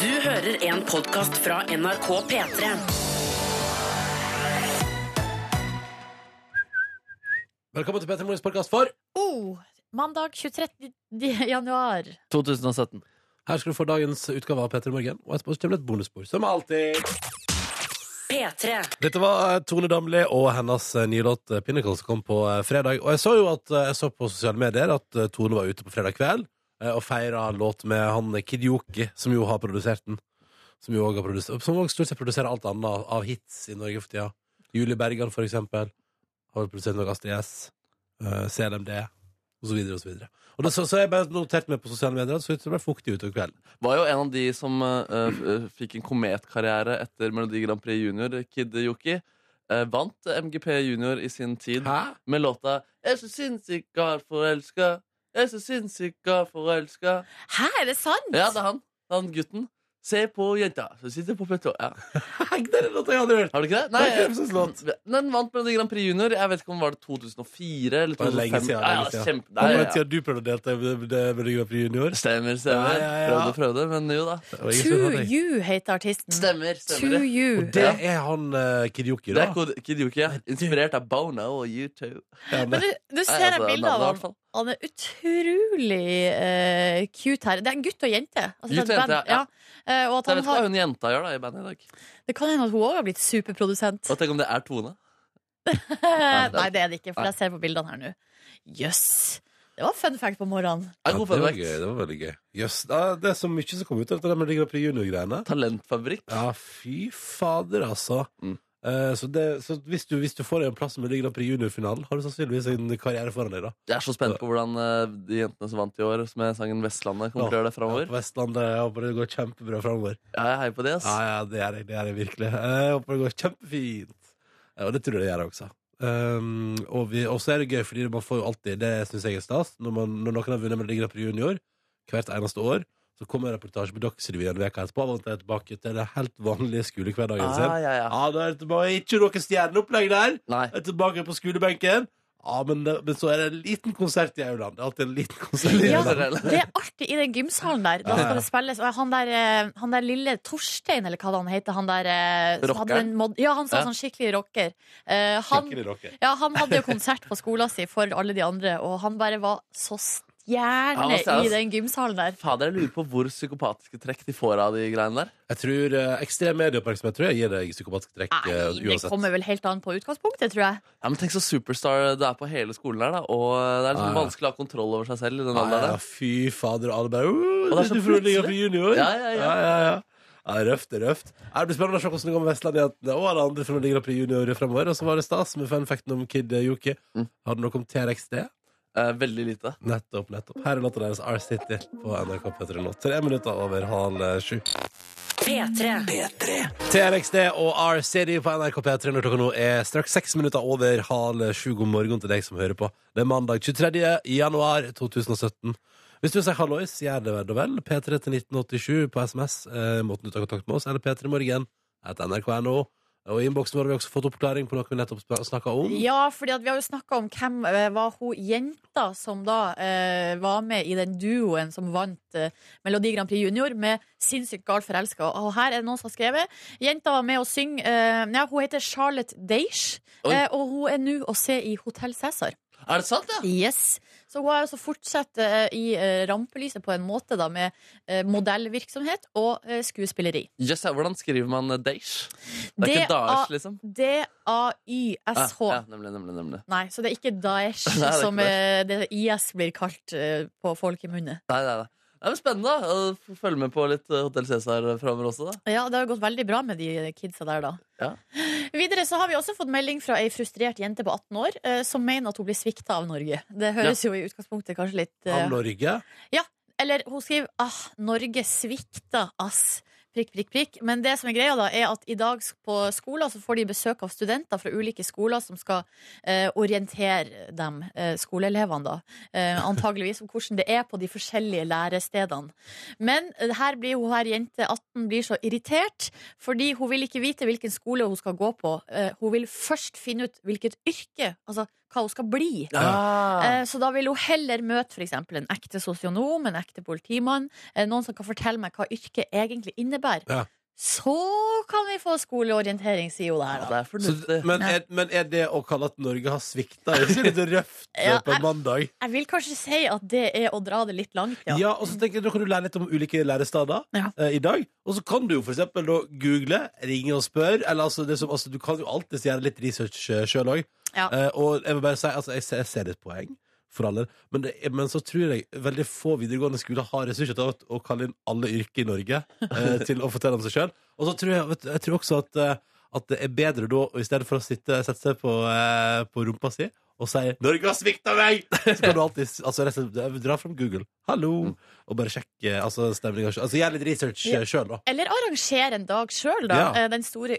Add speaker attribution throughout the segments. Speaker 1: Du hører en podcast fra NRK P3.
Speaker 2: Velkommen til Petter Morgens podkast for
Speaker 3: Oh, mandag 23. januar.
Speaker 4: 2017.
Speaker 2: Her skal du få dagens utgave av Petter Morgen. Og etterpå så kommer det et bonusspor, som alltid.
Speaker 1: P3.
Speaker 2: Dette var eh, Tone Damli og hennes eh, nye låt eh, 'Pinnacle' som kom på eh, fredag. Og jeg så jo at eh, jeg så på sosiale medier at eh, Tone var ute på fredag kveld eh, og feira låt med han eh, Kid Joki, som jo har produsert den. Som jo også har produsert Som også stort sett produserer alt annet av hits i Norge for tida. Julie Bergan, for eksempel, har produsert noe Astrid S. eh, CLMD, og så videre og så videre. Og det, så, så jeg bare noterte meg på sosiale medier at det så ut som det ble fuktig utover kvelden.
Speaker 4: Var jo en av de som eh, f- eh, fikk en kometkarriere etter Melodi Grand Prix Junior, Kid Yuki. Eh, vant MGP Junior i sin tid
Speaker 2: Hæ?
Speaker 4: med låta 'Jeg er så sinnssykt gal forelska'. Jeg er så sinnssykt gal forelska.
Speaker 3: Hæ, er det sant?
Speaker 4: Ja, det er han. Han gutten. Se på jenta som sitter på platå. Ja.
Speaker 2: Det er en låt jeg aldri har hørt.
Speaker 4: Har du ikke det?
Speaker 2: Det er Kremsens låt.
Speaker 4: Den vant Melodi Grand Prix Junior. Jeg vet ikke om var det 2004 eller
Speaker 2: Det er
Speaker 4: 2005.
Speaker 2: lenge siden,
Speaker 4: Ja,
Speaker 2: lenge
Speaker 4: ja,
Speaker 2: siden.
Speaker 4: kjempe,
Speaker 2: Nei,
Speaker 4: nei,
Speaker 2: ja.
Speaker 4: ja.
Speaker 2: Tida du prøvde å delta med Melodi Grand Prix Junior.
Speaker 4: Stemmer,
Speaker 2: Ja,
Speaker 4: stemmer.
Speaker 2: ja, ja.
Speaker 4: Prøvde, prøvde, men jo da.
Speaker 2: Og jeg synes
Speaker 3: To
Speaker 2: at jeg-
Speaker 3: You heter artisten.
Speaker 4: Stemmer, stemmer.
Speaker 3: To
Speaker 4: det.
Speaker 3: You.
Speaker 2: Det er han uh, Kidjoki,
Speaker 4: Det
Speaker 2: da.
Speaker 4: er Kod- Kid Yuki, ja. Inspirert av Bono og U2.
Speaker 2: Ja,
Speaker 3: Men
Speaker 2: men-
Speaker 3: du, du
Speaker 4: altså,
Speaker 3: ser jeg bilder av han. Han er utrolig eh, cute her. Det er en gutt og jente. Altså, det er et
Speaker 4: Gutt og jente,
Speaker 3: band,
Speaker 4: ja.
Speaker 3: Eh, og at
Speaker 4: Så
Speaker 3: han
Speaker 4: jeg vet ikke
Speaker 3: har,
Speaker 4: hva hun jenta gjør da i bandet i dag.
Speaker 3: det kan hende at hun òg har blitt superprodusent.
Speaker 4: Og tenk om det er Tone. det er-
Speaker 3: Nei, det er det ikke, for
Speaker 4: Nei.
Speaker 3: jeg ser på bildene her nå. Jøss. Det var fun fact på morgenen.
Speaker 4: Er
Speaker 2: Ja,
Speaker 4: god
Speaker 2: det var
Speaker 4: fact.
Speaker 2: gøy. Det var veldig gøy. Jøss, da, det er så mye som kom ut av det Melodi Grand Prix Junior-greiene.
Speaker 4: Talentfabrikk.
Speaker 2: Ja, fy fader, altså.
Speaker 4: Mm.
Speaker 2: Eh, så det, så hvis, du, hvis du får en plass i Melodi Grand Prix Junior-finalen, har du sannsynligvis en karriere foran deg, da.
Speaker 4: Jeg er så spent på hvordan eh, de jentene som vant i år med sangen Vestlandet, kommer til å gjøre det
Speaker 2: Ja,
Speaker 4: framover.
Speaker 2: på Vestlandet. Jeg håper det går kjempebra framover.
Speaker 4: Ja, jeg heier på det, ass.
Speaker 2: Ja, ja, det gjør jeg, det gjør jeg virkelig. Jeg håper det går kjempefint. Ja, Og det tror jeg det gjør jeg også. Um, og vi- og så er det gøy, fordi man får jo alltid Det synes jeg er stas. Når, man, når noen har vunnet Melodi Grand Prix Junior hvert eneste år, så kommer en reportasje på Dagsrevyen en uke etterpå. Og man er tilbake til det helt vanlige skolehverdagen
Speaker 4: Ah,
Speaker 2: sin.
Speaker 4: ja, ja.
Speaker 2: Ja, da er det tilbake, Ikke noe stjerneopplegg der!
Speaker 4: Nei.
Speaker 2: Jeg er tilbake på skolebenken. Ja, men, det- men så er det en liten konsert i Auland. Det er alltid en liten konsert i
Speaker 3: Ja,
Speaker 2: Auland.
Speaker 3: det er artig i den gymsalen der. Da
Speaker 2: Ja, ja.
Speaker 3: skal det spilles. Og han der, eh, han der lille Torstein, eller hva han heter, han der eh, som hadde
Speaker 4: Rockeren?
Speaker 3: den mod Ja, han sa
Speaker 4: Ja.
Speaker 3: sånn skikkelig rocker. Eh, han,
Speaker 2: Skikkelig rocker.
Speaker 3: ja, han hadde jo konsert på skolen sin for alle de andre, og han bare var så
Speaker 4: Han
Speaker 3: stjerne
Speaker 4: var stjerne.
Speaker 3: i den gymsalen der.
Speaker 4: Fader, jeg lurer på hvor psykopatiske trekk de får av de greiene der.
Speaker 2: Jeg tror eh, ekstrem medieoppmerksomhet tror jeg gir deg psykopatiske trekk
Speaker 3: Nei,
Speaker 2: eh,
Speaker 3: det
Speaker 2: uansett.
Speaker 3: kommer vel helt an på utgangspunktet, tror jeg.
Speaker 4: Ja, men Tenk så superstar det er på hele skolen her, da. Og det er liksom
Speaker 2: Ja, ja.
Speaker 4: vanskelig å ha kontroll over seg selv i den
Speaker 2: Ja, ja,
Speaker 4: alderen.
Speaker 2: ja,
Speaker 4: der.
Speaker 2: fy fader, og alle bare
Speaker 4: Og det er
Speaker 2: «Åh,
Speaker 4: så
Speaker 2: Du får ligge
Speaker 4: plutselig.
Speaker 2: for junior.
Speaker 4: Ja, ja, ja.
Speaker 2: ja, ja. Ja, det er røft, det er røft. Ja, Det blir spennende å se hvordan det går med Vestlandjentene og alle andre fra Melodi Grand Prix Junior fremover. Og så var det stas med fanfacten om Kid Yuki.
Speaker 4: Mm.
Speaker 2: Har du noe om TRXD?
Speaker 4: Eh, veldig lite.
Speaker 2: Nettopp, nettopp. Her er låta deres R-City på NRK P3 nå. Tre minutter over halv eh, sju.
Speaker 1: P3.
Speaker 2: TRXD og R-City på NRK P3 når klokka nå er straks seks minutter over halv sju. God morgen til deg som hører på. Det er mandag 23. januar 2017. Hvis du sier hallois, gjør det da vel. P3 til 1987 på SMS. Eh, måten du tar kontakt med oss, eller P3morgen etter nrk.no. Og i innboksen vår har vi også fått oppklaring på noe vi nettopp sp- snakket om.
Speaker 3: Ja, fordi at vi har jo snakka om hvem eh, var hun jenta som da eh, var med i den duoen som vant eh, Melodi Grand Prix Junior med 'Sinnssykt gal forelska'. Og her er det noen som har skrevet. Jenta var med å synge eh, ja, Hun heter Charlotte Deiche,
Speaker 4: Oi.
Speaker 3: eh, og hun er nå å se i Hotell Cæsar.
Speaker 4: Er det sant, ja?
Speaker 3: Yes. Så hun har altså fortsatt eh, i eh, rampelyset på en måte, da, med eh, modellvirksomhet og eh, skuespilleri.
Speaker 4: Yes, ja. Hvordan skriver man eh, Daesh? Det er
Speaker 3: Det
Speaker 4: ikke Daesh,
Speaker 3: er-
Speaker 4: liksom. Ja,
Speaker 3: D-a-y-s-h.
Speaker 4: Ah, ja, nemlig, nemlig, nemlig.
Speaker 3: Nei, så det er ikke Daesh
Speaker 4: Nei, det er ikke
Speaker 3: som eh, det IS blir kalt eh, på folk i munnen.
Speaker 4: Nei, nei, nei. Det er spennende. da. F- Følg med på litt eh, Hotell Cæsar framover også, da.
Speaker 3: Ja, det har gått veldig bra med de kidsa der, da.
Speaker 4: Ja.
Speaker 3: Videre så har vi også fått melding fra ei frustrert jente på 18 år eh, som mener at hun blir svikta av Norge. Det høres jo i utgangspunktet kanskje litt eh,
Speaker 2: Av Norge.
Speaker 3: Eller hun skriver ah, 'Norge svikta, ass'. Prikk, prikk, prikk. Men det som er greia da, er at i dag på skolen så får de besøk av studenter fra ulike skoler som skal eh, orientere dem, eh, skoleelevene da, eh, antageligvis om hvordan det er på de forskjellige lærestedene. Men eh, her blir hun her jente 18 blir så irritert, fordi hun vil ikke vite hvilken skole hun skal gå på. Eh, hun vil først finne ut hvilket yrke, altså hva hun skal bli.
Speaker 4: Ah.
Speaker 3: Eh, Så da vil hun heller møte f.eks. en ekte sosionom, en ekte politimann, eh, noen som kan fortelle meg hva yrket egentlig innebærer.
Speaker 2: Ja.
Speaker 3: Så kan vi få skoleorientering, sier hun der.
Speaker 4: Ja,
Speaker 3: Da.
Speaker 4: det er
Speaker 2: Så,
Speaker 4: fornuftig.
Speaker 2: men, er, men er det å kalle at Norge har svikta? Jeg synes det er røft
Speaker 3: Ja,
Speaker 2: på
Speaker 3: jeg-
Speaker 2: en mandag.
Speaker 3: Jeg vil kanskje si at det er å dra det litt langt,
Speaker 2: Ja.
Speaker 3: ja.
Speaker 2: og så tenker jeg, Da kan du lære litt om ulike læresteder
Speaker 3: Ja.
Speaker 2: eh, i dag. Og så kan du jo for eksempel da google, ringe og spørre. Eller altså, det som, altså Du kan jo alltid gjøre litt research eh, sjøl òg.
Speaker 3: Ja.
Speaker 2: Eh, og jeg vil bare si, altså, jeg, ser- jeg ser et poeng. For alle. Men, det, er- men så tror jeg veldig få videregående skoler har ressurser til å, å kalle inn alle yrker i Norge eh, til å fortelle om seg sjøl. Og så tror jeg, vet, du, jeg tror også at, eh, at det er bedre da, i stedet for å sitte, sette seg på, eh, på rumpa si og si 'Norge har svikta meg!' Så kan du alltid altså, rett og slett dra fram Google. Hallo! Og bare sjekke altså, stemninga. Altså, gjør litt research
Speaker 3: Mm. Ja.
Speaker 2: ja. sjøl, da.
Speaker 3: Eller arrangere en dag sjøl, da.
Speaker 2: Ja.
Speaker 3: eh, Den store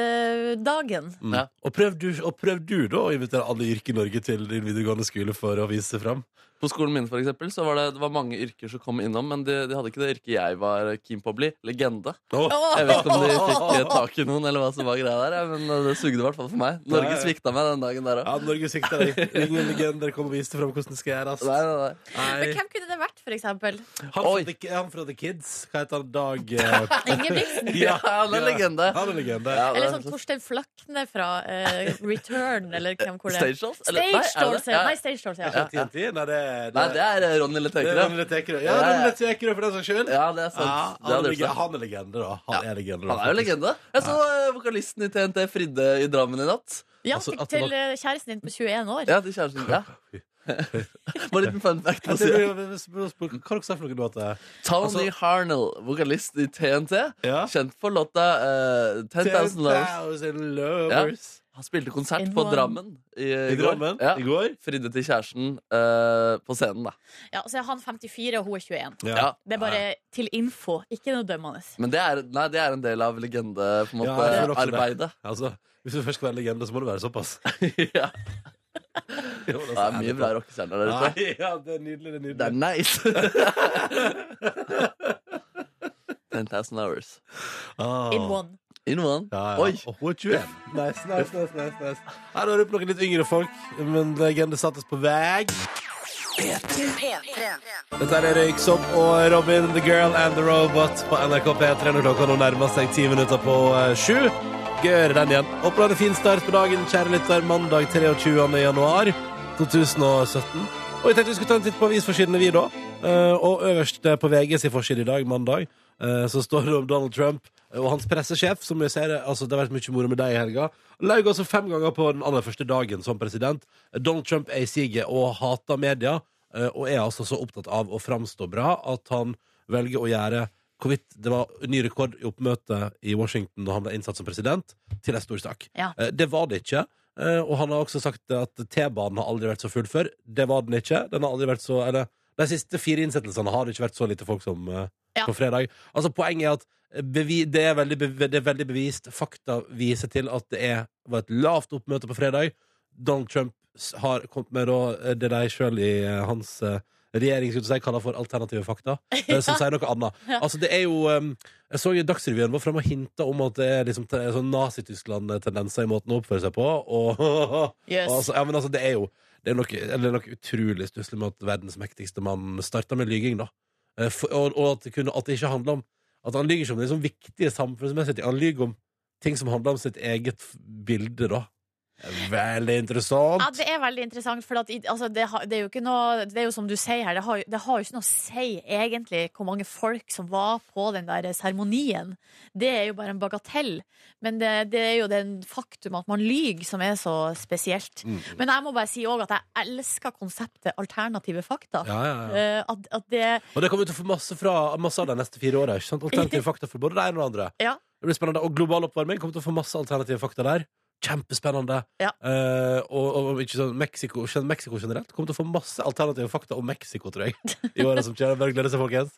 Speaker 3: yrkesdagen.
Speaker 2: Mm.
Speaker 4: Ja.
Speaker 2: Og, prøv du, og prøv du, da, å invitere alle yrker i Norge til din videregående skole for å vise seg fram.
Speaker 4: På skolen min for eksempel, så var det, det var mange yrker som kom innom, men de, de hadde ikke det yrket jeg var eh, keen på å bli. Legende.
Speaker 2: Å,
Speaker 4: Jeg vet ikke om de fikk eh, tak i noen, eller hva som var greia der, ja, men eh, det sugde i hvert fall for meg. Norge
Speaker 2: Nei.
Speaker 4: svikta meg den dagen der òg.
Speaker 2: Ja, Norge svikta deg. Ingen legender kom og viste fram hvordan det skal gjøres.
Speaker 4: Nei, nei, nei.
Speaker 3: Men
Speaker 2: Nei.
Speaker 3: hvem kunne det vært, for eksempel?
Speaker 2: Han, fra
Speaker 4: Oi.
Speaker 2: the, han fra The Kids. Hva heter han? Dag eh,
Speaker 3: Ingebrigtsen?
Speaker 4: Ja, han er legende.
Speaker 2: Han er legende.
Speaker 4: Ja,
Speaker 3: Eller
Speaker 4: det-
Speaker 3: sånn Torstein Flakne fra eh, Return, eller hvem hvor det er.
Speaker 4: Stage dolls? Eller- nei, er
Speaker 3: Stage Dolls,
Speaker 4: det-
Speaker 3: ja.
Speaker 4: ja.
Speaker 3: Nei, Stage Dolls, ja.
Speaker 2: Fra TNT? Nei, det er
Speaker 4: Nei, det er eh,
Speaker 2: det
Speaker 4: Ronny
Speaker 2: er
Speaker 4: Letekere.
Speaker 2: Ronny Tekerø. Ja, Ronny Tekerø, for den saks skyld.
Speaker 4: Ja, det er sant.
Speaker 2: Ja,
Speaker 4: det
Speaker 2: han, er
Speaker 4: hadde jeg
Speaker 2: legende,
Speaker 4: sagt.
Speaker 2: han er legende, da. Han er legende, da,
Speaker 4: Han er jo
Speaker 2: faktisk.
Speaker 4: legende. Jeg så eh, vokalisten i TNT, Fridde, i Drammen i natt.
Speaker 3: Ja,
Speaker 2: Altså,
Speaker 3: til,
Speaker 2: at det var-
Speaker 3: til eh, kjæresten din på 21 år.
Speaker 4: Ja, til kjæresten min. Ja. Bare en liten fun fact.
Speaker 2: Ja, det
Speaker 4: å si.
Speaker 2: blir- det blir- det blir- Hva har dere sagt for noe nå at det er?
Speaker 4: Tony
Speaker 2: Altså-
Speaker 4: Harnell, vokalist i TNT,
Speaker 2: Ja.
Speaker 4: kjent for låta eh, 10,000 Loves.
Speaker 2: 10,000 lovers.
Speaker 4: Han spilte konsert
Speaker 3: In
Speaker 4: på
Speaker 3: one.
Speaker 4: Drammen i,
Speaker 2: I Drammen
Speaker 4: Ja.
Speaker 2: i går.
Speaker 4: Fridde til kjæresten eh, på scenen, da.
Speaker 3: Ja, så er han 54, og hun er 21.
Speaker 4: Ja.
Speaker 3: Det er bare til info, ikke noe dømmende.
Speaker 4: Men det er, nei, det er en del av legende på
Speaker 2: Ja,
Speaker 4: en måte,
Speaker 2: jeg føler også det.
Speaker 4: arbeidet.
Speaker 2: Altså, hvis du først skal være legende, så må du være såpass.
Speaker 4: ja.
Speaker 2: Jo, altså,
Speaker 4: Det er mye bra rockestjerner der ute.
Speaker 2: Nei, ja, det er nydelig. Det er
Speaker 4: Det er
Speaker 2: nydelig.
Speaker 4: nice! 10,000 Hours.
Speaker 2: Ah.
Speaker 3: In one.
Speaker 4: In one.
Speaker 2: Ja, ja.
Speaker 4: Oi!
Speaker 2: Og hun er 21. Nice, nice, nice, nice, nice. Her har du opp noen litt yngre folk, men legende sattes på vei.
Speaker 1: P3.
Speaker 2: Dette er Røyksopp og Robin, The Girl and The Robot på NRK P3 når klokka nå nærmer seg ti minutter på eh, sju. Gøy å høre den igjen. Håper du har en fin start på dagen, kjære lytter. Mandag 23. januar 2017. Og jeg tenkte vi skulle ta en titt på avisforsidene, vi, da. Eh, og øverst eh, på VG sin forside i dag, mandag, eh, så står det om Donald Trump og hans pressesjef, som jeg ser, altså Det har vært mye moro med deg i helga. Laug altså fem ganger på den aller første dagen som president. Donald Trump er i siget og hater media, eh, og er altså så opptatt av å framstå bra at han velger å gjøre hvorvidt det var ny rekord i oppmøte i Washington da han ble innsatt som president, til en stor sak.
Speaker 3: Ja.
Speaker 2: Eh, Det var det ikke. Eh, Og han har også sagt at T-banen har aldri vært så full før. Det var den ikke. Den har aldri vært så Eller de siste fire innsettelsene har det ikke vært så lite folk som eh,
Speaker 3: Ja.
Speaker 2: på fredag. Altså Poenget er at bevi, det, er veldig, bev- det er veldig bevist. Fakta viser til at det er, var et lavt oppmøte på fredag. Donald Trump s- har kommet med da, eh, det de sjøl i eh, hans eh, regjering skulle jeg si, kaller for alternative fakta, eh, som sier noe annet. Altså det er jo eh, jeg så jo Dagsrevyen var fremme og hinta om at det er liksom te- sånn Nazi-Tyskland-tendenser i måten å oppføre seg på. Og,
Speaker 3: Yes.
Speaker 2: og altså, ja, men altså, det er jo det er noe, eller det er noe utrolig stusslig med at verdens mektigste mann starta med lyging, da. Eh, For, og og at, det kunne, at det ikke handler om At han lyger ikke om liksom viktige samfunnsmessige ting. Han lyger om ting som handler om sitt eget f- bilde, da. Det er Veldig interessant.
Speaker 3: Ja, det er veldig interessant, for at, i- altså, det, har, det er jo ikke noe Det er jo som du sier her, det har, det har jo ikke noe å si egentlig hvor mange folk som var på den der seremonien. Det er jo bare en bagatell. Men det, det er jo den faktum at man lyver, som er så spesielt.
Speaker 2: Mm.
Speaker 3: Men jeg må bare si òg at jeg elsker konseptet alternative fakta.
Speaker 2: Ja, ja, ja.
Speaker 3: Eh, at, at det
Speaker 2: Og det kommer vi til å få masse, fra, masse av de neste fire åra. ikke sant? Alternative fakta for både det ene og det andre.
Speaker 3: Ja.
Speaker 2: Det blir spennende. Og global oppvarming kommer til å få masse alternative fakta der. Kjempespennende.
Speaker 3: Ja.
Speaker 2: Eh, og, og ikke sånn Mexico, gen- Mexico generelt kommer til å få masse alternative fakta om Mexico, tror jeg. I året som kommer. Bare glede seg, folkens.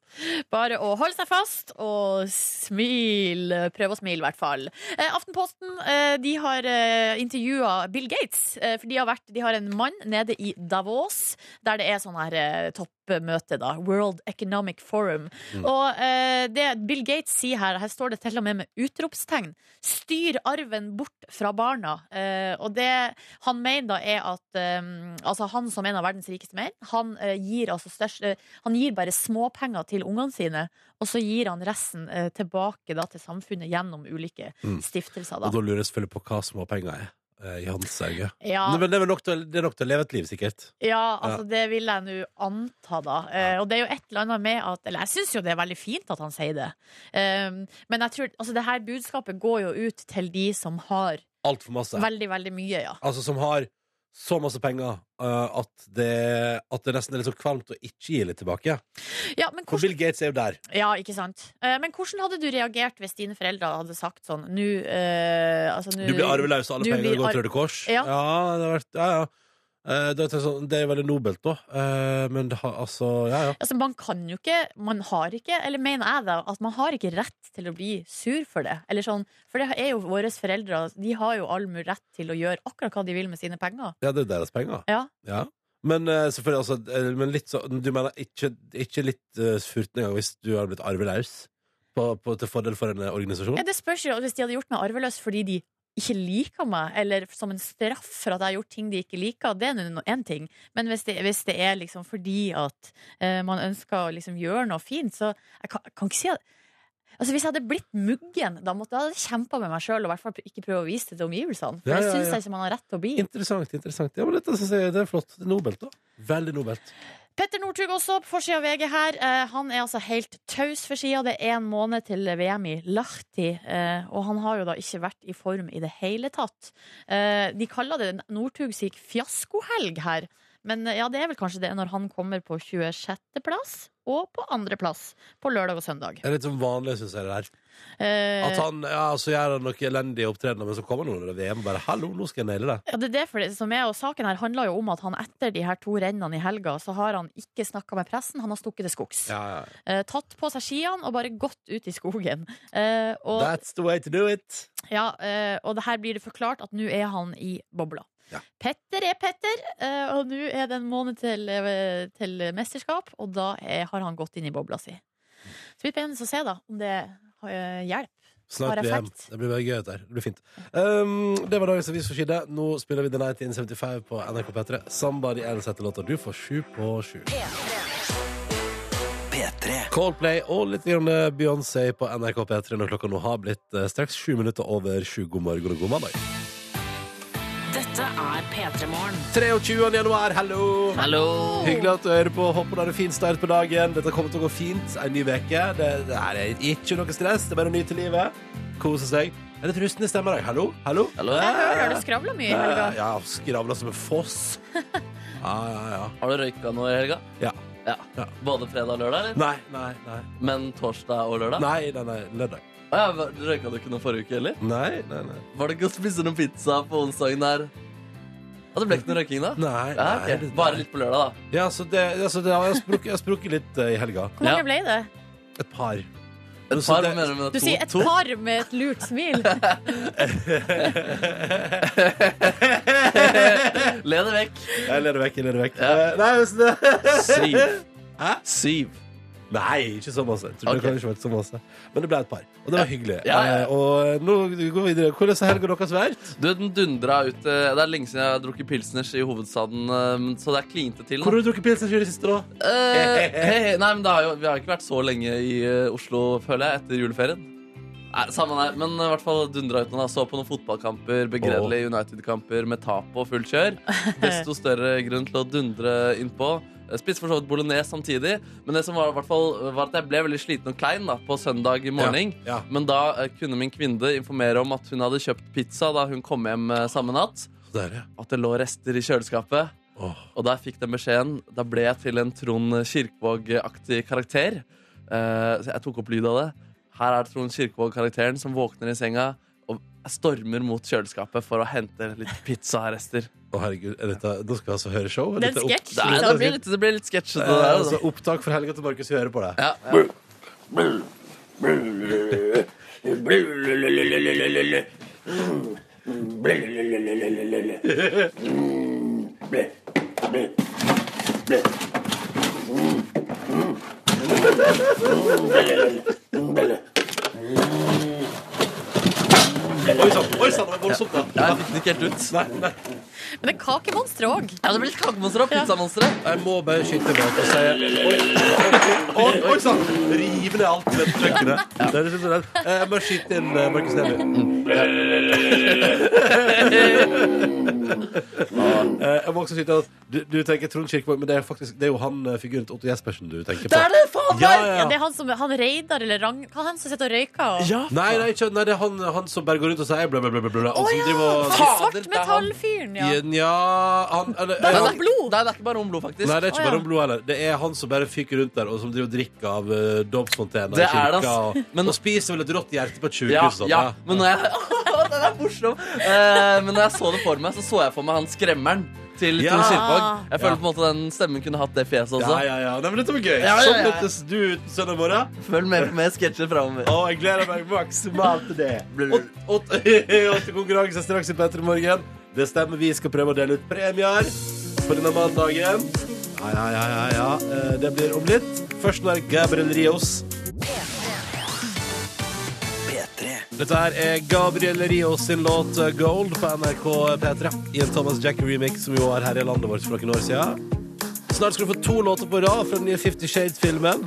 Speaker 3: Bare å holde seg fast og smil. Prøv å smile, i hvert fall. Eh, Aftenposten eh, de har eh, intervjua Bill Gates. Eh, for de har, vært, de har en mann nede i Davos, der det er sånn her eh, topp toppmøte, da. World Economic Forum.
Speaker 2: Mm.
Speaker 3: Og eh, det Bill Gates sier her, her står det til og med med utropstegn, styr arven bort fra barna. Eh, og det han mener da er at eh, altså han som en av verdens rikeste menn, han, eh, gir, altså størst, eh, han gir bare småpenger til ungene sine, og så gir han resten eh, tilbake da, til samfunnet gjennom ulike
Speaker 2: Mm.
Speaker 3: stiftelser.
Speaker 2: Og
Speaker 3: Da.
Speaker 2: da lurer jeg selvfølgelig på hva småpenger er eh, i hans øyne.
Speaker 3: Ja,
Speaker 2: Nei, Men det er, vel nok til, det er nok til å leve et liv, sikkert.
Speaker 3: Ja, altså det vil jeg nå anta, da. Eh, og det er jo et eller annet med at Eller jeg syns jo det er veldig fint at han sier det. Um, men jeg tror Altså, det her budskapet går jo ut til de som har
Speaker 2: Altfor masse.
Speaker 3: veldig, veldig mye, ja.
Speaker 2: Altså som har så masse penger eh, at, det, at det nesten er litt så kvalmt å ikke gi litt tilbake.
Speaker 3: Ja, men
Speaker 2: For
Speaker 3: hvordan,
Speaker 2: Bill Gates er jo der.
Speaker 3: ja ikke sant. Eh, men hvordan hadde du reagert hvis dine foreldre hadde sagt sånn Nå eh, altså, nå-
Speaker 2: Du blir arveløs av alle
Speaker 3: Du
Speaker 2: pengene
Speaker 3: blir
Speaker 2: og går til
Speaker 3: arv-
Speaker 2: Røde Kors.
Speaker 3: Ja.
Speaker 2: det har vært Ja, ja. Eh, det, er sånn, det er veldig nobelt, da. Eh, men det har altså Ja, ja.
Speaker 3: Altså, man kan jo ikke Man har ikke, eller mener jeg da, at man har ikke rett til å bli sur for det. Eller sånn, for det er jo våre foreldre. De har jo all mulig rett til å gjøre akkurat hva de vil med sine penger.
Speaker 2: ja det er deres penger.
Speaker 3: Ja.
Speaker 2: Ja. Men eh, selvfølgelig, altså eh, men litt så, Du mener ikke, ikke litt uh, furt engang hvis du har blitt arveløs på, på, til fordel for en eh, organisasjon?
Speaker 3: Ja, det spørs jo hvis de hadde gjort meg arveløs fordi de ikke liker meg, eller som en straff for at jeg har gjort ting de ikke liker, det er nå én ting. Men hvis det, hvis det er liksom fordi at eh, man ønsker å liksom gjøre noe fint, så jeg kan, jeg kan ikke si at Altså Hvis jeg hadde blitt muggen, da måtte jeg kjempa med meg sjøl og i hvert fall ikke prøve å vise det til omgivelsene. For
Speaker 2: Ja,
Speaker 3: det
Speaker 2: ja,
Speaker 3: syns
Speaker 2: ja.
Speaker 3: jeg ikke man har rett til å bli.
Speaker 2: Interessant. interessant Ja, men dette synes jeg det er flott. Det er nobelt, da. Veldig nobelt.
Speaker 3: Petter Northug også, på forsida av VG her. Eh, han er altså helt taus for sida. Det er én måned til VM i Lahti, eh, og han har jo da ikke vært i form i det hele tatt. Eh, de kaller det Northug sin fiaskohelg her, men eh, ja, det er vel kanskje det når han kommer på 26.-plass og på andreplass på lørdag og søndag.
Speaker 2: Det er litt sånn vanlig, syns jeg. det der At
Speaker 3: Eh,
Speaker 2: han ja, så gjør han noen elendige opptredener, men så kommer han under VM og bare 'hallo, nå skal jeg naile det'.
Speaker 3: ja, det er det for det som er, og Saken her handler jo om at han etter de her to rennene i helga, så har han ikke snakka med pressen, han har stukket til skogs.
Speaker 2: Ja, ja.
Speaker 3: Eh, tatt på seg skiene og bare gått ut i skogen. Eh, og
Speaker 2: That's the way to do it.
Speaker 3: Ja, eh, og det her blir det forklart at nå er han i bobla.
Speaker 2: Ja.
Speaker 3: Petter er Petter, eh, og nå er det en måned til, eh, til mesterskap, og da er, har han gått inn i bobla si. Så det blir spennende å se da, om det eh, hjelper.
Speaker 2: Snart
Speaker 3: Har
Speaker 2: VM.
Speaker 3: effekt.
Speaker 2: Det blir bare gøy, dette her. Det blir fint. Um, det var dagens avis for Skidde. Nå spiller vi The Night in 75 på NRK P3. Somebody Else heter låta. Du får sju på sju.
Speaker 1: P3.
Speaker 2: Coldplay og litt grann eh, Beyoncé på NRK P3 når klokka nå har blitt eh, straks sju minutter over sju. God morgen og god mandag.
Speaker 5: Dette er P3 Morgen.
Speaker 2: 23. januar, hallo!
Speaker 5: Hallo!
Speaker 2: Hyggelig at du hører på. Håper du har en fin start på dagen. Dette kommer til å gå fint. En ny uke. Det, det her er ikke noe stress. Det er bare å nyte livet. Kose seg. Det er litt rustne stemmer i dag. Hallo? Hallo?
Speaker 4: Hallo?
Speaker 3: Jeg hører du skravler mye i helga.
Speaker 2: Ja, Eh, ja, skravla som en foss. Ja, ja, ja.
Speaker 4: Har du røyka noe i helga?
Speaker 2: Ja.
Speaker 4: ja.
Speaker 2: Ja.
Speaker 4: Både fredag og lørdag? eller?
Speaker 2: Nei, nei, nei.
Speaker 4: Men torsdag og lørdag?
Speaker 2: Nei, nei, nei. Lørdag.
Speaker 4: Å ja, hva- røyka du ikke noe forrige uke heller?
Speaker 2: Nei, nei, nei.
Speaker 4: Var det ikke å spise noen pizza på onsdagen der? Ja, det ble ikke noe røyking da?
Speaker 2: Nei,
Speaker 4: Ja,
Speaker 2: nei,
Speaker 4: ok.
Speaker 2: det-
Speaker 4: Bare litt på lørdag, da.
Speaker 2: Ja, så det, altså det, jeg har sprukket- jeg har sprukket litt eh, i helga.
Speaker 3: Hvor mange
Speaker 4: Ja.
Speaker 3: ble det?
Speaker 2: Et par.
Speaker 4: Et
Speaker 2: Så
Speaker 4: par,
Speaker 2: det-
Speaker 4: mener du? med
Speaker 3: Du
Speaker 4: to?
Speaker 3: sier et
Speaker 4: To?
Speaker 3: par med et lurt smil.
Speaker 4: Le det vekk.
Speaker 2: Jeg leder vekk, jeg leder vekk.
Speaker 4: Ja.
Speaker 2: Eh, Nei, hvis det...
Speaker 4: Syv.
Speaker 2: Hæ?
Speaker 4: Syv.
Speaker 2: Nei, ikke så masse. Jeg tror
Speaker 4: Ok.
Speaker 2: Det kan ikke ha vært så masse. Men det ble et par, og det var hyggelig.
Speaker 4: Ja, ja, ja.
Speaker 2: Eh, Og nå går vi videre. Hvordan har helga deres vært?
Speaker 4: Du, den dundra ut eh, Det er lenge siden jeg har drukket pilsners i hovedstaden, eh, så det er klinte til.
Speaker 2: Hvor
Speaker 4: nå.
Speaker 2: har du drukket pils i det siste, da?
Speaker 4: Eh, hei, hei, nei, men det har jo, Vi har ikke vært så lenge i eh, Oslo, føler jeg, etter juleferien. Nei, samme her, men eh, i hvert fall dundra ut noen. da. Så på noen fotballkamper, begredelige United-kamper med tap og fullt kjør. Desto større grunn til å dundre innpå. Eh, Spiste for så vidt bolognese samtidig, men det som var, i hvert fall, var at jeg ble veldig sliten og klein da, på søndag morgen.
Speaker 2: Ja.
Speaker 4: Men da eh, kunne min kvinne informere om at hun hadde kjøpt pizza da hun kom hjem eh, samme natt.
Speaker 2: ja. Der, ja.
Speaker 4: At det lå rester i kjøleskapet.
Speaker 2: Åh.
Speaker 4: Og da jeg fikk den beskjeden, da ble jeg til en Trond Kirkevåg-aktig karakter. Eh, så jeg tok opp lyd av det. Her er Trond Kirkevåg-karakteren som våkner i senga og stormer mot kjøleskapet for å hente litt pizzarester.
Speaker 2: Å, herregud, er dette, nå skal vi altså høre show? Er
Speaker 3: Det er en
Speaker 2: dette opp-
Speaker 3: sketsj,
Speaker 4: Det, er- det blir litt, det blir litt sketsjete.
Speaker 2: Eh,
Speaker 4: det
Speaker 2: altså,
Speaker 4: der, altså.
Speaker 2: opptak for helga til Markus, vi hører på det.
Speaker 4: Ja, ja.
Speaker 6: Ble. Ble. Ble.
Speaker 4: jeg fikk den ikke helt ut.
Speaker 2: Nei, nei.
Speaker 3: Men det er kakemonstre òg.
Speaker 4: Ja, det blir litt kakemonstre og pizzamonstre.
Speaker 2: Jeg må bare skyte tilbake og si Oi, oi, oi sann! Rive ned alt i dette kjøkkenet. Det er liksom sånn at- Jeg må skyte inn eh, Markus Neby. Eh, Jeg må også skyte inn at du, du tenker Trond Kirkevåg, men det er, faktisk, det er jo han eh, figuren til Otto Jespersen du tenker på.
Speaker 4: Det er det! Faen!
Speaker 2: Ja,
Speaker 3: Ja,
Speaker 2: ja,
Speaker 3: det
Speaker 2: ja.
Speaker 3: er han som Han Reidar eller Ragn... Hva er han som sitter og røyker? Og...
Speaker 2: Nei, nei, ikke, nei, det er han, han som bare går rundt og sier bla, bla, bla, bla, bla, og
Speaker 3: Å
Speaker 2: som
Speaker 3: ja!
Speaker 2: driver og
Speaker 4: Fader, det er
Speaker 3: Svartmetallfyren, ja.
Speaker 2: Nja han, eller,
Speaker 3: Da er
Speaker 4: Nei,
Speaker 2: han-
Speaker 4: det
Speaker 3: Om blod?
Speaker 4: Nei, det er ikke bare om blod, faktisk.
Speaker 2: Nei, det er ikke
Speaker 3: Å, ja.
Speaker 2: bare om blod heller. Det er han som bare fyker rundt der, og som driver og drikker av uh, dåpsfontena i
Speaker 4: Det er det,
Speaker 2: kirka.
Speaker 4: ass.
Speaker 2: Og,
Speaker 4: Men-
Speaker 2: og spiser vel et rått hjerte på et sjukehus.
Speaker 4: Ja,
Speaker 2: og sånt,
Speaker 4: ja,
Speaker 2: ja.
Speaker 4: men når jeg Den er morsom! Eh, men når jeg så det for meg, så så jeg for meg han skremmeren til
Speaker 2: Ja.
Speaker 4: Trond Kirkevåg. Jeg føler
Speaker 2: Ja.
Speaker 4: på en måte den stemmen kunne hatt det fjeset også.
Speaker 2: Ja, ja, ja. Nei, men dette var gøy.
Speaker 4: Ja, ja, ja.
Speaker 2: Sånn møttes du uten søndag morgen.
Speaker 4: Følg med på mer sketsjer framover.
Speaker 2: Og jeg gleder meg maksimalt til det.
Speaker 4: Blur.
Speaker 2: Åt- åt- Åtte konkurranser straks i P3 Morgen. Det stemmer, vi skal prøve å dele ut premier på denne mandagen. Ja, ja, ja, ja, ja. Eh, Det blir om litt. Først nå er Gabriel Rios.
Speaker 1: P3.
Speaker 2: Dette her er Gabriel Rios sin låt eh, 'Gold' på NRK P3 i en Thomas Jack-remix som jo var her i landet vårt for noen år siden. Snart skal du få to låter på rad fra den nye Fifty Shades-filmen.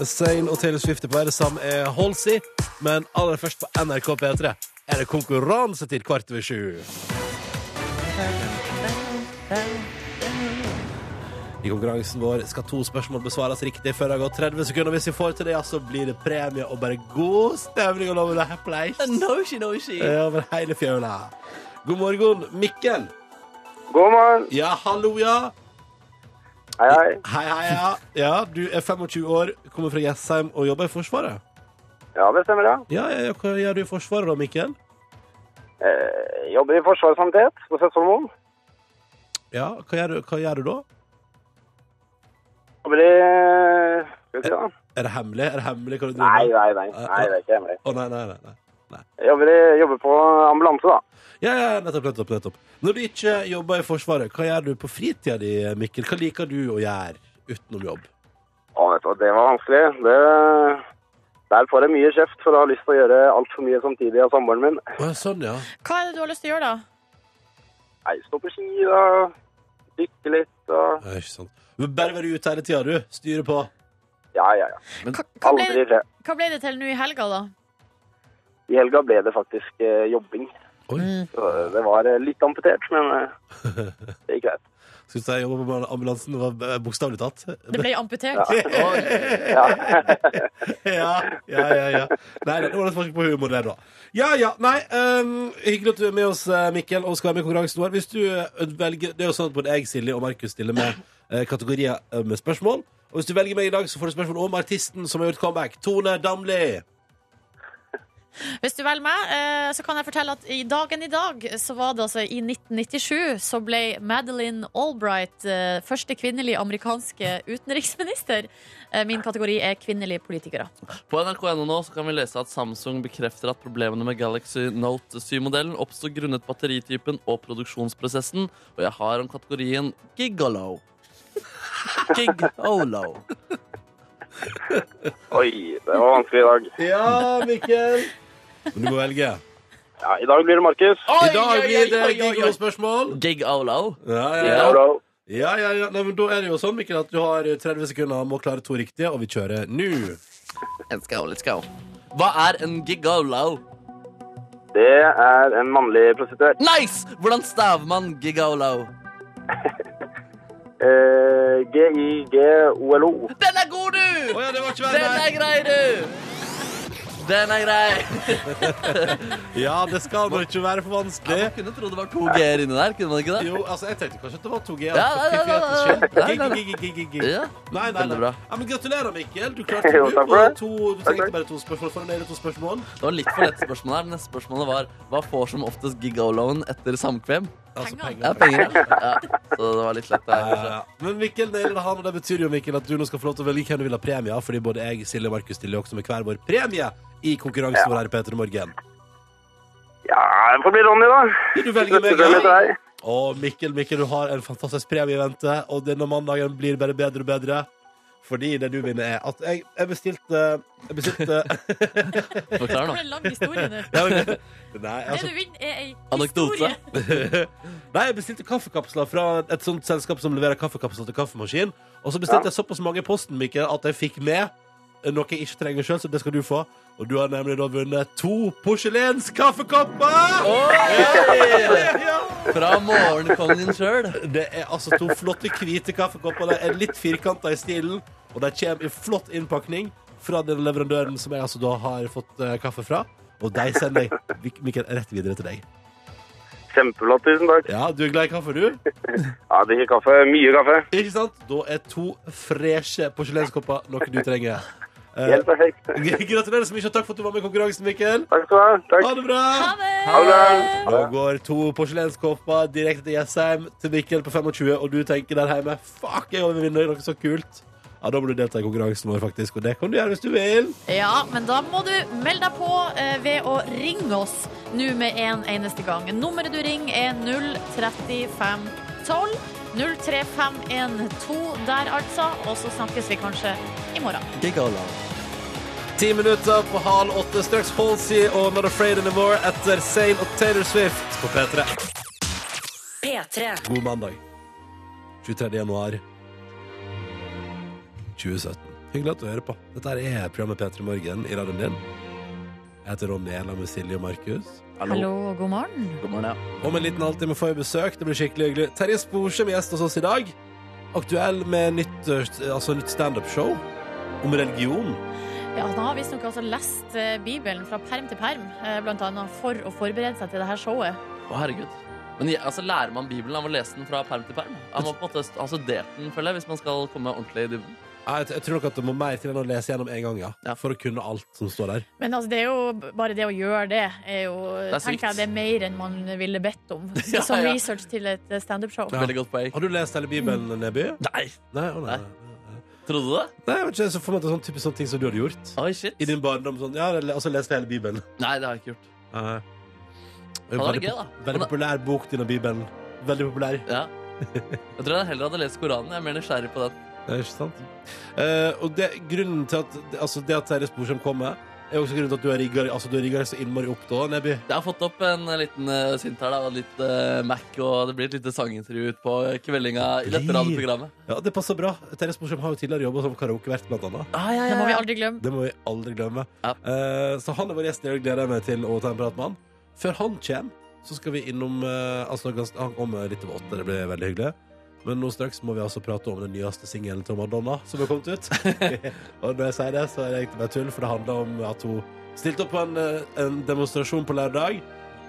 Speaker 2: Zain og Taylor Swift er på her, sammen er Halsey. Men aller først på NRK P3 er det konkurranse til kvart over sju. I konkurransen vår skal to spørsmål besvares riktig før det har gått 30 sekunder. Hvis vi får til det, ja, så blir det premie og bare god stemning og lov til å ha pleis.
Speaker 4: No, she, no, she.
Speaker 2: Eh, over hele fjøla. God morgen, Mikkel.
Speaker 6: God morgen.
Speaker 2: Ja, hallo, ja.
Speaker 6: Hei, hei.
Speaker 2: Hei, hei, ja. Ja, Du er 25 år, kommer fra Jessheim og jobber i Forsvaret.
Speaker 6: Ja, det stemmer, ja.
Speaker 2: Ja, ja, ja, Hva gjør du i Forsvaret da, Mikkel?
Speaker 6: Eh, jobber i Forsvarets sanitet på Sessvollmoen.
Speaker 2: Ja, hva gjør, du, hva gjør du da?
Speaker 6: Jobber i eh, Skal vi si det?
Speaker 2: Er det hemmelig? Er det hemmelig hva du driver
Speaker 6: Nei,
Speaker 2: med?
Speaker 6: nei, nei. Nei, Det er ikke hemmelig.
Speaker 2: Å, nei, nei, nei, nei.
Speaker 6: Jeg jobber, i, jobber på ambulanse, da.
Speaker 2: Ja, ja, nettopp, nettopp, nettopp. Når du ikke jobber i Forsvaret, hva gjør du på fritida di, Mikkel? Hva liker du å gjøre utenom jobb?
Speaker 6: Å, vet du hva, det var vanskelig. Det, der får jeg mye kjeft for å ha lyst til å gjøre altfor mye samtidig av samboeren min.
Speaker 2: Å, ja, sånn, ja.
Speaker 3: Hva er det du har lyst til å gjøre, da?
Speaker 6: Nei, stå på ski, da. Dykke litt og
Speaker 2: ja ikke sant. Du vil Bare være ute hele tida, du. Styre på.
Speaker 6: Ja, ja, ja.
Speaker 3: Hva, hva,
Speaker 6: Aldri
Speaker 3: ble,
Speaker 6: i fred.
Speaker 3: hva ble det til nå i helga, da?
Speaker 6: I helga ble det faktisk eh, jobbing.
Speaker 2: Oi.
Speaker 6: Så det var eh, litt amputert, men eh, det gikk greit.
Speaker 2: Skal du si jeg jobber på ambulansen? Det var bokstavelig tatt.
Speaker 3: Det ble amputert?
Speaker 2: ja, ja, ja, ja. Nei, det var et forsøk på humor der, da. Ja, ja, nei, ehm, hyggelig at du er med oss, eh, Mikkel, og skal være med i konkurransen vår. Hvis du eh, velger, Det er jo sånn at både jeg, Silje og Markus stiller med eh, kategorier eh, med spørsmål. Og hvis du velger meg i dag, så får du spørsmål om artisten som har gjort comeback. Tone Damli.
Speaker 3: Hvis du velger meg, eh, så kan jeg fortelle at i dagen i dag, så var det altså i 1997, så ble Madeleine Albright eh, første kvinnelige amerikanske utenriksminister. Eh, Min kategori er kvinnelige politikere.
Speaker 4: På nrk.no nå så kan vi lese at Samsung bekrefter at problemene med Galaxy Note 7-modellen oppsto grunnet batteritypen og produksjonsprosessen, og jeg har om kategorien gigolo. Gigolo.
Speaker 6: Oi, det var vanskelig i dag.
Speaker 2: Ja, Mikkel. Men du må velge.
Speaker 6: Ja, I dag blir det Markus.
Speaker 2: I dag blir det gode spørsmål.
Speaker 4: Gigolo.
Speaker 2: Ja, ja, ja.
Speaker 6: Hello.
Speaker 2: Ja, ja, ja. Nei, men da er det jo sånn, Mikkel, at du har 30 sekunder om å klare to riktige, og vi kjører nå.
Speaker 4: Let's go, let's go. Hva er en gigolo?
Speaker 6: Det er en mannlig prostituert.
Speaker 4: Nice! Hvordan staver man gigolo?
Speaker 6: Eh, G-I-G-O-L-O.
Speaker 4: Den er god, du!
Speaker 2: ja, det var ikke
Speaker 4: Den er grei, du! Den er grei.
Speaker 2: Ja, det skal nå ikke være for vanskelig.
Speaker 4: Man kunne tro det var to g-er inni der, kunne man ikke det?
Speaker 2: Jo, altså, jeg tenkte kanskje at det var 2G.
Speaker 4: Ja, nei, nei, nei, nei,
Speaker 2: Nei,
Speaker 4: nei.
Speaker 2: nei, nei.
Speaker 4: Ja.
Speaker 2: Nei, nei,
Speaker 4: Veldig
Speaker 2: nei.
Speaker 4: bra.
Speaker 2: Ja, men gratulerer, Mikkel. Du klarte det.
Speaker 6: Jo, takk for det.
Speaker 2: Du, og to- du trengte bare to spørsmål for å nøye to spørsmål.
Speaker 4: Det var litt for lett spørsmål her. Neste spørsmålet var hva får som oftest gigoloen etter samkvem?
Speaker 2: Altså,
Speaker 3: Penger.
Speaker 4: Det er penger. Ja, så det var litt
Speaker 2: Ja,
Speaker 4: lett der.
Speaker 2: ja,
Speaker 4: kanskje.
Speaker 2: ja. Men Mikkel nailer det han, og det betyr jo Mikkel at du nå skal få lov til å velge hvem du vil ha premie av, fordi både jeg, Silje og Markus stiller jo også med hver vår premie i konkurransen vår her i P3 Morgen.
Speaker 6: Ja, det får bli Ronny, da.
Speaker 2: Du velger meg,
Speaker 6: Gratulerer
Speaker 2: ja.
Speaker 6: til deg.
Speaker 2: Og Mikkel, Mikkel, du har en fantastisk premie i vente, og denne mandagen blir bare bedre og bedre. Fordi det du vinner, er at jeg, jeg bestilte Jeg bestilte Ah.
Speaker 4: Forklar
Speaker 3: Det
Speaker 4: nå.
Speaker 3: ble en lang historie nå.
Speaker 2: Ja, ok. Nei,
Speaker 3: Det
Speaker 2: altså,
Speaker 3: du vinner, er ei
Speaker 4: Anekdote.
Speaker 3: historie.
Speaker 2: nei, jeg bestilte kaffekapsler fra et sånt selskap som leverer kaffekapsler til kaffemaskin. Og så bestilte
Speaker 6: Ja.
Speaker 2: jeg såpass mange i posten Mikkel, at jeg fikk med noe jeg ikke trenger sjøl, så det skal du få. Og du har nemlig da vunnet to porselenskaffekopper!
Speaker 4: Oi!
Speaker 2: Ja!
Speaker 4: Fra morgenkongen sjøl.
Speaker 2: Det er altså to flotte hvite kaffekopper. De er litt firkanta i stilen, og de kommer i flott innpakning fra den leverandøren som jeg altså da har fått eh, kaffe fra. Og de sender jeg Mik- Mikkel, rett videre til deg.
Speaker 6: Kjempeflott, tusen takk.
Speaker 2: Ja, du er glad i kaffe, du?
Speaker 6: Ja, jeg drikker kaffe. Mye kaffe.
Speaker 2: Ikke sant? Da er to freshe porselenskopper noe du trenger. Eh,
Speaker 6: Helt perfekt.
Speaker 2: gratulerer så mye, og takk for at du var med i konkurransen, Mikkel.
Speaker 6: Takk skal du ha. Takk.
Speaker 2: Ha det bra!
Speaker 3: Ha
Speaker 6: Ha det.
Speaker 3: det!
Speaker 2: Nå går to porselenskopper direkte til Jessheim til Mikkel på 25, og du tenker der hjemme Fuck, jeg overvinner noe så kult. Ja, Da må du delta i konkurransen vår, faktisk, og det kan du gjøre hvis du vil.
Speaker 3: Ja, men da må du melde deg på eh, ved å ringe oss nå med en eneste gang. Nummeret du ringer er 03512. 03512 der, altså. Og så snakkes vi kanskje i morgen.
Speaker 2: Ti minutter på hal åtte, straks Halsey og Not Afraid Anymore etter Zayn og Taylor Swift på P3.
Speaker 5: P3.
Speaker 2: God mandag. 23. januar 2017. Hyggelig at du hører på. Dette her er programmet P3 Morgen i radioen din. Jeg heter Ronny, jeg er sammen med Silje og Markus.
Speaker 3: Hallo og god morgen.
Speaker 4: God morgen, ja.
Speaker 2: Om en liten halvtime får vi besøk. Det blir skikkelig hyggelig. Terje Sporsem er gjest hos oss i dag. Aktuell med nytt, eh, altså nytt standup-show om religion.
Speaker 3: Ja, Han har visstnok altså lest eh, Bibelen fra perm til perm, eh, blant annet for å forberede seg til det her showet.
Speaker 4: Å, herregud. Men ja, altså, lærer man Bibelen av å lese den fra perm til perm? Jeg må på en måte st- ha studert den, føler jeg, hvis man skal komme ordentlig i dybden.
Speaker 2: Ja, Jeg, jeg tror nok at det må mer til enn å lese gjennom en gang, ja.
Speaker 4: Ja.
Speaker 2: For å kunne alt som står der.
Speaker 3: Men altså, det er jo b- bare det å gjøre det, er jo,
Speaker 4: er sykt.
Speaker 3: tenker jeg, det er mer enn man ville bedt om
Speaker 4: Ja,
Speaker 3: som
Speaker 4: ja.
Speaker 3: research til et eh, standup-show.
Speaker 2: Ja.
Speaker 4: Veldig godt poeng.
Speaker 2: Har du lest hele Bibelen, Neby?
Speaker 4: Nei!
Speaker 2: Nei, å, nei.
Speaker 4: Mm. Nei. Trodde du det?
Speaker 2: nei jeg vet ikke, så for meg at det er sånn typisk sånne ting som du hadde gjort.
Speaker 4: Oi, shit.
Speaker 2: I din barndom sånn, ja, eller- altså leste hele Bibelen.
Speaker 4: Nei, det har jeg ikke gjort.
Speaker 2: Nei.
Speaker 4: Det hadde vært
Speaker 2: Veldig,
Speaker 4: gøy, da.
Speaker 2: veldig
Speaker 4: Men-
Speaker 2: populær bok, denne Bibelen. Veldig populær.
Speaker 4: Ja. Jeg tror jeg heller hadde lest Koranen. Jeg er mer nysgjerrig på den.
Speaker 2: Det er ikke sant. Eh, og det, grunnen til at det- altså det at Terje Sporsem kommer, er også grunnen til at du har rigga altså du har rigga deg så innmari opp da, Nebby.
Speaker 4: Jeg har fått opp en liten uh, synt her, da, og litt eh, Mac, og det blir et lite sangintervju ut på kveldinga i dette
Speaker 2: Blir.
Speaker 4: radioprogrammet.
Speaker 2: Ja, det passer bra. Terje Sporsem har jo tidligere jobba som karaokevert, blant annet.
Speaker 4: Ah, ja,
Speaker 3: Det må vi aldri glemme.
Speaker 2: Det må vi aldri glemme.
Speaker 4: Ja.
Speaker 2: Eh, så han er vår gjest, og jeg gleder meg til å ta en prat med han. Før han kommer, så skal vi innom eh, altså, gans- Han kommer litt over åtte, det blir veldig hyggelig. Men nå straks må vi altså prate om den nyeste singelen til Madonna som er kommet ut. og når jeg sier det, så er det egentlig bare tull, for det handler om at hun stilte opp på en, eh, en demonstrasjon på lørdag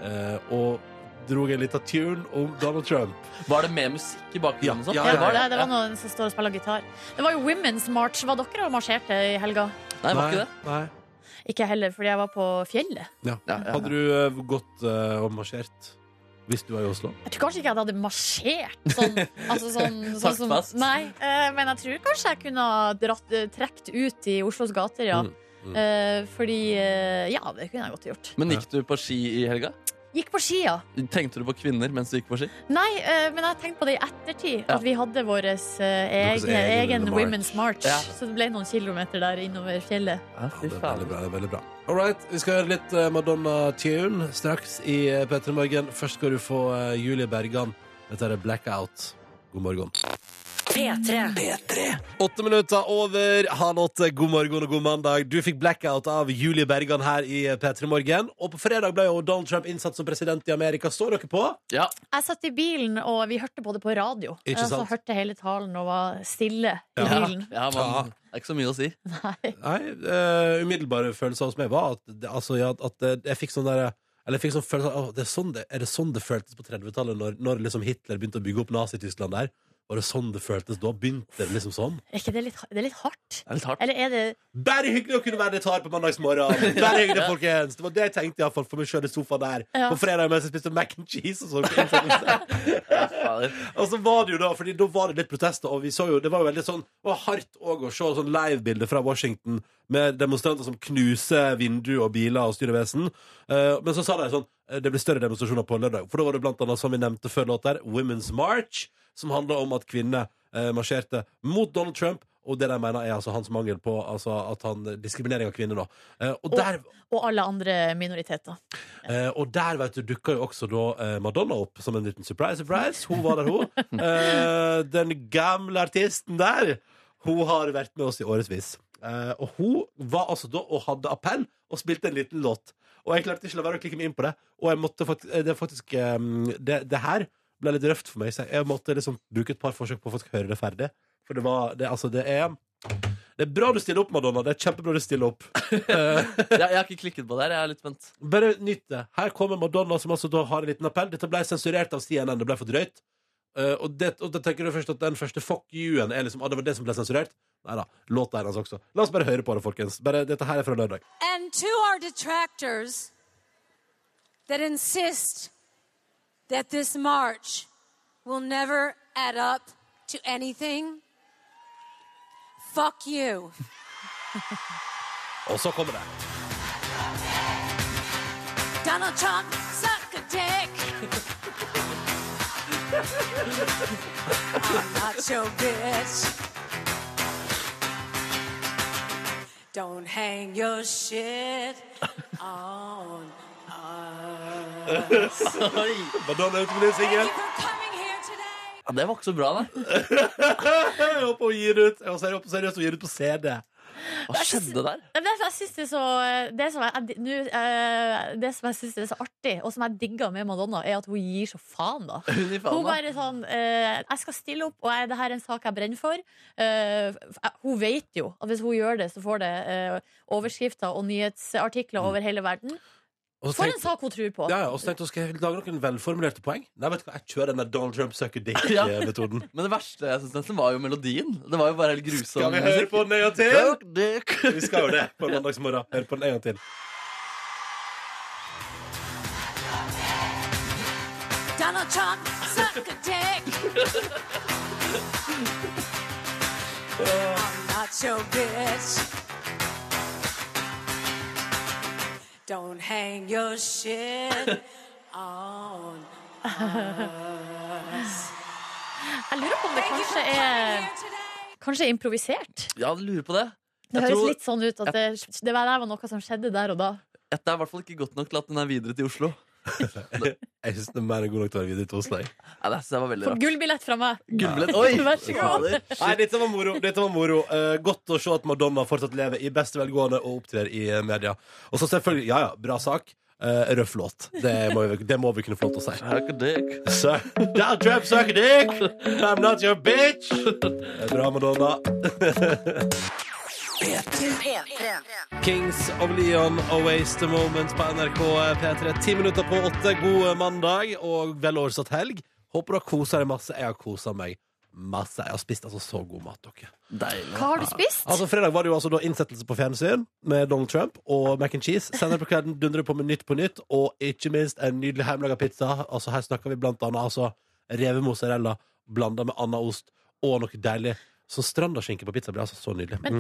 Speaker 2: eh, og dro en liten tune om Donald Trump.
Speaker 4: Var det med musikk i bakgrunnen? og sånn?
Speaker 2: Ja, ja,
Speaker 3: Ja, det var,
Speaker 2: ja.
Speaker 3: det. det var noen som står og spiller gitar. Det var jo Women's March. Var dere og marsjerte i helga?
Speaker 4: Nei, var ikke det?
Speaker 2: Nei.
Speaker 3: Ikke heller, fordi jeg var på fjellet.
Speaker 2: Ja.
Speaker 4: Ja, ja,
Speaker 2: Hadde du eh, gått eh, og marsjert hvis du var i Oslo?
Speaker 3: Jeg tror kanskje ikke jeg hadde marsjert sånn. Altså sånn, sånn
Speaker 4: Sagt
Speaker 3: som,
Speaker 4: fast.
Speaker 3: nei, eh, men jeg tror kanskje jeg kunne ha dratt, eh, trekt ut i Oslos gater, ja.
Speaker 2: Mm, mm.
Speaker 3: Eh, fordi eh, Ja, det kunne jeg godt gjort.
Speaker 4: Men gikk du på ski i helga?
Speaker 3: Gikk på ski, ja.
Speaker 4: Tenkte du på kvinner mens du gikk på ski?
Speaker 3: Nei, eh, men jeg tenkte på det i ettertid.
Speaker 4: Ja.
Speaker 3: At vi hadde vår egen,
Speaker 2: egen
Speaker 3: egen
Speaker 2: march.
Speaker 3: Women's March.
Speaker 4: Ja.
Speaker 3: Så det ble noen kilometer der innover fjellet.
Speaker 4: Ja,
Speaker 2: Ja, det er veldig bra. det er veldig bra All right, Vi skal høre litt eh, Madonna-tune straks i eh, P3 Morgen. Først skal du få eh, Julie Bergan. Dette er Blackout. God morgen.
Speaker 5: P3.
Speaker 2: Åtte minutter over halv åtte. God morgen og god mandag. Du fikk blackout av Julie Bergan her i eh, P3 Morgen. Og på fredag ble jo Donald Trump innsatt som president i Amerika. Står dere på?
Speaker 4: Ja,
Speaker 3: Jeg satt i bilen, og vi hørte på det på radio.
Speaker 2: Ikke
Speaker 3: Jeg
Speaker 2: sant?
Speaker 3: Så hørte hele talen og var stille i
Speaker 4: ja,
Speaker 3: bilen.
Speaker 4: ja man, det er ikke så mye å si.
Speaker 3: Nei.
Speaker 2: Nei, eh, umiddelbare følelser hos meg var at, det- altså, ja, at det- jeg fikk sånn der eller jeg fikk sånn følelse av, «Åh, det er, sånn det, er det sånn det føltes på 30-tallet, når, når liksom Hitler begynte å bygge opp Nazi-Tyskland der? Var det sånn det føltes da? Begynte det liksom sånn?
Speaker 3: Er ikke det litt, det er litt hardt?
Speaker 4: Det er litt hardt.
Speaker 3: Eller er det
Speaker 2: Bare hyggelig å kunne være litt hard på mandagsmorgen! Bare hyggelig, folkens! Det var det jeg tenkte i hvert fall for meg sjøl i sofaen der.
Speaker 3: Ja.
Speaker 2: På fredag mens jeg spiste mac and cheese og sånn. på innsettelsen.
Speaker 4: Ja, fader.
Speaker 2: Og så var det jo da, fordi da var det litt protester, og vi så jo, det var jo veldig sånn, og hardt også å se sånn livebilder fra Washington, med demonstranter som knuser vinduer og biler og styrevesen. Eh, men så sa de sånn, eh, det blir større demonstrasjoner på lørdag, for da var det blant annet, som vi nevnte før låt der, Women's March, som handler om at kvinner eh, marsjerte mot Donald Trump, Og det de mener er altså hans mangel på altså at han, diskriminering av kvinner. da. Eh, og,
Speaker 3: Og-
Speaker 2: der,
Speaker 3: Og alle andre minoriteter.
Speaker 2: eh, og der vet du, dukka jo også da eh, Madonna opp som en liten surprise. surprise. Hun var der, hun. Eh, den gamle artisten der. Hun har vært med oss i årevis. Eh, og hun var altså da og hadde appell og spilte en liten låt. Og jeg klarte ikke å la være å klikke meg inn på det. Og jeg måtte fakt eh, det er faktisk eh, det, det her ble litt røft for meg, så jeg måtte liksom bruke et par forsøk på å faktisk høre det ferdig. For det var det, Altså, det er Det er bra du stiller opp, Madonna. Det er kjempebra du stiller opp.
Speaker 4: Jeg, jeg har ikke klikket på det her. Jeg er litt spent.
Speaker 2: Bare nytt det. Her kommer Madonna, som altså da har en liten appell. Dette ble sensurert av CNN. Det ble for drøyt. Eh, og, det, og da tenker du først at den første fuck you-en er liksom, ah, det var det som ble sensurert. Nei da. Låta er hans også. La oss bare høre på det, folkens. Bare, dette her er fra lørdag.
Speaker 7: And to our detractors that insist that this march will never add up to anything, fuck you.
Speaker 2: Og så kommer det.
Speaker 7: Donald Trump, suck a dick. I'm not your bitch. Don't hang your shit on us.
Speaker 2: Madonna er ute med ny
Speaker 7: Thank
Speaker 2: singel.
Speaker 7: you for coming here today.
Speaker 4: Ja, det var ikke så bra, nei.
Speaker 2: Jeg håper hun gir ut. Jeg håper seriøst hun gir ut på CD.
Speaker 4: Hva skjedde der?
Speaker 3: Nei, men Derfor jeg synes det, er så, det, som jeg, jeg- nå, eh, det som jeg synes er så artig, og som jeg digger med Madonna, er at hun gir så faen, da.
Speaker 4: Hun i
Speaker 3: Hun
Speaker 4: faen, da.
Speaker 3: bare sånn eh, Jeg skal stille opp, og jeg, det her er en sak jeg brenner for. Eh, f- jeg- hun vet jo at hvis hun gjør det, så får det eh, overskrifter og nyhetsartikler over hele verden.
Speaker 2: Og så
Speaker 3: For en
Speaker 2: tenkte-
Speaker 3: sak hun tror på!
Speaker 2: Mm. ja, ja, og så tenkte hun skal jeg lage noen velformulerte poeng. Nei, vet du hva, jeg kjører den der Donald eh, Trump sucker
Speaker 4: Ja.
Speaker 2: dick-metoden.
Speaker 4: Men det verste jeg synes nesten var jo melodien. Det var jo bare helt grusom
Speaker 2: Skal vi høre på den en gang til?
Speaker 4: Fuck dick.
Speaker 2: Vi skal jo det på mandagsmorgen. Hør på den en gang til.
Speaker 7: Donald Trump, suck a dick. I'm not your bitch. Don't hang your shit on us.
Speaker 3: Jeg lurer på om det
Speaker 7: Thank you for
Speaker 3: kanskje er
Speaker 7: coming here today.
Speaker 3: Kanskje er improvisert?
Speaker 4: Ja, du lurer på det.
Speaker 3: Det
Speaker 4: Jeg
Speaker 3: høres
Speaker 4: tror-
Speaker 3: litt sånn ut at det, det var- der var noe som skjedde der og da.
Speaker 4: Det er i hvert fall ikke godt nok til at den er videre til Oslo.
Speaker 2: Jeg syns den er mer enn god nok til å være videre til hos deg.
Speaker 4: Nei, det synes jeg var veldig
Speaker 3: For
Speaker 4: rart.
Speaker 3: gullbillett fra meg!
Speaker 4: Gullbillett. Oi!
Speaker 3: Vær så god.
Speaker 4: Fader.
Speaker 2: Nei, dette var moro. Dette var moro. Eh, godt å se at Madonna fortsatt lever i beste velgående og opptrer i eh, media. Og så selvfølgelig, ja ja, bra sak. Eh, røff låt. Det må, vi, det må vi kunne få lov til å si.
Speaker 4: Fuck dick.
Speaker 2: Sir, Donald Trump suck dick! I'm not your bitch! Det er bra, Madonna.
Speaker 1: P3.
Speaker 2: Kings of Leon og Waste the Moment på NRK P3. Ti minutter på åtte. God mandag og vel oversatt helg. Håper du har kosa deg masse. Jeg har kosa meg masse. Jeg har spist altså så god mat, dere.
Speaker 4: Deilig.
Speaker 3: Hva har du spist?
Speaker 2: Altså Fredag var det jo altså da innsettelse på fjernsyn med Donald Trump og mac and cheese. Senere på kvelden dundrer det på med Nytt på Nytt, og ikke minst en nydelig hjemmelaga pizza. Altså Her snakker vi blant annet altså revemozzarella blanda med annen ost og noe deilig. Så strandaskinke på pizza blir altså så nydelig.
Speaker 3: Men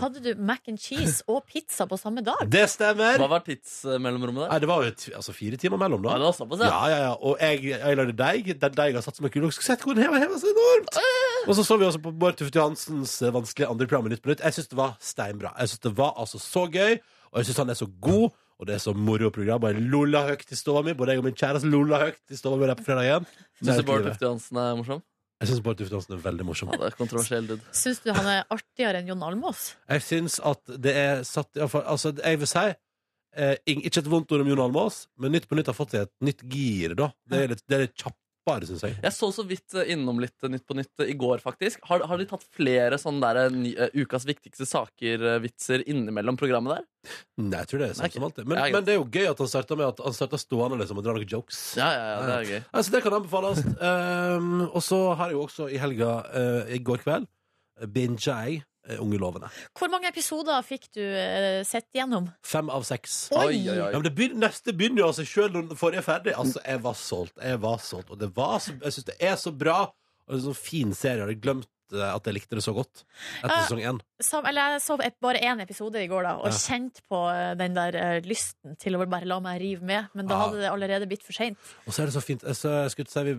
Speaker 3: hadde du mac and cheese og pizza på samme dag?
Speaker 2: Det stemmer!
Speaker 4: Hva var tidsmellomrommet der?
Speaker 2: Nei, det var jo et, altså fire timer mellom,
Speaker 4: Ja,
Speaker 2: da.
Speaker 4: det var såpass, ja.
Speaker 2: Ja, ja, ja. Og jeg, jeg lagde deig. Den deigen har satt som en kule. Skulle sett hvor den heva, heva så enormt!
Speaker 4: Øh.
Speaker 2: Og så så vi også på Bård Tufte Johansens eh, vanskelige andre program i Nytt på Nytt. Jeg syns det var steinbra. Jeg syns det var altså så gøy, og jeg syns han er så god. Og det er så moro program. Og jeg lolla høyt i stova mi. Både jeg og min kjæreste lolla høyt i stova mi der på fredagen.
Speaker 4: Syns du Bård Tufte Johansen er morsom?
Speaker 2: Jeg syns Bård Tufte Johansen er veldig morsom.
Speaker 4: Ja, det er kontroversiell dude.
Speaker 3: Syns du han er artigere enn Jon Almaas?
Speaker 2: Jeg syns at det er satt i hvert fall- Altså, jeg vil si eh, ing- Ikke et vondt ord om Jon Almaas, men Nytt på Nytt har fått seg et nytt gir, da. Det er litt, det er litt kjappere, syns jeg.
Speaker 4: Jeg så så vidt eh, innom litt eh, Nytt på Nytt eh, i går, faktisk. Har, har de tatt flere sånne der, eh, ny- eh, ukas viktigste saker-vitser innimellom programmet der?
Speaker 2: Nei, jeg tror det er
Speaker 4: Nei,
Speaker 2: sånn som alltid. Men,
Speaker 4: Ja, greit.
Speaker 2: men det er jo gøy at han starta med at han starta stående liksom, og dra noen jokes.
Speaker 4: Ja, ja, ja, det er gøy.
Speaker 2: Altså, det kan anbefales. um, og så har jeg jo også i helga eh, i går kveld binga jeg eh, Ungelovene.
Speaker 3: Hvor mange episoder fikk du eh, sett gjennom?
Speaker 2: Fem av seks.
Speaker 3: Oi.
Speaker 2: Ja, men det begyn- neste begynner jo av seg sjøl når den forrige er ferdig. Altså, jeg var solgt. Jeg var solgt. Og det var så, jeg syns det er så bra. Og det er en sånn fin serie. Jeg hadde glemt eh, at jeg likte det så godt etter
Speaker 3: Ja.
Speaker 2: sesong én.
Speaker 3: Sam, eller jeg så ep- bare én episode i går da, og
Speaker 2: Ja.
Speaker 3: kjente på eh, den der eh, lysten til å bare la meg rive med, men da
Speaker 2: Ja.
Speaker 3: hadde det allerede blitt for seint.
Speaker 2: Og så er det så fint Jeg så- jeg skulle til å si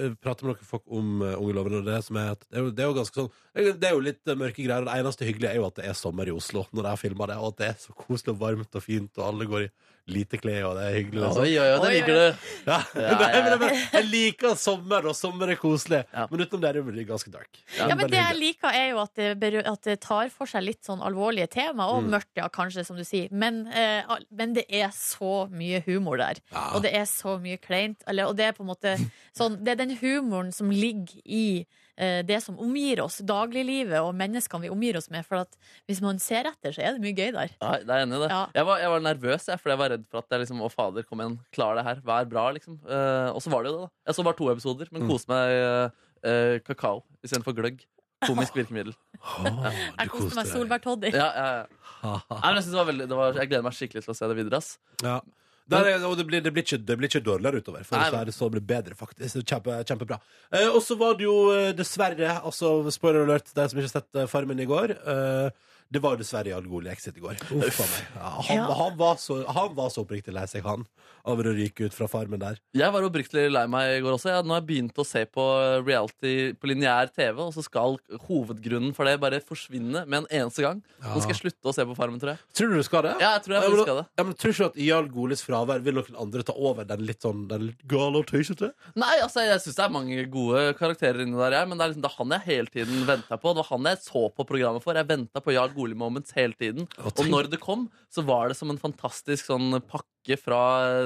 Speaker 2: Vi eh, prater med noen folk om eh, Unge lovende og det som er at det er, jo, det er jo ganske sånn Det er jo litt eh, mørke greier, og det eneste hyggelige er jo at det er sommer i Oslo når jeg har filma det, og at det er så koselig og varmt og fint, og alle går i lite klær, og det er hyggelig. Og sånn.
Speaker 4: Oi, oi, oi, det
Speaker 3: Oi,
Speaker 4: liker
Speaker 3: oi.
Speaker 4: du.
Speaker 2: ja.
Speaker 4: Ja,
Speaker 2: Nei,
Speaker 4: ja, ja.
Speaker 2: men jeg- Jeg liker sommer, og sommer er koselig,
Speaker 4: Ja.
Speaker 2: men utenom det er det jo ganske dark.
Speaker 4: Ja,
Speaker 3: Ja, men
Speaker 2: veldig
Speaker 3: Det jeg
Speaker 2: hyggelig.
Speaker 3: liker, er jo at det, berø- at det tar for seg litt sånn alvorlige tema, og mørkt, ja, kanskje, som du sier. Men, eh, al- men det er så mye humor der.
Speaker 2: Ja.
Speaker 3: Og det er så mye kleint. Eller, og det er på en måte sånn Det er den humoren som ligger i eh, det som omgir oss, dagliglivet og menneskene vi omgir oss med. For at hvis man ser etter, så er det mye gøy der.
Speaker 4: Nei, det er enig i det.
Speaker 3: Ja.
Speaker 4: Jeg, var, jeg var nervøs, jeg, fordi jeg var redd for at jeg liksom, å fader, kom igjen, klar det her, vær bra, liksom. Eh, og så var det jo det, da. Jeg så bare to episoder, men koste meg eh, eh, kakao istedenfor gløgg. Komisk virkemiddel.
Speaker 2: Å, du
Speaker 3: Jeg koste meg
Speaker 2: koste deg.
Speaker 3: Solberg Toddy.
Speaker 4: Ja, ja, ja. Nei, men jeg, synes det var veldig, det var, jeg gleder meg skikkelig til å se det videre. ass
Speaker 2: Ja. Der er, og det blir, det, blir ikke, det blir ikke dårligere utover. For
Speaker 4: Nei,
Speaker 2: så er det så blir det bedre, faktisk. Det er Kjempe, kjempebra. Eh, og så var det jo eh, dessverre, altså spoiler alert til deg som ikke har sett eh, Farmen i går eh, Det var jo dessverre Jarl Goli Exit i går. Uff a meg. Ja, han,
Speaker 3: Ja.
Speaker 2: han, var så, han var så oppriktig lei seg, han, over å ryke ut fra Farmen der.
Speaker 4: Jeg var oppriktig lei meg i går også. Jeg, nå har jeg begynt å se på reality på lineær TV, og så skal hovedgrunnen for det bare forsvinne med en eneste gang.
Speaker 2: Ja.
Speaker 4: Nå skal jeg slutte å se på Farmen, tror jeg.
Speaker 2: Tror du du skal det?
Speaker 4: Ja, jeg tror jeg
Speaker 2: Ja, men
Speaker 4: faktisk
Speaker 2: da-
Speaker 4: skal det.
Speaker 2: Ja, men Tror ikke du at i Jarl Golis fravær vil noen andre ta over den litt sånn Den litt gale og tøysete?
Speaker 4: Nei, altså, jeg syns det er mange gode karakterer inni der, jeg, men det er liksom det er han jeg hele tiden venta på. Det var han jeg så på programmet for. Jeg venta på Jarl Goli Moments hele tiden.
Speaker 2: Å,
Speaker 4: Og
Speaker 2: tenk.
Speaker 4: når det kom, så var det som en fantastisk sånn pakke fra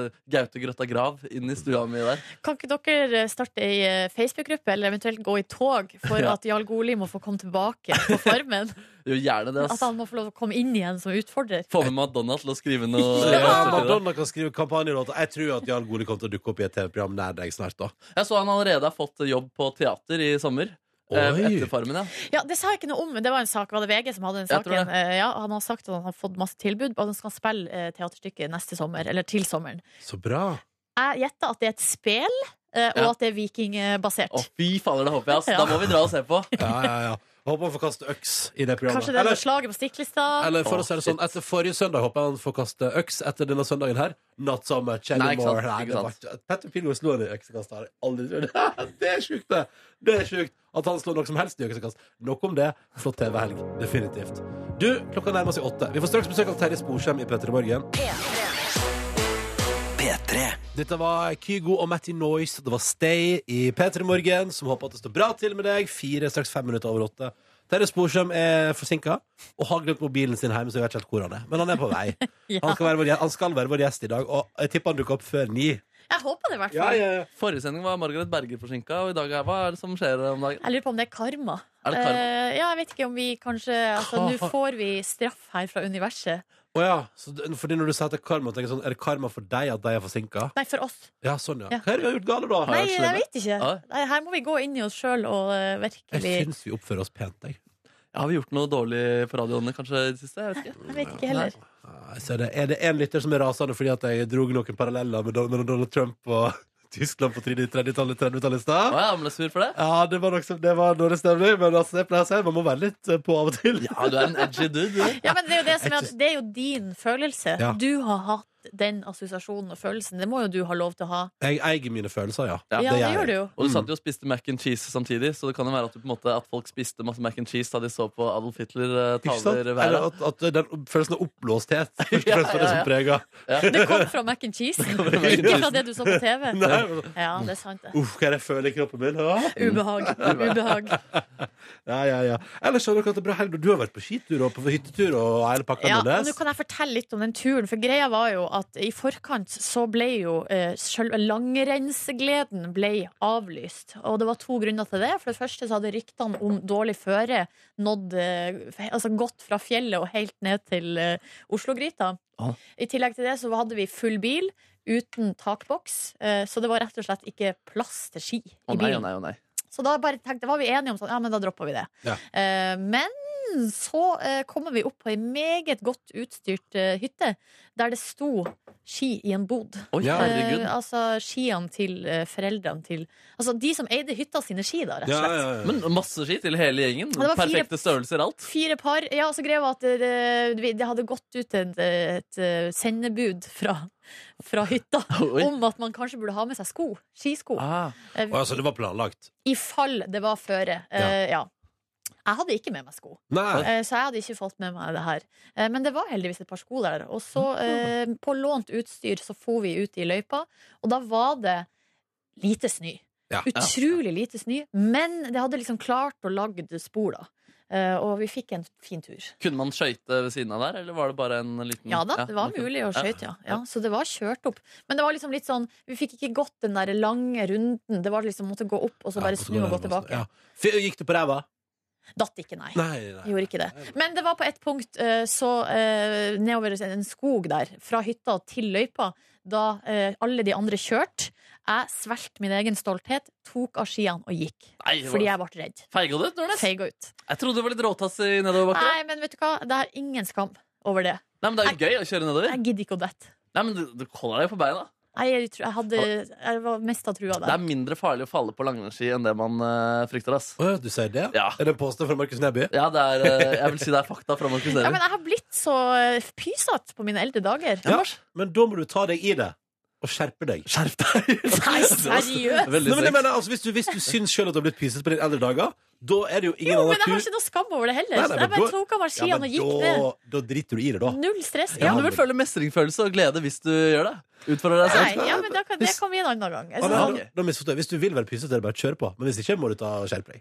Speaker 4: eh, Gaute Grøtta Grav inn i stua mi der.
Speaker 3: Kan ikke dere starte ei eh, Facebook-gruppe, eller eventuelt gå i tog, for at Jarl Goli må få komme tilbake på Farmen?
Speaker 4: Det er jo gjerne det,
Speaker 3: At
Speaker 4: ass.
Speaker 3: han må få lov til å komme inn igjen som utfordrer?
Speaker 4: Få med Madonna til å skrive noe.
Speaker 2: Ja,
Speaker 4: røster til det.
Speaker 2: Madonna kan skrive kampanjelåter. Jeg tror at Jarl Goli kommer til å dukke opp i et TV-program nær deg snart. da
Speaker 4: Jeg så han allerede har fått jobb på teater i sommer. eh,
Speaker 2: Oi.
Speaker 4: Etter Farmen, ja.
Speaker 3: Ja, Det sa jeg ikke noe om, men det var en sak. Var det VG som hadde den
Speaker 4: Jeg tror
Speaker 3: saken?
Speaker 4: det.
Speaker 3: Eh, Ja, han har sagt at han har fått masse tilbud, og han skal spille eh, teaterstykket neste sommer. Eller til sommeren.
Speaker 2: Så bra.
Speaker 3: Jeg gjetter at det er et spel, eh, og
Speaker 4: Ja.
Speaker 3: at det er vikingbasert.
Speaker 4: Å, fy fader, det håper jeg. ass.
Speaker 3: Ja.
Speaker 4: Da må vi dra og se på.
Speaker 2: Ja, ja, ja. Jeg håper han får kaste øks i det programmet.
Speaker 3: Kanskje det er
Speaker 2: eller,
Speaker 3: noe slaget på Stiklestad?
Speaker 2: eller for
Speaker 4: Å,
Speaker 2: å si det sånn, etter forrige søndag håper jeg han får kaste øks etter denne søndagen her. Not so much
Speaker 4: Nei, ikke sant,
Speaker 2: anymore. Nei, det
Speaker 4: ikke
Speaker 2: var ikke- Petter Pilgaard slår en øksekast her. Aldri trodd. Det er sjukt, det. Det er sjukt. At han slår noe som helst i øksekast. Nok om det. Flott TV-helg. Definitivt. Du, klokka nærmer seg åtte. Vi får straks besøk av Terje Sporsem i P3 Morgen.
Speaker 1: P3.
Speaker 2: Dette var Kygo og Matty Noise. Det var Stay i P3 Morgen, som håper at det står bra til med deg. Fire, straks fem minutter over åtte. Terje Sporsem er forsinka og har glemt mobilen sin hjemme, så jeg vet ikke helt hvor han er. Men han er på vei.
Speaker 3: Ja.
Speaker 2: han, skal være vår, gje- han skal være vår gjest i dag, og jeg tipper han dukker opp før ni.
Speaker 3: Jeg håper det, i hvert fall.
Speaker 4: Forrige sending var Margaret Berger forsinka, og i dag er hva er det som skjer om dagen?
Speaker 3: Jeg lurer på om det er karma.
Speaker 4: Er det karma?
Speaker 3: Eh, ja, jeg vet ikke om vi kanskje Altså,
Speaker 2: Hva?
Speaker 3: nå får vi straff her fra universet.
Speaker 2: Å ja. Så, d- fordi når du sier at det er karma, tenker jeg sånn, er det karma for deg at de er forsinka?
Speaker 3: Nei, for oss.
Speaker 2: Ja, sånn, ja.
Speaker 3: Ja.
Speaker 2: Hva er det vi har gjort galt, da?
Speaker 4: Har
Speaker 3: Nei,
Speaker 4: jeg vært
Speaker 3: jeg
Speaker 4: slemme?
Speaker 3: vet ikke.
Speaker 4: Ja.
Speaker 3: Nei, her må vi gå inn i oss sjøl og eh, virkelig
Speaker 2: Jeg syns vi oppfører oss pent, jeg.
Speaker 4: Ja, har vi gjort noe dårlig på radioene kanskje i det siste? Jeg vet ikke.
Speaker 3: Jeg vet ikke heller.
Speaker 2: Nei, Så er det, er det en lytter som er rasende fordi at jeg dro noen paralleller med Donald, Donald Trump og Tyskland på 30-tallet 30 i
Speaker 4: Å,
Speaker 2: stad?
Speaker 4: ja, men jeg er sur for det.
Speaker 2: Ja, det var, nok, som- det var dårlig stemning, men altså, jeg pleier å si man må være litt eh, på av og til.
Speaker 4: Ja, du er en edgy dude. du.
Speaker 3: Ja, men det er jo det som er at
Speaker 2: Jeg
Speaker 3: det er jo din følelse.
Speaker 2: Ja.
Speaker 3: Du har hatt den assosiasjonen og følelsen. Det må jo du ha lov til å ha.
Speaker 2: Jeg eier mine følelser, ja.
Speaker 4: Ja,
Speaker 3: Ja, det, gjør du jo.
Speaker 4: Og du satt jo og spiste mac and cheese samtidig, så det kan jo være at, du, på en måte, at folk spiste masse mac and cheese da de så på Adolf Hitler eh,
Speaker 2: Ikke sant?
Speaker 4: taler
Speaker 2: Eller
Speaker 4: været.
Speaker 2: at, at den følelsen av oppblåsthet først og fremst var det som preget.
Speaker 3: Det kom fra mac and cheese,
Speaker 4: fra mac and
Speaker 3: ikke fra det du så på TV.
Speaker 2: Nei,
Speaker 3: Ja, det er sant, det.
Speaker 2: uff, hva er det jeg føler i kroppen min? Ah.
Speaker 3: Ubehag. Ubehag.
Speaker 2: Ja, ja, ja. Ellers skjønner dere at det er bra helg. Du har vært på skitur og på hyttetur og hele pakka
Speaker 3: Ja, og
Speaker 2: Nordnes.
Speaker 3: nå kan jeg fortelle litt om den turen, for greia var jo at i forkant så ble jo eh, selve langrennsgleden ble avlyst. Og det var to grunner til det. For det første så hadde ryktene om dårlig føre nådd eh, he- Altså gått fra fjellet og helt ned til eh, Oslo-gryta.
Speaker 4: Ah.
Speaker 3: I tillegg til det så hadde vi full bil uten takboks, eh, så det var rett og slett ikke plass til ski i
Speaker 4: Å nei, å
Speaker 3: bilen.
Speaker 4: nei, å nei.
Speaker 3: Så da bare tenkte, var vi enige om sånn, ja, men da dropper vi det.
Speaker 2: Ja.
Speaker 3: Eh, men så eh, kommer vi opp på ei meget godt utstyrt eh, hytte, der det sto ski i en bod.
Speaker 4: Oi,
Speaker 2: Ja.
Speaker 4: herregud.
Speaker 3: Eh, altså skiene til eh, foreldrene til Altså de som eide hytta sine ski, da, rett og slett.
Speaker 4: Men masse ski til hele gjengen.
Speaker 3: var fire-
Speaker 4: Perfekte størrelser, alt.
Speaker 3: Fire par. Ja, så greia var at eh, det, det hadde gått ut et, et eh, sendebud fra, fra hytta
Speaker 4: Oi.
Speaker 3: om at man kanskje burde ha med seg sko. Skisko.
Speaker 4: Ah,
Speaker 3: Eh,
Speaker 2: Å, altså, det var planlagt.
Speaker 3: I fall det var føre. Eh, ja. Jeg hadde ikke med meg sko,
Speaker 2: Nei.
Speaker 3: eh, så jeg hadde ikke fått med meg det her. Eh, Men det var heldigvis et par sko der. Og så, eh, på lånt utstyr, så for vi ut i løypa, og da var det lite snø.
Speaker 2: Ja.
Speaker 3: Utrolig lite snø, men det hadde liksom klart å lage spor, da. Eh, Og vi fikk en fin tur.
Speaker 4: kunne man skøyte ved siden av der, eller var det bare en liten
Speaker 3: Ja da, det var
Speaker 4: man kunne-
Speaker 3: mulig å
Speaker 4: Mm, Ja.
Speaker 3: skøyte, ja. ja. Så det var kjørt opp. Men det var liksom litt sånn, vi fikk ikke gått den der lange runden. Det var liksom måtte gå opp, og så bare
Speaker 2: Ja,
Speaker 3: snu og gå tilbake.
Speaker 2: Ja. F- Gikk du på ræva?
Speaker 3: Datt ikke, nei.
Speaker 2: Nei, nei.
Speaker 3: Gjorde ikke det. Men det var på et punkt eh, så eh, nedover en skog der, fra hytta til løypa, da eh, alle de andre kjørte. Jeg svelgte min egen stolthet, tok av skiene og gikk.
Speaker 4: Nei, det var-
Speaker 3: Fordi jeg ble redd.
Speaker 4: Feiga du ut, Nordnes?
Speaker 3: Feiga ut.
Speaker 4: Jeg trodde det var litt råtass i nedoverbakke. Nei.
Speaker 3: Nei, men vet du hva? Det er ingen skam over det.
Speaker 4: Nei, men det er jo gøy å kjøre nedover.
Speaker 3: Jeg gidder ikke å dette.
Speaker 4: Nei, men du, du holder deg på beina.
Speaker 3: Nei, Jeg, tror- jeg, hadde, jeg var mest av trua
Speaker 4: Det
Speaker 3: der.
Speaker 4: er mindre farlig å falle på langrennsski enn det man eh, frykter, ass.
Speaker 2: Å, ja, du sier det?
Speaker 4: Ja.
Speaker 2: Er det en påstand fra Markus Neby?
Speaker 4: Ja, det er, eh, jeg vil si det er fakta fra Markus
Speaker 3: Ja,
Speaker 4: Neby.
Speaker 3: men jeg har blitt så eh, pysete på mine eldre dager.
Speaker 2: Ja, men da må du ta deg i det, og skjerpe deg.
Speaker 4: Skjerp deg!
Speaker 3: Nei,
Speaker 2: Nei,
Speaker 3: seriøst!
Speaker 4: Veldig
Speaker 2: men jeg
Speaker 4: sterkt.
Speaker 2: mener, altså, hvis, du, hvis du syns sjøl at du har blitt pysete på dine eldre dager, da er det jo ingen
Speaker 3: Jo,
Speaker 2: annen
Speaker 3: men jeg har
Speaker 2: tur
Speaker 3: ikke noe skam over det heller.
Speaker 2: Nei, nei, men
Speaker 3: jeg bare
Speaker 2: da-
Speaker 3: tok av meg
Speaker 2: Ja,
Speaker 3: skiene
Speaker 2: men
Speaker 3: og gikk ned.
Speaker 2: da, da driter du i det, da.
Speaker 3: Null stress.
Speaker 4: Ja,
Speaker 3: Ja,
Speaker 4: men du vil føle mestringsfølelse og glede hvis du gjør det. Utfordrer deg selv.
Speaker 3: Nei, ja, men da kan, det kan vi en annen gang. Jeg
Speaker 2: Ah,
Speaker 3: synes
Speaker 2: nei,
Speaker 3: sånn-
Speaker 2: da- da misforstår jeg. Hvis du vil være pysete, er det bare å kjøre på. Men hvis ikke, må du ta og skjerpe deg.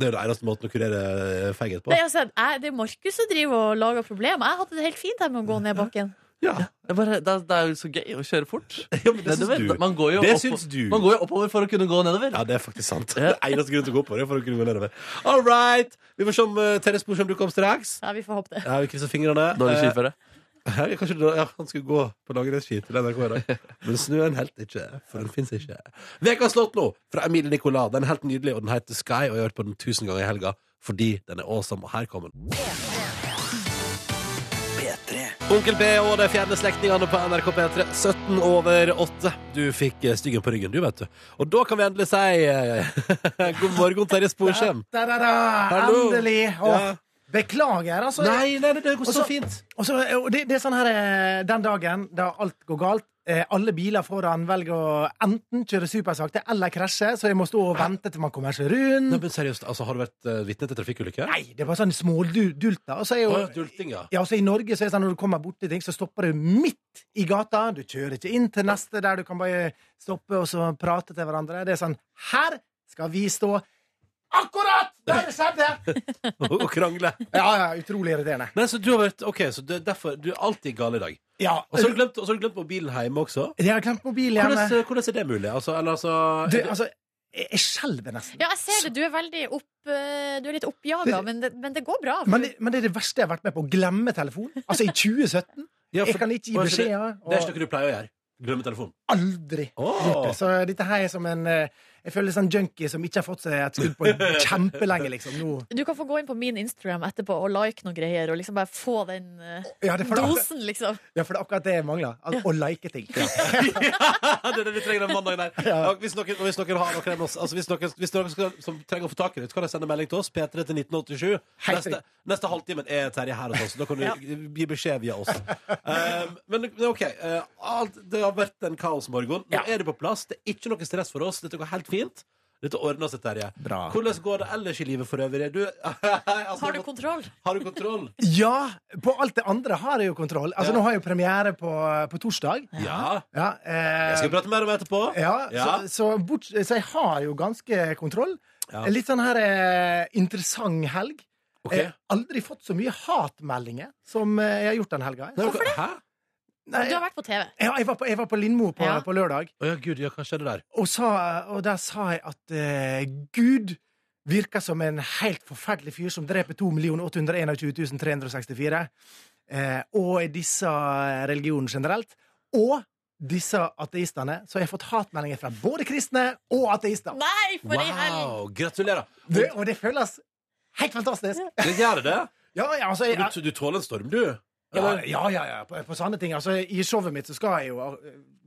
Speaker 2: Det er jo den eneste måten å kurere feighet på.
Speaker 3: Nei, altså, jeg, det er Markus som driver og lager problemer. Jeg hadde det helt fint her med å gå ned bakken.
Speaker 2: Ja,
Speaker 4: Jeg bare, det, er- det er jo så gøy å kjøre fort.
Speaker 2: ja men det
Speaker 4: Nedover.
Speaker 2: syns du.
Speaker 4: Man, går jo
Speaker 2: Det
Speaker 4: oppo-
Speaker 2: syns du.
Speaker 4: man går jo oppover for å kunne gå nedover.
Speaker 2: Ja, det er faktisk sant. Det er eneste grunnen til å gå på det. er For å kunne gå nedover All right! Vi får se om eh, Terje Sporsem dukker opp straks.
Speaker 3: Ja, vi får håpe det.
Speaker 2: Ja, vi krysser fingrene.
Speaker 4: Dårlig skiføre.
Speaker 2: Eh, ja, kanskje da, ja, han skulle gå på langrennsski til NRK i dag. Men snøen helt ikke, for den fins ikke. Ukas låt nå, fra Emilie Nicolas. Den er helt nydelig, og den heter Sky. Og jeg har hørt på den tusen ganger i helga fordi den er awesome. Og her kommer den.
Speaker 8: P3.
Speaker 2: Onkel B og de fjerne slektningene på NRK P3. 17 over 8. Du fikk eh, styggen på ryggen, du, vet du. Og da kan vi endelig si eh, god morgen, Terje Sporsem.
Speaker 9: Da, da, da.
Speaker 2: Hallo.
Speaker 9: Endelig! Åh,
Speaker 2: Ja.
Speaker 9: Beklager, altså.
Speaker 2: Nei, nei, det går
Speaker 9: Og
Speaker 2: så
Speaker 9: så-
Speaker 2: fint.
Speaker 9: Og så, og det, det er sånn her eh, Den dagen da alt går galt eh, Alle biler foran velger å enten kjøre supersakte eller krasje, så jeg må stå og vente til man kommer seg
Speaker 2: Nei,
Speaker 9: rundt.
Speaker 2: men seriøst, altså, Har du vært eh, vitne til trafikkulykker?
Speaker 9: Mm. Nei, det er bare sånn smådulter. Og så er
Speaker 2: Å,
Speaker 9: jo
Speaker 2: ja, dulting, ja.
Speaker 9: ja, og så I Norge så er det sånn når du kommer borti ting, så stopper du midt i gata. Du kjører ikke inn til neste der du kan bare stoppe og så prate til hverandre. Det er sånn Her skal vi stå akkurat der det skjedde!
Speaker 2: Og og krangle.
Speaker 9: Ja, ja, utrolig irriterende.
Speaker 2: Nei, så du har vært Ok, så det, er derfor Du er alltid gal i dag.
Speaker 9: Ja,
Speaker 2: Og så har du glemt, og så har du glemt mobilen hjemme også.
Speaker 9: Jeg har glemt mobilen hjemme.
Speaker 2: Hvordan, hvordan er det mulig? Altså, eller altså
Speaker 9: Du, altså, jeg jeg skjelver nesten.
Speaker 3: Ja, jeg ser det. Du er veldig opp... eh, Du er litt oppjaga, men, det- men det går bra.
Speaker 9: Men det, men det er det verste jeg har vært med på. Å glemme telefon. Altså, i 2017.
Speaker 2: Ja, for-
Speaker 9: Jeg kan ikke gi
Speaker 2: Å, så det-
Speaker 9: beskjeder.
Speaker 2: Det er ikke
Speaker 9: Og
Speaker 2: noe du pleier å gjøre. Glemme telefonen.
Speaker 9: aldri.
Speaker 2: Åh.
Speaker 9: Så dette her er som en eh, Jeg føler sånn junkie som ikke har fått seg et skudd på kjempelenge, liksom. Nå.
Speaker 3: Du kan få gå inn på min Instagram etterpå og like noen greier, og liksom bare få den eh,
Speaker 9: Ja, det er for det, akkurat-
Speaker 3: dosen, liksom.
Speaker 9: ja, for det er akkurat det jeg mangler. Al Å like ting.
Speaker 2: det er det vi trenger den mandagen der.
Speaker 9: Ja.
Speaker 2: Og hvis noen, og hvis noen har noen, altså hvis noen, hvis noen skal, som trenger å få tak i det, så kan de sende melding til oss. P3 til 1987.
Speaker 9: Helt
Speaker 2: Neste, neste halvtimen er Terje her hos oss. Da kan du gi beskjed via oss. Um, men men OK. eh, alt, det har vært en kaosmorgen. Nå er det på plass. Det er ikke noe stress for oss. Dette går helt fint. Dette ordner seg, Terje.
Speaker 9: Bra.
Speaker 2: Hvordan går det ellers i livet for øvrig? Du, altså,
Speaker 3: Har du kontroll?
Speaker 2: har du kontroll?
Speaker 9: Ja, på alt det andre har jeg jo kontroll. Altså,
Speaker 2: Ja.
Speaker 9: Nå har jeg jo premiere på, på torsdag.
Speaker 2: Ja.
Speaker 9: Ja, eh,
Speaker 2: Jeg skal prate mer om det etterpå.
Speaker 9: Ja,
Speaker 2: Ja.
Speaker 9: Så, så, bort, så jeg har jo ganske kontroll.
Speaker 2: Ja.
Speaker 9: Litt eh, sånn her eh, interessant helg.
Speaker 2: Ok.
Speaker 9: Jeg har aldri fått så mye hatmeldinger som eh, jeg har gjort den helga.
Speaker 2: Nei, hva- Hæ?
Speaker 9: Nei,
Speaker 3: Du har vært på TV.
Speaker 9: ja, jeg, var på, jeg var på Lindmo på,
Speaker 3: Ja.
Speaker 9: på lørdag,
Speaker 2: Å ja, gud, ja, hva skjedde der?
Speaker 9: og, sa, og der sa jeg at eh, Gud virker som en helt forferdelig fyr som dreper 2 821 364. Eh, og jeg dissa religionen generelt. Og dissa ateistene. Så jeg har fått hatmeldinger fra både kristne og ateister.
Speaker 3: Nei, for ei helg!
Speaker 2: Wow, gratulerer.
Speaker 9: Det, og det føles helt fantastisk!
Speaker 2: Det gjør det.
Speaker 9: Ja, ja, altså, jeg,
Speaker 2: Du, du tåler en storm, du.
Speaker 9: Ja, ja, ja, ja. På, på sånne ting. Altså, I showet mitt så skal jeg jo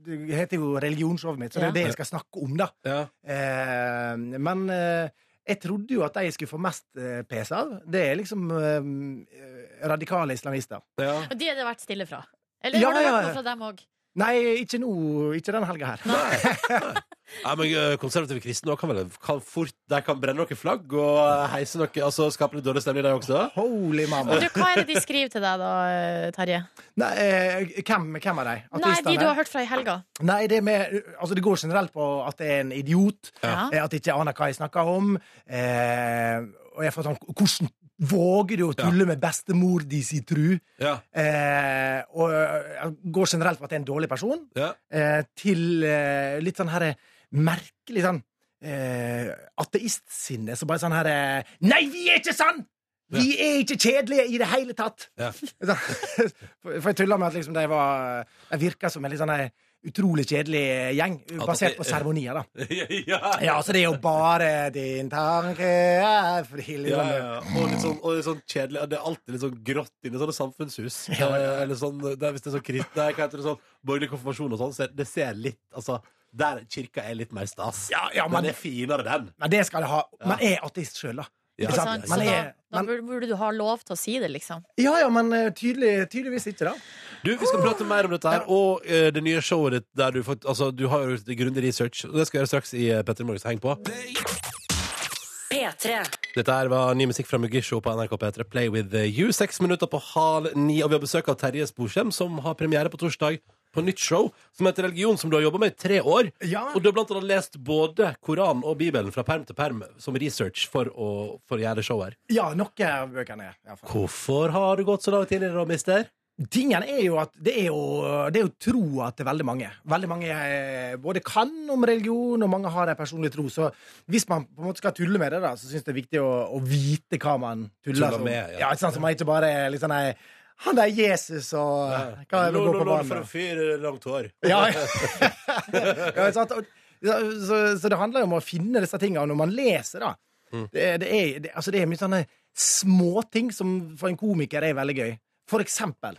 Speaker 9: Det heter jo religionsshowet mitt, så det er
Speaker 3: Ja.
Speaker 9: jo det jeg skal snakke om, da.
Speaker 2: Ja.
Speaker 9: Eh, men eh, jeg trodde jo at de jeg skulle få mest eh, pes av, det er liksom eh, radikale islamister.
Speaker 2: ja.
Speaker 3: Og de har det vært stille fra. Eller
Speaker 9: Ja,
Speaker 3: har det
Speaker 9: ja,
Speaker 3: vært
Speaker 9: ja.
Speaker 3: noe fra dem òg?
Speaker 9: Nei, ikke nå. Ikke den helga her.
Speaker 2: Nei, men ø, Konservative kristne også kan vel kan fort, de kan brenne noen flagg og heise noe altså, Skape litt dårlig stemning, de også?
Speaker 9: Holy mamma.
Speaker 3: Du, hva er det de skriver til deg da, eh, Terje?
Speaker 9: Nei, eh, hvem, hvem er de?
Speaker 3: Nei, de
Speaker 9: Ateistene?
Speaker 3: du har hørt fra i helga.
Speaker 9: Nei, det, med, altså, det går generelt på at jeg er en idiot.
Speaker 3: Ja.
Speaker 9: Eh, At jeg ikke aner hva jeg snakker om. Eh, og jeg får sånn Hvordan våger du å tulle med bestemor di si tru?
Speaker 2: Ja.
Speaker 9: Eh, og jeg går generelt på at jeg er en dårlig person,
Speaker 2: Ja.
Speaker 9: eh, til eh, litt sånn herre merkelig sånn eh, ateistsinne. Så bare sånn herre Nei, vi er ikke sann! Vi er ikke kjedelige i det hele tatt!
Speaker 2: Ja.
Speaker 9: Sånn. For for jeg tulla med at liksom de var De virka som en litt sånn eh, utrolig kjedelig eh, gjeng, basert på
Speaker 2: det-
Speaker 9: seremonier, da.
Speaker 2: ja.
Speaker 9: Ja, så det er jo bare din tanke er fri
Speaker 2: Ja,
Speaker 9: liksom.
Speaker 2: ja. Og litt sånn, og litt sånn kjedelig Det er alltid litt sånn grått inne i sånne samfunnshus. Eh, Eller sånn, det er, hvis det er sånn krist, det er, hva heter det, sånn borgerlig konfirmasjon og sånn, så det ser litt Altså, der kirka er litt mer stas.
Speaker 9: Ja, ja,
Speaker 2: men
Speaker 9: men-
Speaker 2: det er finere, den.
Speaker 9: Men det skal jeg ha. Man er ateist sjøl, da.
Speaker 2: Ja.
Speaker 9: Ikke
Speaker 3: Ikke
Speaker 9: sant?
Speaker 3: sant? Så
Speaker 9: Man
Speaker 3: da,
Speaker 9: er,
Speaker 3: da
Speaker 9: man,
Speaker 3: burde, burde du ha lov til å si det, liksom.
Speaker 9: ja, ja, men eh, tydelig, tydeligvis ikke, da.
Speaker 2: Du, Vi skal prate mer om dette her og eh, det nye showet ditt. Der du, fakt- altså, du har jo gjort grundig research. og Det skal jeg gjøre straks i uh, Petter Morgens Heng på.
Speaker 5: P3.
Speaker 2: Dette her var ny musikk fra Mugisho på NRK P3 Play With You. Seks minutter på halv ni, og vi har besøk av Terje Sporsem, som har premiere på torsdag på nytt show som heter Religion, som du har jobba med i tre år.
Speaker 9: Ja.
Speaker 2: Og du har blant annet lest både Koranen og Bibelen fra perm til perm som research for å, for å gjøre show her.
Speaker 9: Ja, noen av bøkene. er i hvert fall.
Speaker 2: Hvorfor har du gått så langt inn i det, da, mister?
Speaker 9: Tingen er jo at det er jo, det er jo troa til veldig mange. Veldig mange eh, både kan om religion, og mange har en personlig tro. Så hvis man på en måte skal tulle med det, da, så syns jeg det er viktig å, å vite hva man tuller
Speaker 2: Tuller
Speaker 9: som.
Speaker 2: med, ja.
Speaker 9: ja. ikke sant? Så man ikke bare er litt sånn nei, Han der Jesus og Hva er det
Speaker 2: Nå-
Speaker 9: går
Speaker 2: nå-
Speaker 9: på
Speaker 2: nå er det for
Speaker 9: banen?
Speaker 2: en fyr eh, langt hår.
Speaker 9: Ja, ja. ikke sant? Og- ja, så, så det handler jo om å finne disse tingene når man leser, da.
Speaker 2: Mm.
Speaker 9: Det, det, er, det, altså, det er mye sånne småting som for en komiker er veldig gøy. For eksempel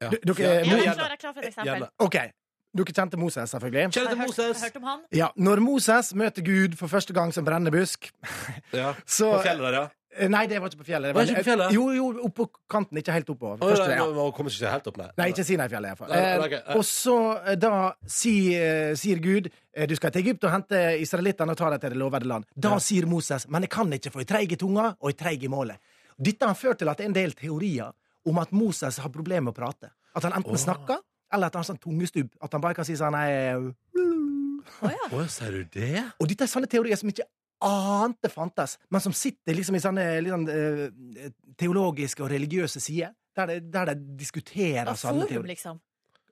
Speaker 2: Ja.
Speaker 9: D- Dere,
Speaker 3: Ja,
Speaker 9: Mo-
Speaker 3: jeg er klar, jeg er klar for et eksempel.
Speaker 2: Gjerne.
Speaker 9: OK. Dere kjente Moses, selvfølgelig.
Speaker 2: Kjell
Speaker 3: Har
Speaker 2: til
Speaker 3: hørt, har
Speaker 2: Moses.
Speaker 3: hørt om han?
Speaker 9: Ja, når Moses møter Gud for første gang som brennebusk
Speaker 2: Ja.
Speaker 9: så,
Speaker 2: På fjellet der, ja.
Speaker 9: Eh, Nei, det var ikke på fjellet.
Speaker 2: Var det ikke på fjellet?
Speaker 9: Jo, jo, oppå kanten, ikke helt oppå.
Speaker 2: Å,
Speaker 9: Første,
Speaker 2: nei,
Speaker 9: ja.
Speaker 2: nå- nå kommer ikke helt opp, nei.
Speaker 9: Nei, ikke Sinai-fjellet, iallfall.
Speaker 2: Nei,
Speaker 9: Eh,
Speaker 2: ok, nei.
Speaker 9: Og så eh, da si, eh, sier Gud eh, du skal til Egypt og hente israelittene og ta dem til det lovede land. Da sier Moses men jeg kan ikke, for jeg er treig i tunga og jeg er treig i målet. Dette har ført til at det er en del teorier om at Moses har problemer med å prate. At han enten snakker, eller at han har sånn tungestubb. At han bare kan si sånn nei,
Speaker 2: Å, sier du det?
Speaker 9: og dette er sånne teorier som ikke ante fantes, men som sitter liksom i sånne litt sånn, eh, teologiske og religiøse sider. Der de, der de diskuterer
Speaker 3: Ja,
Speaker 9: sånne
Speaker 3: forum,
Speaker 9: teorier.
Speaker 3: liksom.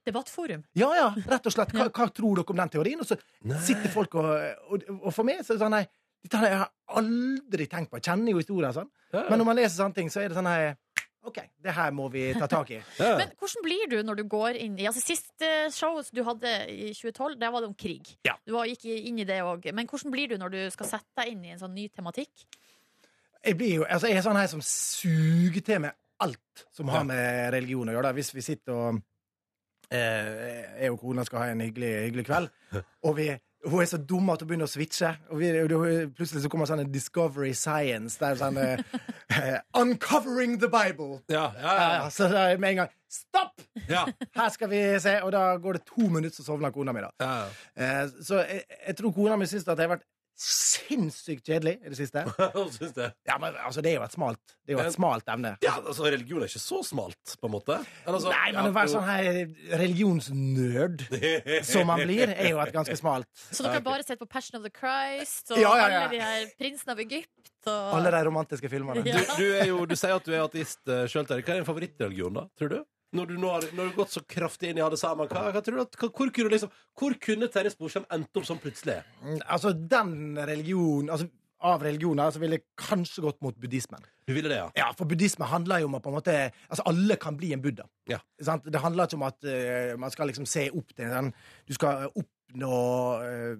Speaker 3: Debattforum.
Speaker 9: Ja, ja, rett og slett. Hva, hva tror dere om den teorien? Og så
Speaker 2: Nei.
Speaker 9: sitter folk og, og, og for meg så er det sånn nei, Dette har jeg aldri tenkt på. Jeg kjenner jo historien sånn.
Speaker 2: Ja.
Speaker 9: Men når man leser sånne ting, så er det sånn nei, OK, det her må vi ta tak i.
Speaker 2: Ja.
Speaker 3: Men hvordan blir du når du går inn i altså Siste show du hadde i 2012, der var det om krig.
Speaker 9: Ja.
Speaker 3: Du var, gikk inn i det også. Men hvordan blir du når du skal sette deg inn i en sånn ny tematikk?
Speaker 9: Jeg blir jo, altså jeg er sånn her som suger til meg alt som har
Speaker 2: Ja.
Speaker 9: med religion å gjøre. da. Hvis vi sitter og eh, Jeg og kona skal ha en hyggelig, hyggelig kveld, og vi, hun er så dum at hun begynner å switche. Og vi, og det- plutselig så kommer sånn en Discovery Science. Det er sånn eh, Uncovering the Bible!
Speaker 2: Ja, ja, ja,
Speaker 9: Ja, så da er jeg med en gang Stopp!
Speaker 2: ja.
Speaker 9: Her skal vi se! Og da går det to minutter, så sovner kona mi. da.
Speaker 2: ja, ja.
Speaker 9: Eh, så jeg, jeg tror kona mi syns at jeg har vært sinnssykt kjedelig i det siste.
Speaker 2: Hva syns du?
Speaker 9: Ja, men altså, det er jo et smalt, det er jo et smalt emne.
Speaker 2: Ja, altså, religion er ikke så smalt, på en måte. Eller, altså,
Speaker 9: Nei, men å være sånn her religionsnerd som man blir, er jo et ganske smalt.
Speaker 3: Så dere har bare sett på Passion of the Christ og
Speaker 9: Ja, ja, ja.
Speaker 3: alle de her Prinsen av Egypt og
Speaker 9: Alle de romantiske filmene.
Speaker 2: Du, du, er jo, du sier at du er ateist uh, sjøl, Terje. Hva er din favorittreligion, da? Tror du? Når du nå har, når du har gått så kraftig inn i alle sammen, hva, hva tror du at, hva, hvor, kunne liksom, hvor kunne Terje Sporsem endt opp sånn plutselig?
Speaker 9: Mm, Altså, den religion altså, Av religioner så ville jeg kanskje gått mot buddhismen.
Speaker 2: Du ville det, ja?
Speaker 9: Ja, For buddhisme handler jo om å på en måte Altså, alle kan bli en buddha.
Speaker 2: Ja.
Speaker 9: Sant? Det handler ikke om at eh, man skal liksom se opp til en sånn Du skal oppnå eh,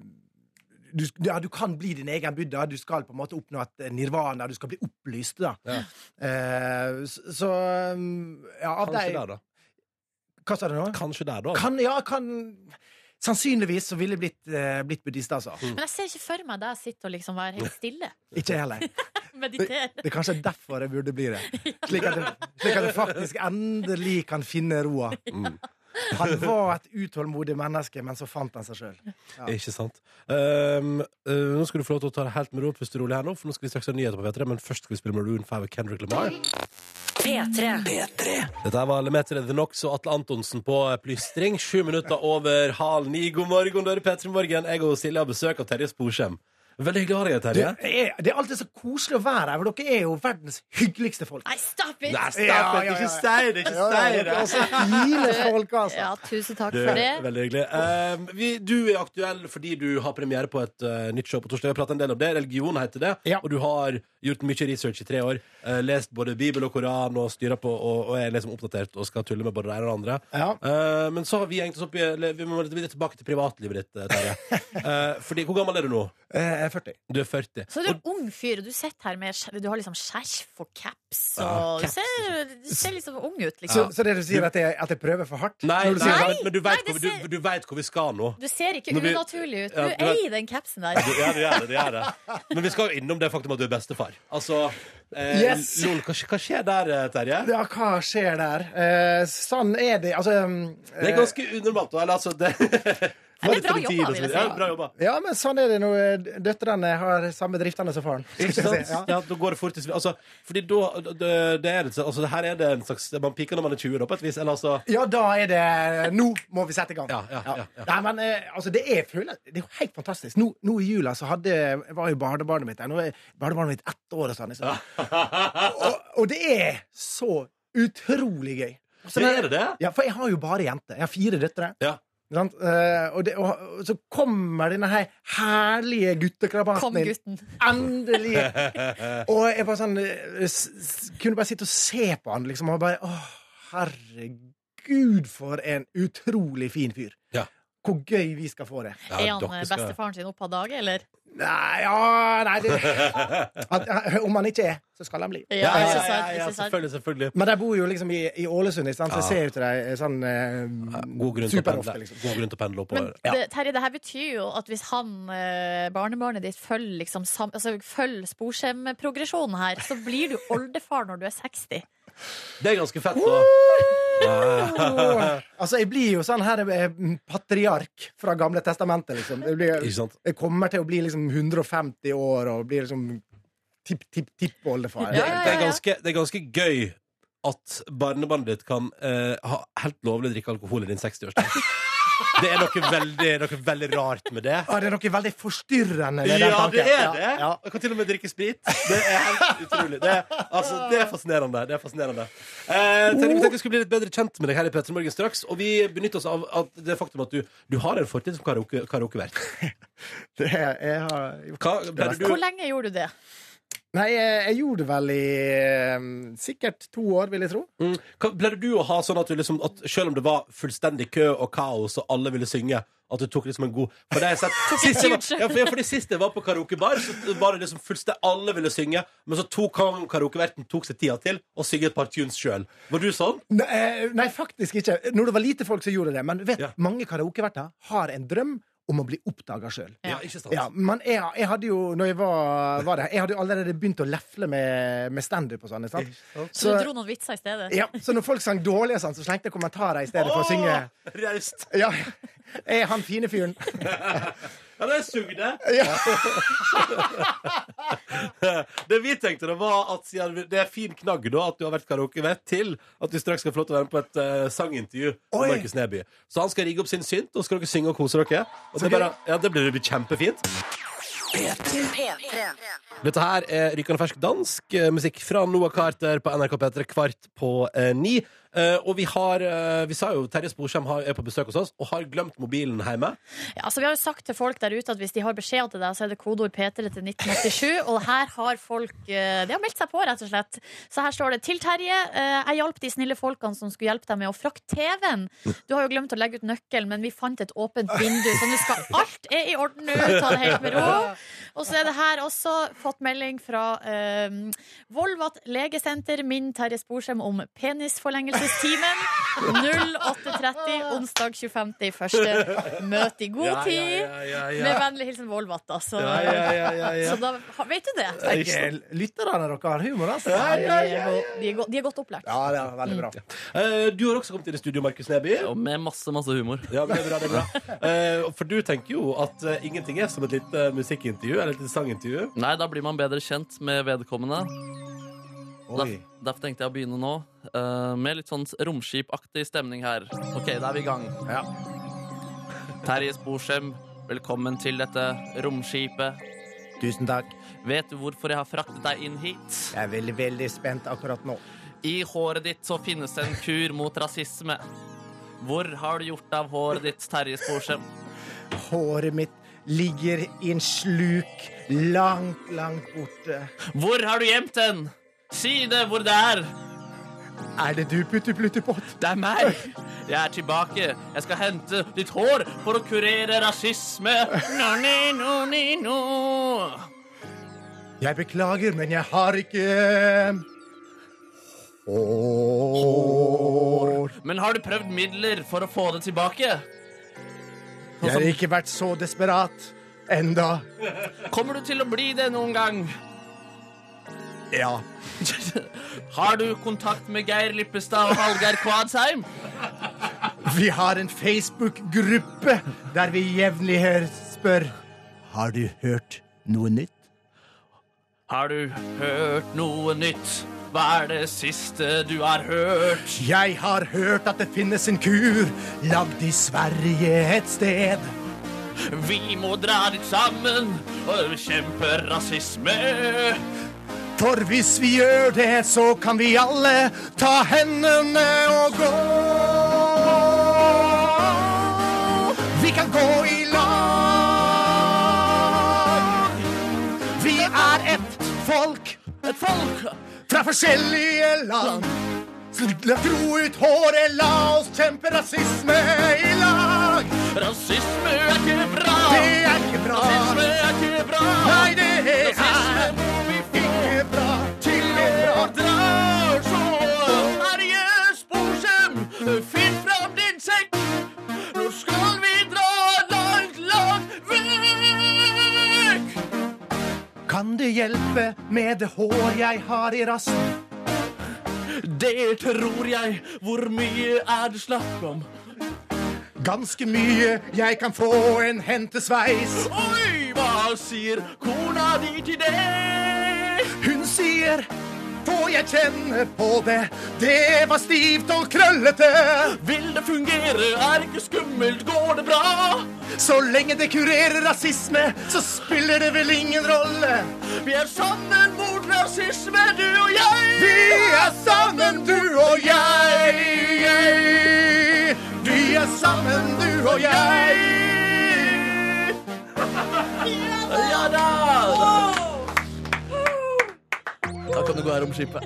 Speaker 9: du, ja, du kan bli din egen Buddha, du skal på en måte oppnå et eh, nirvana, du skal bli opplyst. da.
Speaker 2: Ja.
Speaker 9: Eh, s- så um, ja, av
Speaker 2: Kanskje
Speaker 9: de
Speaker 2: der, da.
Speaker 9: Hva sa du nå?
Speaker 2: Kanskje der, da.
Speaker 9: Kan, ja, kan Sannsynligvis så ville jeg blitt, eh, blitt buddhist, altså.
Speaker 2: Mm.
Speaker 3: Men jeg ser ikke for meg deg sitte og liksom være helt stille.
Speaker 9: Ikke jeg heller.
Speaker 3: Meditere.
Speaker 9: Det er kanskje derfor jeg burde bli det. Slik at jeg, slik at jeg faktisk endelig kan finne roa. Han var et utålmodig menneske, men så fant han seg sjøl.
Speaker 2: Ikke sant. Um, uh, nå skal du få lov til å ta det helt med ro, puste rolig her nå, for nå skal vi straks ha nyheter på P3, men først skal vi spille Maroon 5 og Kendrick Lamar.
Speaker 5: P3.
Speaker 2: Dette her var Lemeter The Knox og Atle Antonsen på eh, plystring. Sju minutter over halv ni. God morgen, dere P3 Morgen. Jeg og Silje har besøk av Terje Sporsem. Veldig hyggelig å ha deg her,
Speaker 9: Det
Speaker 2: Terje.
Speaker 9: er, det er alltid så koselig å være her, for dere er jo verdens hyggeligste folk.
Speaker 3: Nei, stop it!
Speaker 2: Nei,
Speaker 9: Ja, ja, ja.
Speaker 2: Ikke si det! Ikke si det!
Speaker 9: er så fine folk, altså.
Speaker 3: Ja, tusen takk
Speaker 2: Du,
Speaker 3: for det.
Speaker 2: Veldig hyggelig. Um, vi, du er aktuell fordi du har premiere på et uh, nytt show på torsdag. Vi har pratet en del om det. Religion heter det.
Speaker 9: Ja.
Speaker 2: Og du har gjort mye research i tre år. Uh, lest både Bibel og Koran og styret på og, og er liksom oppdatert og skal tulle med både det ene og det andre.
Speaker 9: Ja.
Speaker 2: Uh, men så har vi hengt oss opp i eller, Vi må litt litt tilbake til privatlivet ditt, uh, Terje. Uh, fordi, hvor gammel er du nå?
Speaker 9: Eh, Jeg er 40.
Speaker 2: Du er 40.
Speaker 3: Så er du en ung fyr, og du sitter her med skje- Du har liksom skjerf og caps, og du ser, du ser liksom ung ut,
Speaker 9: Så,
Speaker 3: liksom.
Speaker 9: så det du sier, at jeg, at jeg prøver for hardt?
Speaker 2: Nei,
Speaker 9: Når
Speaker 2: nei,
Speaker 9: du sier sånn,
Speaker 2: men- men du
Speaker 3: Nei,
Speaker 2: vet
Speaker 3: det
Speaker 2: hvor, vi-
Speaker 3: ser-
Speaker 2: du, du vet hvor vi skal nå.
Speaker 3: Du ser ikke
Speaker 2: Når vi-
Speaker 3: unaturlig
Speaker 2: Ja,
Speaker 3: ut. Du
Speaker 2: du vet-
Speaker 3: eier den capsen der.
Speaker 2: Ja, det gjør det. det gjør det Men vi skal jo innom det faktum at du er bestefar. Altså, eh,
Speaker 9: Yes!
Speaker 2: lol, hva, hva skjer der, eh, Terje?
Speaker 9: Ja, hva skjer der? Eh, sånn er det. Altså um,
Speaker 2: Det er ganske unormalt. Eller, altså, det,
Speaker 3: Nei, men bra jobba, vil jeg si.
Speaker 2: Ja, bra jobba.
Speaker 9: eh, Ja, men sånn er det når eh, døtrene har samme driftene som faren. skal
Speaker 2: Ikke
Speaker 9: jeg si.
Speaker 2: sant? Ja. da går det fort i sving. Altså, fordi da det, det er, det- altså, Her er det en slags Man piker når man er 20, da, på et vis. Eller altså
Speaker 9: Ja, da er det Nå må vi sette i gang.
Speaker 2: Ja, ja, ja, ja.
Speaker 9: Nei, men eh, altså, det er, jeg føler, det er jo helt fantastisk. Nå, nå i jula så hadde, var jo barnebarnet mitt der. Nå er barnebarnet mitt ett år og sånn. Liksom. Og, og det er så utrolig gøy. Altså,
Speaker 2: Det er det, det?
Speaker 9: Ja, for jeg har jo bare jenter. Jeg har fire døtre.
Speaker 2: Ja.
Speaker 9: Ikke Sant? Eh, og, det, og, og så kommer denne her herlige
Speaker 3: Kom,
Speaker 9: guttekrabaten inn.
Speaker 3: gutten.
Speaker 9: Endelig! Og jeg bare sånn eh, s s Kunne bare sitte og se på han, liksom. Og bare Å, herregud, for en utrolig fin fyr.
Speaker 2: Ja.
Speaker 9: Hvor gøy vi skal få det.
Speaker 2: Ja,
Speaker 3: Er han
Speaker 2: dere
Speaker 3: eh,
Speaker 2: skal-
Speaker 3: bestefaren sin opp av dage, eller?
Speaker 9: Nei, ja Nei, det at, Om han ikke er, så skal han bli.
Speaker 2: Ja, ja,
Speaker 3: ikke
Speaker 2: ja,
Speaker 3: sant,
Speaker 2: ja, ja,
Speaker 3: ikke sant.
Speaker 2: selvfølgelig. selvfølgelig.
Speaker 9: Men de bor jo liksom i, i Ålesund, ikke sant? så jeg ser jo til dem eh, sånn eh,
Speaker 2: God grunn til å
Speaker 9: superofte,
Speaker 2: pendle.
Speaker 9: liksom.
Speaker 2: God grunn til å pendle
Speaker 3: Men
Speaker 2: oppover. Ja.
Speaker 3: det, Terje, det her betyr jo at hvis han, eh, barnebarnet ditt, følger, liksom, sam, altså, følger sporskjemprogresjonen her, så blir du oldefar når du er 60.
Speaker 2: Det er ganske fett, da.
Speaker 9: Åh, altså, jeg blir jo sånn her eh, patriark fra Gamle testamentet, liksom. Jeg, blir,
Speaker 2: Ikke sant?
Speaker 9: jeg kommer til å bli liksom 150 år og blir liksom tipp-tipp-tippoldefar.
Speaker 2: Det,
Speaker 3: Ja, ja, ja,
Speaker 2: det, er
Speaker 3: ja.
Speaker 2: ganske, det er ganske gøy at barnebarnet ditt kan eh, ha helt lovlig å drikke alkohol i din 60-årsdag. Det er noe veldig, noe veldig rart med det.
Speaker 9: Ah, det er noe veldig forstyrrende ved den
Speaker 2: Ja,
Speaker 9: tanken.
Speaker 2: det er det!
Speaker 9: Ja, ja.
Speaker 2: Jeg kan til og med drikke sprit. Det er helt utrolig. Det er, altså, det er fascinerende. Det er fascinerende. Eh, Terje, vi tenkte vi skulle bli litt bedre kjent med deg her i Petter Morgen straks. Og vi benytter oss av at det faktum at du, du har en fortid som karaoke- karaokevert.
Speaker 9: Det er, jeg har gjort.
Speaker 2: Hva- ble du-
Speaker 3: Hvor lenge gjorde du det?
Speaker 9: Nei, jeg, jeg gjorde det vel i eh, sikkert to år, vil jeg tro.
Speaker 2: Mm. Hva- Ble det du å ha sånn at, du liksom, at selv om det var fullstendig kø og kaos og alle ville synge, at du tok liksom en god For det har jeg sett sist jeg var, ja, for, ja, for det siste jeg var på karaokebar, så var det liksom fullstendig alle ville synge, men så tok han karaokeverten tok seg tida til å synge et par tunes sjøl. Var du sånn?
Speaker 9: Nei, eh, nei, faktisk ikke. Når det var lite folk som gjorde det. Men vet,
Speaker 2: Ja.
Speaker 9: mange karaokeverter har en drøm om å bli oppdaga sjøl.
Speaker 2: Ja, ikke sant?
Speaker 9: Ja, men jeg, jeg hadde jo når jeg var, var der, jeg hadde jo allerede begynt å lefle med, med standup og sånn. ikke sant?
Speaker 2: Eh,
Speaker 3: Så
Speaker 9: Så-
Speaker 3: du dro noen vitser i stedet?
Speaker 9: Ja, så når folk sang dårlig, og sånn, så slengte jeg kommentarer i stedet for å synge.
Speaker 2: Åh, Raust.
Speaker 9: Ja, jeg er han fine fyren.
Speaker 2: Ja, det sugde.
Speaker 9: Ja.
Speaker 2: Det vi tenkte, da var at siden vi- det er fin knagg da at du har vært karaokevett til at du straks skal få lov til å være med på et eh, sangintervju med
Speaker 9: Oi.
Speaker 2: Markus Neby. Så han skal rigge opp sin synt, og så skal dere synge og kose dere. Og det, er bare, ja, det blir det blir kjempefint.
Speaker 10: P3.
Speaker 2: Dette her er Rykende fersk dansk eh, musikk fra Noah Carter på NRK P3 kvart på eh, ni. Eh, og vi har eh, Vi sa jo Terje Sporsheim har- er på besøk hos oss og har glemt mobilen hjemme.
Speaker 3: Ja, altså, vi har jo sagt til folk der ute at hvis de har beskjed til deg, så er det kodeord P3 til 1987. Og her har folk eh, De har meldt seg på, rett og slett. Så her står det til Terje. eh, Jeg hjalp de snille folkene som skulle hjelpe deg med å frakte TV-en. Du har jo glemt å legge ut nøkkelen, men vi fant et åpent vindu, så nå skal alt er i orden nå. Ta det helt med ro. Og så er det her også fått melding fra eh, Volvat legesenter. Minn Terje Sporsem om penisforlengelsestimen. 08.30 onsdag 25. i første. Møt i god tid. Med vennlig hilsen Volvat, da. Så,
Speaker 9: Ja, ja, ja, ja, ja.
Speaker 3: så da ha- vet du det.
Speaker 9: Tenk, Lytterne dere har humor, altså.
Speaker 3: Ja, de, er, go- de, er go de er godt opplært.
Speaker 9: Ja, det er veldig bra.
Speaker 2: Eh, du har også kommet inn i studio, Markus Neby.
Speaker 4: Og med masse, masse humor.
Speaker 2: Ja, men det er bra, det er bra. Eh, for du tenker jo at eh, ingenting er som et lite eh, musikkintervju eller et lite sangintervju.
Speaker 4: Nei, da blir man bedre kjent med vedkommende.
Speaker 9: Oi.
Speaker 4: Derf- derfor tenkte jeg å begynne nå, eh, med litt sånn romskipaktig stemning her. Ok, da er vi i gang.
Speaker 9: Ja.
Speaker 4: Terje Sporsem, velkommen til dette romskipet.
Speaker 9: Tusen takk.
Speaker 4: Vet du hvorfor jeg har fraktet deg inn hit?
Speaker 9: Jeg er veldig, veldig spent akkurat nå.
Speaker 4: I håret ditt så finnes det en kur mot rasisme. Hvor har du gjort av håret ditt, Terje Sporsem?
Speaker 9: Håret mitt ligger i en sluk langt, langt borte.
Speaker 4: Hvor har du gjemt den? Si det hvor det er!
Speaker 9: Er det du, Putti-Plutti-Pott?
Speaker 4: Det er meg! Jeg er tilbake. Jeg skal hente ditt hår for å kurere rasisme. No, ni, no, ni, no.
Speaker 9: Jeg beklager, men jeg har ikke Hår
Speaker 4: Men har du prøvd midler for å få det tilbake?
Speaker 9: Jeg har ikke vært så desperat enda.
Speaker 4: Kommer du til å bli det noen gang?
Speaker 9: Ja.
Speaker 4: Har du kontakt med Geir Lippestad og Hallgeir Kvadsheim?
Speaker 9: Vi har en Facebook-gruppe der vi jevnlig hø- spør Har du hørt noe nytt?
Speaker 4: Har du hørt noe nytt? Hva er det siste du har hørt?
Speaker 9: Jeg har hørt at det finnes en kur lagd i Sverige et sted.
Speaker 4: Vi må dra dit sammen og bekjempe rasisme.
Speaker 9: For hvis vi gjør det, så kan vi alle ta hendene og gå. Vi kan gå i lag. Vi er ett folk
Speaker 4: Et folk!
Speaker 9: fra forskjellige land. Så La gro ut håret, la oss kjempe rasisme i lag.
Speaker 4: Rasisme er ikke bra!
Speaker 9: Det er ikke bra.
Speaker 4: Rasisme er ikke bra!
Speaker 9: Nei, det er
Speaker 4: Rasisme må vi
Speaker 9: ikke bra. Til
Speaker 4: få
Speaker 9: og
Speaker 4: dra så. Terje Sporsem, finn fram din sekk. Nå skal vi dra langt, langt vekk!
Speaker 9: Kan det hjelpe med det hår jeg har i rassen?
Speaker 4: Det tror jeg. Hvor mye er det snakk om?
Speaker 9: Ganske mye, jeg kan få en hentesveis.
Speaker 4: Oi, hva sier kona di til det?
Speaker 9: Hun sier, får jeg kjenne på det, det var stivt og krøllete.
Speaker 4: Vil det fungere? Er ikke skummelt? Går det bra?
Speaker 9: Så lenge det kurerer rasisme, så spiller det vel ingen rolle.
Speaker 4: Vi er sammen mot rasisme, du og jeg.
Speaker 9: Vi er sammen, du og jeg. Vi er sammen, du og jeg.
Speaker 4: Ja da! Da kan du gå her om skipet.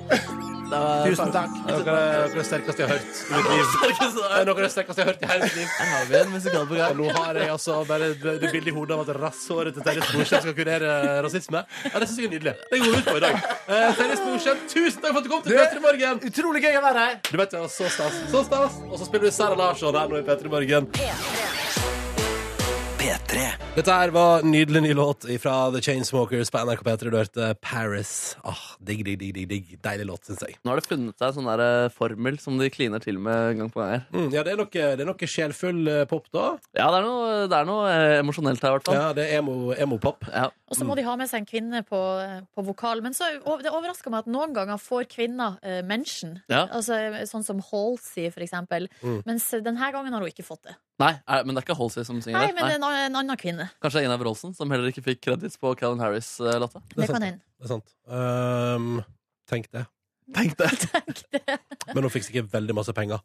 Speaker 4: Det var-
Speaker 9: Tusen takk.
Speaker 2: Det er noe av det sterkeste jeg har hørt i mitt liv. Det er noe av det sterkeste jeg har hørt i hele mitt liv.
Speaker 4: Her har vi en musikal på
Speaker 2: Og
Speaker 4: gang.
Speaker 2: nå har jeg altså bare det bildet i hodet av at rasshåret til Terje Sporsem skal kurere rasisme. Ja, Det syns jeg er nydelig. Det går vi ut på i dag. Eh, Terje Sporsem, tusen takk for at du kom til Petter i morgen.
Speaker 9: Utrolig gøy å være her.
Speaker 2: Du vet, ja, så stas. Så stas. Og så spiller du Sara Larsson her nå i P3 Morgen.
Speaker 11: P3.
Speaker 2: Dette her var nydelig ny låt fra The Chainsmokers på NRK P3. Du hørte Paris. Ah, digg, digg, digg, digg, digg. Deilig låt, syns jeg.
Speaker 4: Nå har det funnet seg en sånn der, eh, formel som de kliner til med gang på gang her.
Speaker 2: Mm, ja, det er noe, det er noe sjelfull eh, pop, da.
Speaker 4: Ja, det er noe, det er noe eh, emosjonelt her, i hvert fall.
Speaker 2: Ja, det er emo- emo-pop.
Speaker 4: Ja.
Speaker 3: Og så må de ha med seg en kvinne på, eh, på vokal. Men så, og det overrasker meg at noen ganger får kvinner eh, mensen.
Speaker 4: Ja.
Speaker 3: Altså, sånn som Halsey, for eksempel. Mens denne gangen har hun ikke fått det.
Speaker 4: Nei, er- men det er ikke Halsey som synger
Speaker 3: Nei,
Speaker 4: det.
Speaker 3: men det er en, an- en annen kvinne.
Speaker 4: Kanskje det er Einar Wroldsen, som heller eh, ikke fikk kredits på Calvin Harris-låta.
Speaker 2: er
Speaker 3: Det
Speaker 2: sant.
Speaker 3: kan hende.
Speaker 2: Det er sant. Ehm, tenk det.
Speaker 4: Tenk det.
Speaker 2: Men hun fikk sikkert veldig masse penger.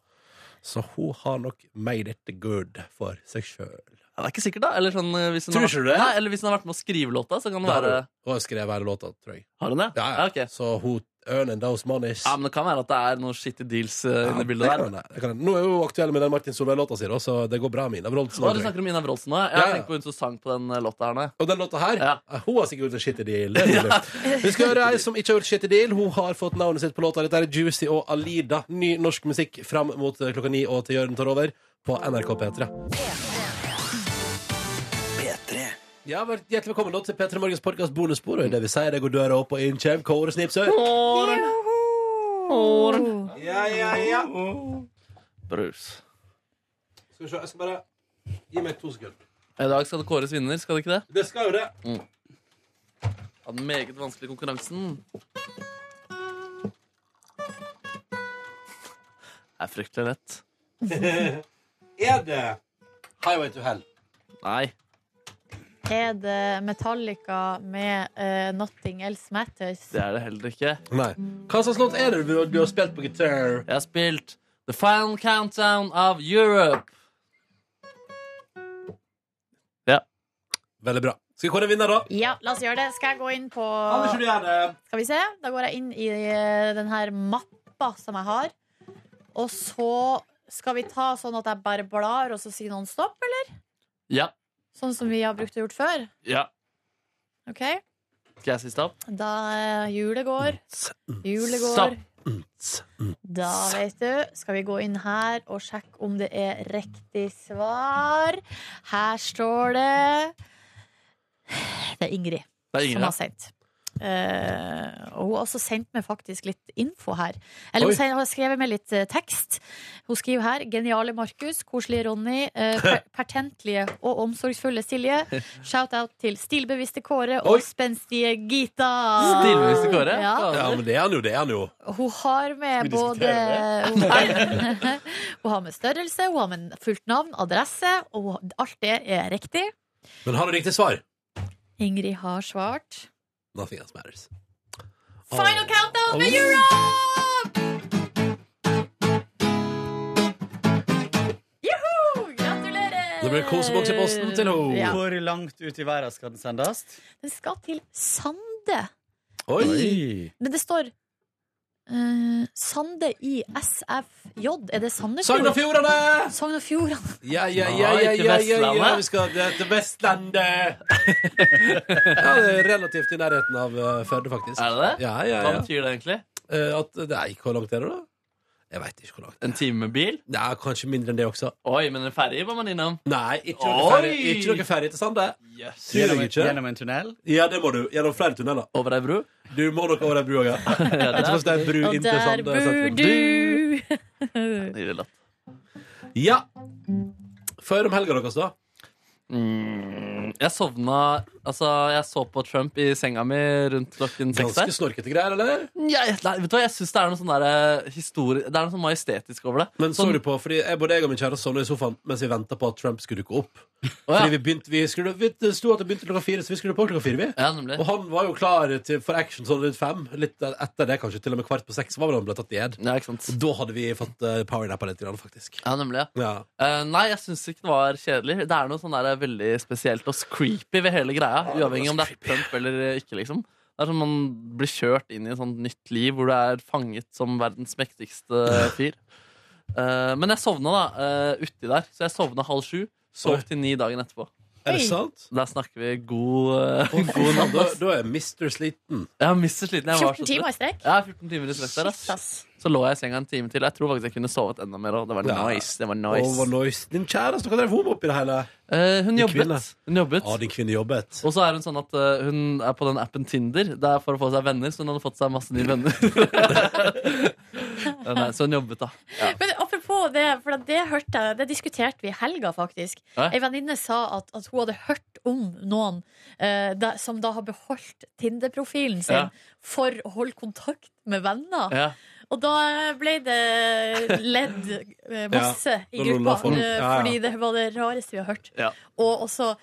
Speaker 2: Så hun har nok made it good for seg sjøl.
Speaker 4: Ja, det er ikke sikkert, da. Eller sånn, eh, hvis hun
Speaker 9: Tror
Speaker 4: har,
Speaker 9: ikke du det?
Speaker 4: Nei, eller hvis hun har vært med å skrive låta, så kan det
Speaker 2: Hun
Speaker 4: være
Speaker 2: har skrevet hele låta, tror jeg.
Speaker 9: Har den det?
Speaker 2: Ja, ja.
Speaker 4: Ja, ok.
Speaker 2: Så hun earning those monies.
Speaker 4: Ja, men Det kan være at det er noen shitty deals eh,
Speaker 2: Ja,
Speaker 4: inni
Speaker 2: det
Speaker 4: bildet
Speaker 2: kan
Speaker 4: der.
Speaker 2: hende, det kan hende. Nå er hun aktuell med den Martin Solveig-låta si, da, så det går bra med Ina Wroldsen.
Speaker 4: Hva er det
Speaker 2: også, tror jeg.
Speaker 4: du snakker om Ina Wroldsen nå? Jeg
Speaker 2: Ja, ja.
Speaker 4: har tenkt på hun som sang på den eh, låta her nå.
Speaker 2: Og den låta her,
Speaker 4: Ja.
Speaker 2: eh, hun har sikkert gjort en shitty deal. Det er nydelig. Vi skal høre ei som ikke har gjort shitty deal. Hun har fått navnet sitt på låta. Dette er Juicy og Alida. Ny norsk musikk fram mot eh, klokka ni og til Jørgen tar over på NRK P3.
Speaker 1: P3.
Speaker 2: Ja, vel, Hjertelig velkommen da til P3 Morgens podkast bonusspor. Og i det vi sier, det går døra opp og inn kommer Kåre Snipsøy. Ja, ja, ja.
Speaker 4: Brus.
Speaker 2: Skal vi se, jeg skal bare Gi meg to sekunder.
Speaker 4: I dag skal det kåres vinner, skal det ikke det?
Speaker 2: Det skal jo det.
Speaker 4: Av den meget vanskelige konkurransen. Det er fryktelig lett.
Speaker 2: Er det Highway to Hell?
Speaker 4: Nei.
Speaker 3: Er det Metallica med eh, 'Nothing Else Matters'?
Speaker 4: Det er det heller ikke.
Speaker 2: Nei. Hva slags låt er det du, du har spilt på gitar?
Speaker 4: Jeg har spilt The Final Countdown of Europe.
Speaker 2: Veldig bra. Skal vi kåre en vinner, da?
Speaker 3: Ja, la oss gjøre det. Skal jeg gå inn på
Speaker 2: du gjør det?
Speaker 3: Skal vi se. Da går jeg inn i eh, den her mappa som jeg har. Og så skal vi ta sånn at jeg bare blar, og så sier noen stopp, eller?
Speaker 4: Ja.
Speaker 3: Sånn som vi har brukt å gjort før.
Speaker 4: ja.
Speaker 3: OK?
Speaker 4: Skal jeg si stopp?
Speaker 3: Da eh, hjulet går. Hjulet
Speaker 4: Stopp.
Speaker 3: går. Da vet du, skal vi gå inn her og sjekke om det er riktig svar. Her står det Det er Ingrid
Speaker 4: Det er
Speaker 3: som har
Speaker 4: Ingrid.
Speaker 3: sendt. Eh, og hun har også sendt meg faktisk litt info her. Eller
Speaker 2: Oi.
Speaker 3: hun sen- har skrevet med litt eh, tekst. Hun skriver her 'Geniale Markus, koselige Ronny, eh, per pertentlige og omsorgsfulle Silje'. Shout-out til stilbevisste Kåre og
Speaker 2: Oi.
Speaker 3: spenstige Gita.
Speaker 4: Stilbevisste Kåre.
Speaker 3: Ja.
Speaker 2: Ja, men det er han jo, det er han jo.
Speaker 3: Hun har med
Speaker 9: Skal vi diskutere
Speaker 3: både hun har, hun har med størrelse, hun har med fullt navn, adresse, og hun- alt det er riktig.
Speaker 2: Men har du riktig svar?
Speaker 3: Ingrid har svart.
Speaker 2: Nothing else matters.
Speaker 3: Final countdown med Europe! Juhu! Gratulerer!
Speaker 2: Det blir koseboks i posten til henne.
Speaker 3: Ja.
Speaker 9: Hvor langt ut i verden skal den sendes?
Speaker 3: Den skal til Sande.
Speaker 2: Oi.
Speaker 3: Men det står eh, Sande i SFJ. Er det
Speaker 2: Sogn og
Speaker 3: Sandefjord?
Speaker 2: Fjordane!
Speaker 3: Sogn og Fjordane.
Speaker 2: Ja, ja, ja,
Speaker 4: Nei,
Speaker 2: ja,
Speaker 4: til
Speaker 2: ja, ja, ja.
Speaker 4: Vestlandet.
Speaker 2: Vi skal til, til Vestlandet! ja, det er relativt i nærheten av eh, Førde, faktisk.
Speaker 4: Er det det?
Speaker 2: Ja, ja,
Speaker 4: Hva
Speaker 2: ja.
Speaker 4: betyr det egentlig?
Speaker 2: Eh, at, nei, hvor langt er det, da? Jeg veit ikke hvor langt.
Speaker 4: En time med bil?
Speaker 2: Det er kanskje mindre enn det også.
Speaker 4: Oi, men en ferge var man innom.
Speaker 2: Nei, ikke noe ferie,
Speaker 4: Oi!
Speaker 2: ikke noe ferie til Sande.
Speaker 4: Yes.
Speaker 2: Tror
Speaker 9: Gjennom,
Speaker 2: jeg ikke.
Speaker 9: gjennom en tunnel?
Speaker 2: Ja, det må du. Gjennom flere tunneler.
Speaker 4: Over ei bro?
Speaker 2: Du må nok over den brua. ja.
Speaker 4: Ja,
Speaker 2: Jeg
Speaker 4: det
Speaker 2: tror
Speaker 4: er
Speaker 2: faktisk det er en bru
Speaker 3: Og
Speaker 2: inntil
Speaker 3: der
Speaker 2: Sande
Speaker 3: bor
Speaker 2: sentrum.
Speaker 3: du.
Speaker 4: Nydelig latt.
Speaker 2: Ja. Før om helga deres, da?
Speaker 4: Mm, jeg sovna Altså, jeg så på Trump i senga mi rundt klokken seks
Speaker 2: Ganske
Speaker 4: der.
Speaker 2: snorkete greier, eller?
Speaker 4: Ja, jeg- nei, vet du hva, jeg syns det er noe sånn der, eh, historie Det er noe sånn majestetisk over det.
Speaker 2: Men så
Speaker 4: Sånn-
Speaker 2: du på, fordi jeg, både jeg og min kjære sovna i sofaen mens vi venta på at Trump skulle dukke opp.
Speaker 4: Å,
Speaker 2: Fordi
Speaker 4: ja.
Speaker 2: vi begynte, vi skulle, vi, Det sto at det begynte klokka fire, så vi skulle på klokka fire. vi
Speaker 4: ja, nemlig.
Speaker 2: Og han var jo klar til, for action sånn rundt fem. Litt etter det, kanskje. Til og med kvart på seks var vel han ble tatt i ed.
Speaker 4: Ja, ikke sant.
Speaker 2: Da hadde vi fått uh, powernappa litt, grann, faktisk.
Speaker 4: Ja, nemlig, ja.
Speaker 2: Ja.
Speaker 4: Eh, nei, jeg syns ikke det var kjedelig. Det er noe sånn der veldig spesielt og creepy ved hele greia. Uavhengig om det er Trump eller ikke, liksom. Det er som man blir kjørt inn i et sånt nytt liv hvor du er fanget som verdens mektigste fyr. Eh, men jeg sovna da, eh, uti der. Så jeg sovna halv sju.
Speaker 2: Oi.
Speaker 4: Sov til ni dagen etterpå.
Speaker 2: Er
Speaker 3: Oi.
Speaker 2: det sant?
Speaker 4: Der snakker vi god, eh, god
Speaker 2: Da,
Speaker 4: natt. ass.
Speaker 2: da er Mr. sliten.
Speaker 4: Jeg har mistet sliten. Jeg var
Speaker 3: 14
Speaker 4: så sliten.
Speaker 3: timer i strekk.
Speaker 4: Ja, 14 timer i strekk der. ass.
Speaker 3: Shit, ass.
Speaker 4: Så lå jeg i senga en time til. Jeg tror faktisk jeg kunne sovet enda mer. Og det var
Speaker 2: Ja.
Speaker 4: nice. Det var
Speaker 2: Og var
Speaker 4: nice.
Speaker 2: nice. Din kjæreste, hva drev hun med oppi det hele?
Speaker 4: Eh, hun,
Speaker 2: Din
Speaker 4: jobbet.
Speaker 2: kvinne.
Speaker 4: hun jobbet.
Speaker 2: Ja, din kvinne jobbet.
Speaker 4: Og så er hun sånn at eh, hun er på den appen Tinder Det er for å få seg venner, så hun hadde fått seg masse nye venner. Ja, Nei, så hun jobbet, da.
Speaker 3: Men apropos det, for at det hørte jeg, det diskuterte vi i helga, faktisk.
Speaker 4: Hæ?
Speaker 3: Ei venninne sa at, at hun hadde hørt om noen eh, da, som da har beholdt Tinder-profilen sin
Speaker 4: Ja.
Speaker 3: for å holde kontakt med venner.
Speaker 4: Ja.
Speaker 3: Og da ble det ledd eh, masse
Speaker 2: Ja,
Speaker 3: i
Speaker 2: da lo la
Speaker 3: gruppa,
Speaker 2: folk.
Speaker 3: eh,
Speaker 2: Ja, ja.
Speaker 3: fordi det var det rareste vi har hørt.
Speaker 4: Ja.
Speaker 3: Og også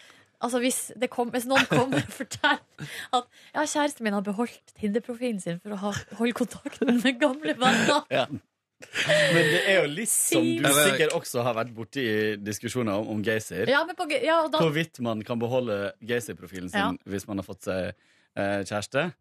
Speaker 3: Altså hvis, det kom, hvis noen kommer og forteller at ja, kjæresten min har beholdt Tinder-profilen sin for å ha, holde kontakten med gamle venner.
Speaker 9: Ja. Men det er jo litt som du
Speaker 3: Sier-
Speaker 9: sikkert også har vært borti i diskusjoner om, om gaysir.
Speaker 3: Ja, men på, ge- ja, og da,
Speaker 9: Hvorvidt man kan beholde gaysir-profilen sin
Speaker 3: Ja.
Speaker 9: hvis man har fått seg eh, kjæreste.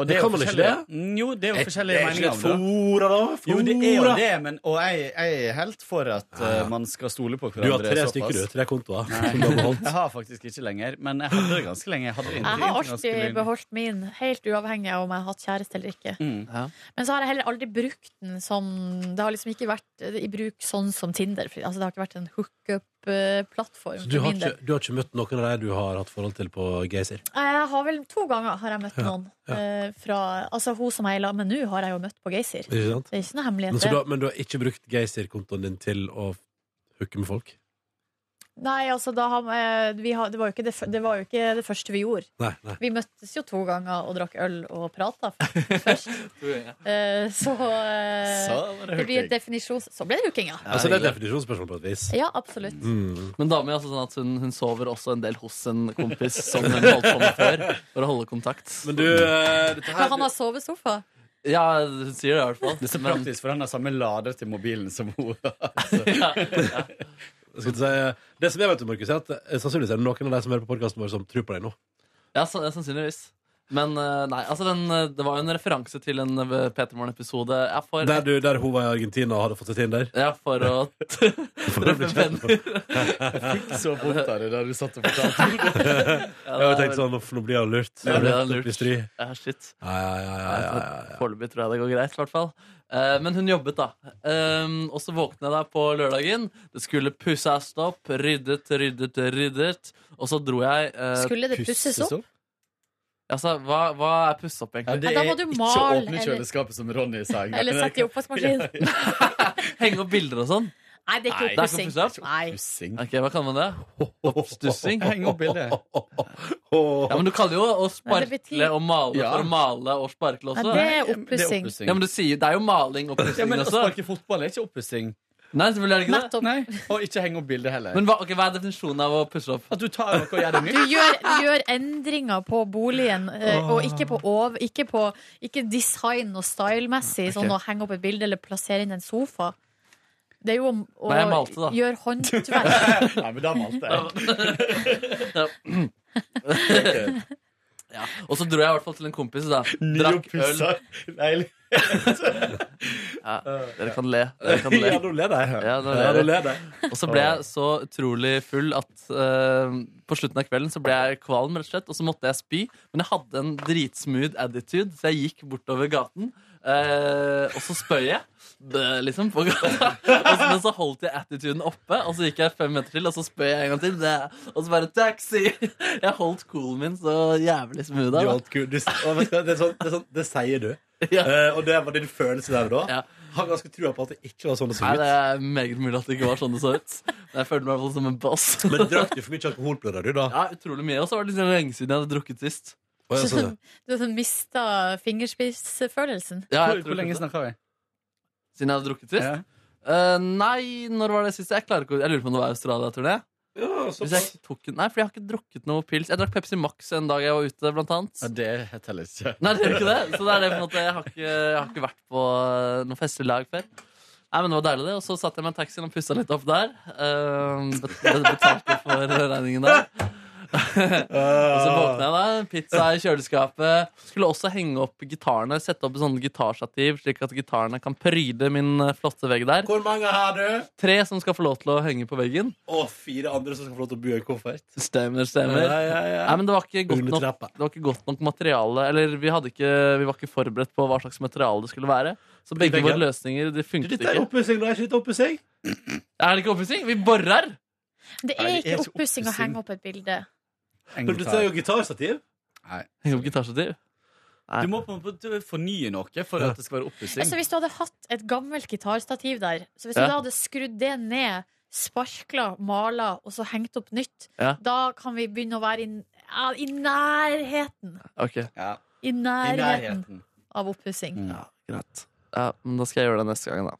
Speaker 9: Og
Speaker 2: Det
Speaker 9: er jo
Speaker 2: kan man ikke
Speaker 9: forskjellige- Mm, Jo, det er jo forskjellige meninger om det. da.
Speaker 2: fora, da?
Speaker 9: Jo, det er jo det, men, og jeg, jeg er helt for at
Speaker 2: Ja.
Speaker 9: eh, man skal stole på
Speaker 2: Du
Speaker 9: hverandre.
Speaker 2: har tre
Speaker 9: såpass.
Speaker 2: stykker, du. Tre kontoer.
Speaker 9: Nei.
Speaker 2: Som du har beholdt.
Speaker 9: Jeg har faktisk ikke lenger, men jeg hadde det ganske lenge. Jeg, hadde det inntil
Speaker 3: jeg har
Speaker 9: ganske lenge.
Speaker 3: alltid beholdt min, helt uavhengig av om jeg har hatt kjæreste eller ikke.
Speaker 9: Mm.
Speaker 3: Men så har jeg heller aldri brukt den som Det har liksom ikke vært i bruk sånn som Tinder. for- Altså, det har ikke vært en hookup-plattform.
Speaker 2: Så du har, ikke, du har ikke møtt noen av de du har hatt forhold til på Geysir?
Speaker 3: Eh, Jeg har vel To ganger har jeg møtt noen.
Speaker 2: ja.
Speaker 3: eh, Fra, altså Hun som jeg er i lag med nå, har jeg jo møtt på Geysir.
Speaker 2: Ikke sant?
Speaker 3: Det er ikke noe
Speaker 2: Men,
Speaker 3: hemmelighet.
Speaker 2: så
Speaker 3: det.
Speaker 2: du har, men du har ikke brukt Geysir-kontoen din til å hooke med folk?
Speaker 3: Nei, altså da har, eh, vi har, det, var jo ikke det, f- det var jo ikke det første vi gjorde.
Speaker 2: Nei. nei.
Speaker 3: Vi møttes jo to ganger og drakk øl og prata først. Eh, så eh,
Speaker 9: Så var det
Speaker 3: det blir et
Speaker 9: hurtig.
Speaker 3: definisjon Så ble det hooking, ja.
Speaker 2: Altså, det er et definisjonsspørsmål på et vis.
Speaker 3: Ja, absolutt.
Speaker 2: Mm.
Speaker 4: Men damer er altså sånn at hun, hun sover også en del hos en kompis som hun holdt på med før, for å holde kontakt.
Speaker 2: Men du, eh, dette
Speaker 3: Kan
Speaker 2: her
Speaker 3: han ha sovesofa?
Speaker 4: Ja, hun sier det i hvert fall.
Speaker 9: Det er så
Speaker 4: Men,
Speaker 9: praktisk, for han har samme lader til mobilen som hun har.
Speaker 2: skal jeg si, eh, Det som jeg vet, Markus, er at eh, sannsynligvis er det noen av de som hører på podkasten vår, som tror på deg nå.
Speaker 4: ja, så, ja, sannsynligvis. Men eh, nei, altså den, eh, det var jo en referanse til en eh, Peter Morgen-episode. Ja, for,
Speaker 2: Der, du, der hun var i Argentina og hadde fått seg Tinder.
Speaker 4: ja, for å treffe venner.
Speaker 9: Så vondt av det da du satt og fortalte.
Speaker 2: Jeg
Speaker 4: Ja,
Speaker 2: har
Speaker 4: det er
Speaker 2: tenkt sånn, uff, nå blir han lurt.
Speaker 4: Ja, det er
Speaker 2: Opp i
Speaker 4: lurt.
Speaker 2: stry.
Speaker 4: vel- ja, shit.
Speaker 2: Ja, ja, ja, ja, ja, ja, ja.
Speaker 4: Foreløpig tror jeg det går greit, i hvert fall. Eh, men hun jobbet, da. Ehm, og så våkna jeg da på lørdagen. Det skulle pusses opp. Ryddet, ryddet, ryddet. Og så dro jeg eh,
Speaker 3: Skulle det pusses opp?
Speaker 4: Altså, hva, hva er pusse opp, egentlig?
Speaker 9: det
Speaker 3: Ja, da
Speaker 9: er
Speaker 3: må du
Speaker 9: ikke å
Speaker 3: male,
Speaker 9: åpne
Speaker 3: eller-
Speaker 9: kjøleskapet, som Ronny sa.
Speaker 3: Eller sette i oppvaskmaskinen?
Speaker 4: Henge opp bilder og sånn?
Speaker 3: Nei, det er ikke
Speaker 9: Nei, det er
Speaker 4: ikke
Speaker 3: oppussing.
Speaker 4: oppussing.
Speaker 3: Nei.
Speaker 9: Pussing.
Speaker 4: Ok, Hva kaller man det? Oppstussing?
Speaker 9: Heng opp bildet.
Speaker 4: Ja, men Du kaller jo å
Speaker 3: Nei, det betyr-
Speaker 4: sparkle og male
Speaker 9: Ja.
Speaker 4: for å male og sparkle
Speaker 3: Nei,
Speaker 4: også.
Speaker 3: det er oppussing.
Speaker 9: Det er
Speaker 4: Ja, men du sier, det er jo maling og
Speaker 9: Ja,
Speaker 4: pussing
Speaker 9: men Å
Speaker 4: også.
Speaker 9: sparke fotball er ikke oppussing.
Speaker 4: Nei, selvfølgelig er det ikke det.
Speaker 3: Nettopp.
Speaker 9: Nei, Og ikke henge opp bildet heller.
Speaker 4: Men hva, ok, hva er definisjonen av å pusse opp?
Speaker 9: At du tar noe og gjør det
Speaker 3: Du
Speaker 9: nytt.
Speaker 3: gjør, du gjør endringer på boligen, eh, og ikke på ov, ikke, på, ikke design og stylemessig, sånn å henge opp et bilde eller plassere inn en sofa. Det er jo om å
Speaker 4: Nei, jeg malte, da.
Speaker 3: gjøre håndverk.
Speaker 9: Nei, men da malte jeg.
Speaker 4: Ja. Og så dro jeg i hvert fall til en kompis. da Drakk øl.
Speaker 9: Nyoppussa leilighet.
Speaker 4: Ja, dere kan le. Dere kan le.
Speaker 2: Ja, nå ler jeg.
Speaker 4: Ja, nå
Speaker 2: Ja,
Speaker 4: ler
Speaker 2: nå
Speaker 4: jeg.
Speaker 2: ler jeg.
Speaker 4: Og så ble jeg så utrolig full at eh, på slutten av kvelden så ble jeg kvalm, rett og slett, og så måtte jeg spy. Men jeg hadde en dritsmooth attitude, så jeg gikk bortover gaten. eh, og så spøy jeg, Bø, liksom, på gata. Og så, men så holdt jeg attituden oppe, og så gikk jeg fem meter til, og så spøy jeg en gang til. Bø. Og så bare taxi! Jeg holdt coolen min så jævlig smooth.
Speaker 2: Du
Speaker 4: da.
Speaker 2: er alt kul. Du, og vet du, hva, det, er sånn, det, er sånn, det sier du.
Speaker 4: Ja.
Speaker 2: Eh, og det var din følelse der og da.
Speaker 4: Ja.
Speaker 2: Har ganske trua på at det ikke var sånn det så
Speaker 4: Nei,
Speaker 2: ut.
Speaker 4: det er meget mulig at det ikke var sånn det så ut. Men jeg følte meg i hvert fall som en boss.
Speaker 2: Men drakk du for mye alkoholplødder, du, da?
Speaker 4: Ja, utrolig mye. Og så var det liksom lenge siden jeg hadde drukket sist.
Speaker 2: Å, ja, sånn, ja.
Speaker 3: Du har mista fingerspissfølelsen.
Speaker 4: Ja,
Speaker 9: Hvor,
Speaker 4: jeg tror
Speaker 9: hvor lenge
Speaker 4: kanskje det.
Speaker 9: snakka vi?
Speaker 4: Siden jeg hadde drukket sist?
Speaker 9: Ja.
Speaker 4: Eh, nei, når var det sist? Jeg klarer ikke å- Jeg lurer på om det var Australia-turné. Hvis jeg ikke tok en- Nei, for jeg har ikke drukket noe pils. Jeg drakk Pepsi Max en dag jeg var ute, blant annet.
Speaker 9: Ja, det teller ikke.
Speaker 4: Nei, det gjør ikke det. Så det er det på en måte. Jeg har ikke, jeg har ikke vært på eh, noen festlig lag før. Nei, men det var deilig, det. Og så satte jeg meg i taxien og pussa litt opp der. Eh, bet- betalte for regningen der. Og så våkna jeg da, pizza i kjøleskapet. Skulle også henge opp gitarene, sette opp sånne gitarstativ, slik at gitarene kan pryde min eh, flotte vegg der.
Speaker 2: Hvor mange har du?
Speaker 4: Tre som skal få lov til å henge på veggen.
Speaker 2: Og fire andre som skal få lov til å bo i en koffert.
Speaker 4: Stemmer, stemmer.
Speaker 2: Ja, ja, ja.
Speaker 4: Nei, men det var ikke godt
Speaker 2: Under
Speaker 4: nok,
Speaker 2: trappa.
Speaker 4: det var ikke godt nok materiale. Eller vi, hadde ikke, vi var ikke forberedt på hva slags materiale det skulle være. Så begge
Speaker 2: Begge.
Speaker 4: våre løsninger de funket
Speaker 2: Dette er
Speaker 4: ikke.
Speaker 2: oppussing, da. Er ikke dette oppussing?
Speaker 4: Er det ikke oppussing? Vi borer!
Speaker 3: Det er
Speaker 9: Nei, det
Speaker 3: ikke
Speaker 9: er ikke
Speaker 3: oppussing å
Speaker 9: oppussing.
Speaker 3: henge opp et bilde.
Speaker 9: En
Speaker 2: Men dette er
Speaker 9: gitar.
Speaker 2: jo gitarstativ.
Speaker 9: Nei.
Speaker 4: Henge opp gitarstativ.
Speaker 9: Du må på en måte fornye noe for at det skal være
Speaker 3: Altså,
Speaker 9: oppussing.
Speaker 3: hvis du hadde hatt et gammelt gitarstativ der, så hvis du
Speaker 4: Ja.
Speaker 3: da hadde skrudd det ned, sparkla, mala og så hengt opp nytt,
Speaker 4: Ja.
Speaker 3: da kan vi begynne å være i, ja, i nærheten.
Speaker 4: Ok,
Speaker 9: Ja,
Speaker 3: I
Speaker 9: I
Speaker 3: nærheten
Speaker 9: nærheten.
Speaker 3: av oppussing.
Speaker 9: Mm.
Speaker 4: greit. Ja, men da skal jeg gjøre det neste gang, da.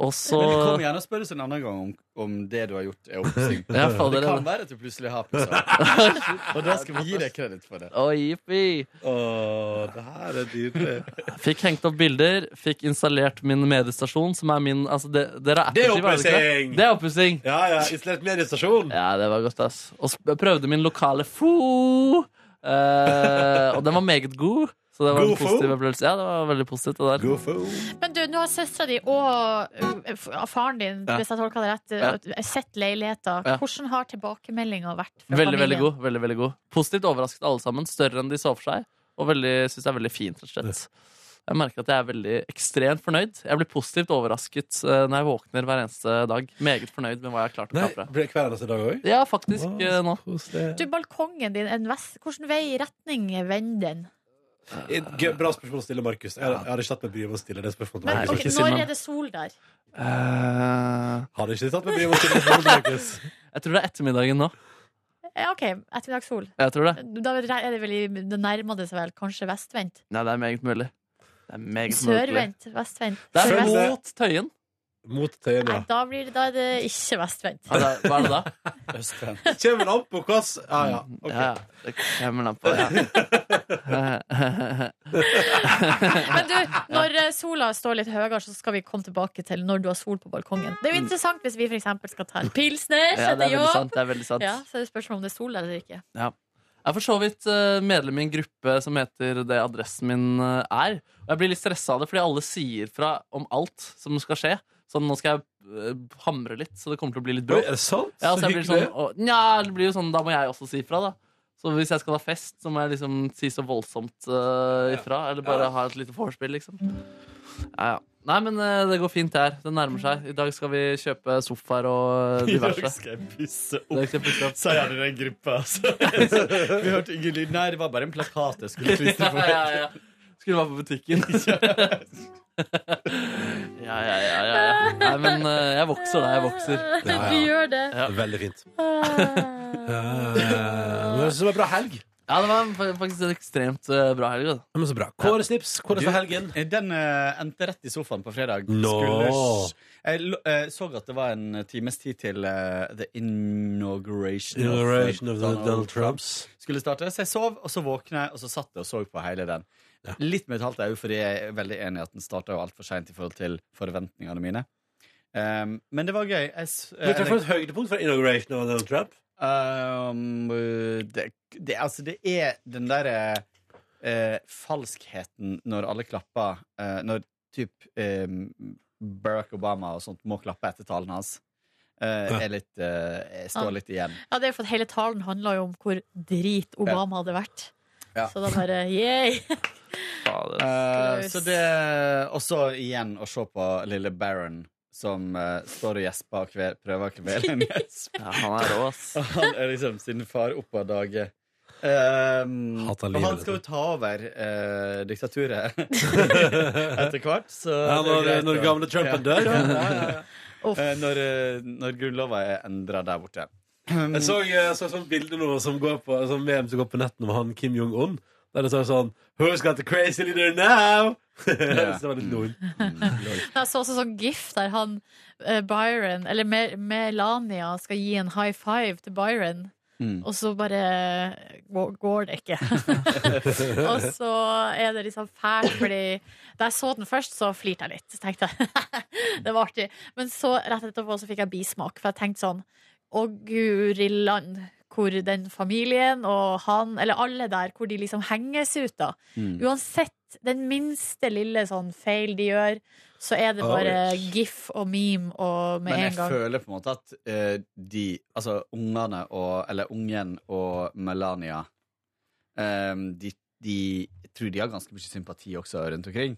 Speaker 4: Og så
Speaker 9: Men kom gjerne og spør oss en annen gang om, om det du har gjort, er oppsykt.
Speaker 4: Ja, fader,
Speaker 9: det
Speaker 4: det-
Speaker 9: kan være at du plutselig har pusset. Og da skal vi gi deg kreditt for det.
Speaker 4: Å, jippi!
Speaker 9: Åh, det her er nydelig.
Speaker 4: Fikk hengt opp bilder, fikk installert min mediestasjon, som er min altså, det, Dere er
Speaker 2: Det er
Speaker 4: aktive, dere ikke
Speaker 2: oppussing!
Speaker 4: det? Det er oppussing!
Speaker 2: Ja, ja, Isolert mediestasjon.
Speaker 4: Ja, det var godt, ass. Og sp- prøvde min lokale fo. Eh, og den var meget god. Så det var
Speaker 2: God
Speaker 4: en
Speaker 2: fo?
Speaker 4: positiv opplevelse. Ja, det var veldig positivt, det der.
Speaker 3: Men du, nå har søstera di og ø, f- faren din,
Speaker 4: Ja.
Speaker 3: hvis jeg tolker det rett, ø, sett leiligheter.
Speaker 4: Ja.
Speaker 3: Hvordan har tilbakemeldinga vært? fra
Speaker 4: Veldig,
Speaker 3: familien?
Speaker 4: veldig god. veldig, veldig god Positivt overrasket alle sammen. Større enn de så for seg. Og syns det er veldig fint, rett og slett. Jeg merker at jeg er veldig ekstremt fornøyd. Jeg blir positivt overrasket eh, når jeg våkner hver eneste dag. Meget fornøyd med hva jeg har klart å
Speaker 2: Nei,
Speaker 4: kapre.
Speaker 2: ble det kvelden i dag òg?
Speaker 4: Ja, faktisk eh, nå.
Speaker 3: Du, balkongen din, en vest, hvilken vei retning vender den?
Speaker 2: Bra spørsmål å stille, Markus. Jeg, jeg hadde ikke tatt meg bryet med å stille det spørsmålet. til
Speaker 3: Men,
Speaker 4: Nei,
Speaker 2: Markus.
Speaker 3: ok,
Speaker 4: ikke si
Speaker 3: når
Speaker 4: meg.
Speaker 3: er det sol der?
Speaker 4: Eh,
Speaker 2: Hadde ikke tatt meg bryet med å stille det spørsmålet til Markus.
Speaker 4: jeg tror det er ettermiddagen nå.
Speaker 3: Ja, Eh, OK, ettermiddagssol.
Speaker 4: Jeg tror det.
Speaker 3: Da er det vel i, det nærmer det seg vel kanskje vestvendt?
Speaker 4: Nei, det er meget mulig. Det er meget mulig.
Speaker 3: Sørvendt? Vestvendt?
Speaker 4: Det er
Speaker 3: Sørvest?
Speaker 4: mot Tøyen.
Speaker 2: Mot tøyen,
Speaker 3: Nei,
Speaker 2: ja.
Speaker 3: da, blir det, da er det ikke vestvendt.
Speaker 4: Ja, det er- Hva er det da?
Speaker 9: Østvendt.
Speaker 2: Kjemmer an på hva s- Ja, Mm. ja. ok.
Speaker 4: Ja, ja. det kommer an på. Ja.
Speaker 3: Men du, når eh, sola står litt høyere, så skal vi komme tilbake til når du har sol på balkongen. Det er jo interessant hvis vi for eksempel skal ta en pilsner,
Speaker 4: Mm. ja, det
Speaker 3: sette
Speaker 4: er veldig
Speaker 3: jobb.
Speaker 4: sant. Det er veldig sant.
Speaker 3: Ja, så er det spørsmål om det er sol der eller ikke.
Speaker 4: Jeg er for så vidt eh, medlem i en gruppe som heter det adressen min eh, er. Og jeg blir litt stressa av det, fordi alle sier fra om alt som skal skje. Så nå skal jeg eh, hamre litt, så det kommer til å bli litt
Speaker 2: Oi,
Speaker 4: bråk.
Speaker 2: er det sant?
Speaker 4: Ja, så
Speaker 2: så
Speaker 4: jeg blir
Speaker 2: hyggelig.
Speaker 4: sånn, og, nja, det blir jo sånn, da må jeg også si ifra, da. Så hvis jeg skal ha fest, så må jeg liksom si så voldsomt eh, ifra. Eller bare ha et lite vorspiel, liksom. Ja, ja. Nei, men eh, det går fint her. Det nærmer seg. I dag skal vi kjøpe sofaer og eh,
Speaker 9: I dag
Speaker 4: diverse.
Speaker 9: skal jeg pusse
Speaker 4: Det
Speaker 9: opp.
Speaker 4: er ikke plutselig at-
Speaker 9: Sa jeg det i den gruppa, altså. Vi hørte ingen lyd. Nei, det var bare en plakat jeg skulle klistre på.
Speaker 4: Ja, ja, ja. Skulle være på butikken. ja, ja, ja, ja, ja. Nei, men eh, jeg vokser da. Jeg vokser.
Speaker 2: Ja,
Speaker 3: Du
Speaker 2: ja.
Speaker 3: gjør det.
Speaker 2: Veldig fint.
Speaker 3: Ah.
Speaker 2: Eh, Men det var en bra helg.
Speaker 4: Ja, det var faktisk en ekstremt eh, bra helg. da.
Speaker 2: Ja, Men så bra. Kåre Snips, hvordan
Speaker 9: Du,
Speaker 2: var helgen?
Speaker 9: Den eh, endte rett i sofaen på fredag.
Speaker 2: Nå.
Speaker 9: Skulle- Jeg lo- eh, så at det var en times tid til eh, the inauguration, of Donald,
Speaker 2: Trumps.
Speaker 9: skulle starte. Så jeg sov, og så våkna jeg, og så satt jeg og så på hele den. Litt med et halvt øye, fordi jeg er veldig enig i at den starta jo altfor seint i forhold til forventningene mine. Um, men det var gøy. Jeg, s-
Speaker 2: Men hva for et høydepunkt fra inauguration av Donald Trump?
Speaker 9: Um, det, det, altså, det er den derre eh, falskheten når alle klapper eh, Når typ eh, Barack Obama og sånt må klappe etter talen hans. eh, er litt, eh, jeg
Speaker 3: Ja.
Speaker 9: står litt igjen.
Speaker 3: Ja, det er jo for at hele talen handla jo om hvor drit Obama hadde vært.
Speaker 9: Ja.
Speaker 3: Så da bare yeah!
Speaker 4: Fader.
Speaker 9: Eh,
Speaker 3: Klaus.
Speaker 9: så det Og så igjen å se på lille Baron som eh, står og gjesper og kve, prøver å kvele en gjesp.
Speaker 4: Ja, han er rå, ass.
Speaker 9: Han er liksom sin far oppå daget. Um, og
Speaker 2: Hater livet,
Speaker 9: han skal jo
Speaker 2: liksom.
Speaker 9: ta over eh, diktaturet etter hvert. Så
Speaker 2: Ja,
Speaker 9: det er
Speaker 2: når-
Speaker 9: greit
Speaker 2: når
Speaker 9: å-
Speaker 2: gamle Trumpen dør.
Speaker 9: Ja, ja, ja, ja.
Speaker 3: Uff.
Speaker 9: Eh, når, eh, når grunnlova er endra der borte.
Speaker 2: Jeg så, eh, jeg så et sånt bilde nå som går på, som meme som går på nettet om han Kim Jong-un. Der det står sånn Who's got the crazy leader now? Så det var litt lol.
Speaker 3: Men Jeg så også sånn gif der han eh, Byron, eller Mer- Melania, skal gi en high five til Byron.
Speaker 9: Mm.
Speaker 3: Og så bare går, går det ikke. og så er det liksom fælt, fordi da jeg så den først, så flirte jeg litt. Så tenkte jeg Det var artig. Men så rett etterpå så fikk jeg bismak, for jeg tenkte sånn Å, guri land. Hvor den familien og han, eller alle der, hvor de liksom henges ut, da. Uansett den minste lille sånn feil de gjør, så er det bare gif og meme og med
Speaker 9: Men jeg
Speaker 3: en gang.
Speaker 9: føler på en måte at eh, de Altså ungene og Eller ungen og Melania eh, de, de jeg tror de har ganske mye sympati også rundt omkring.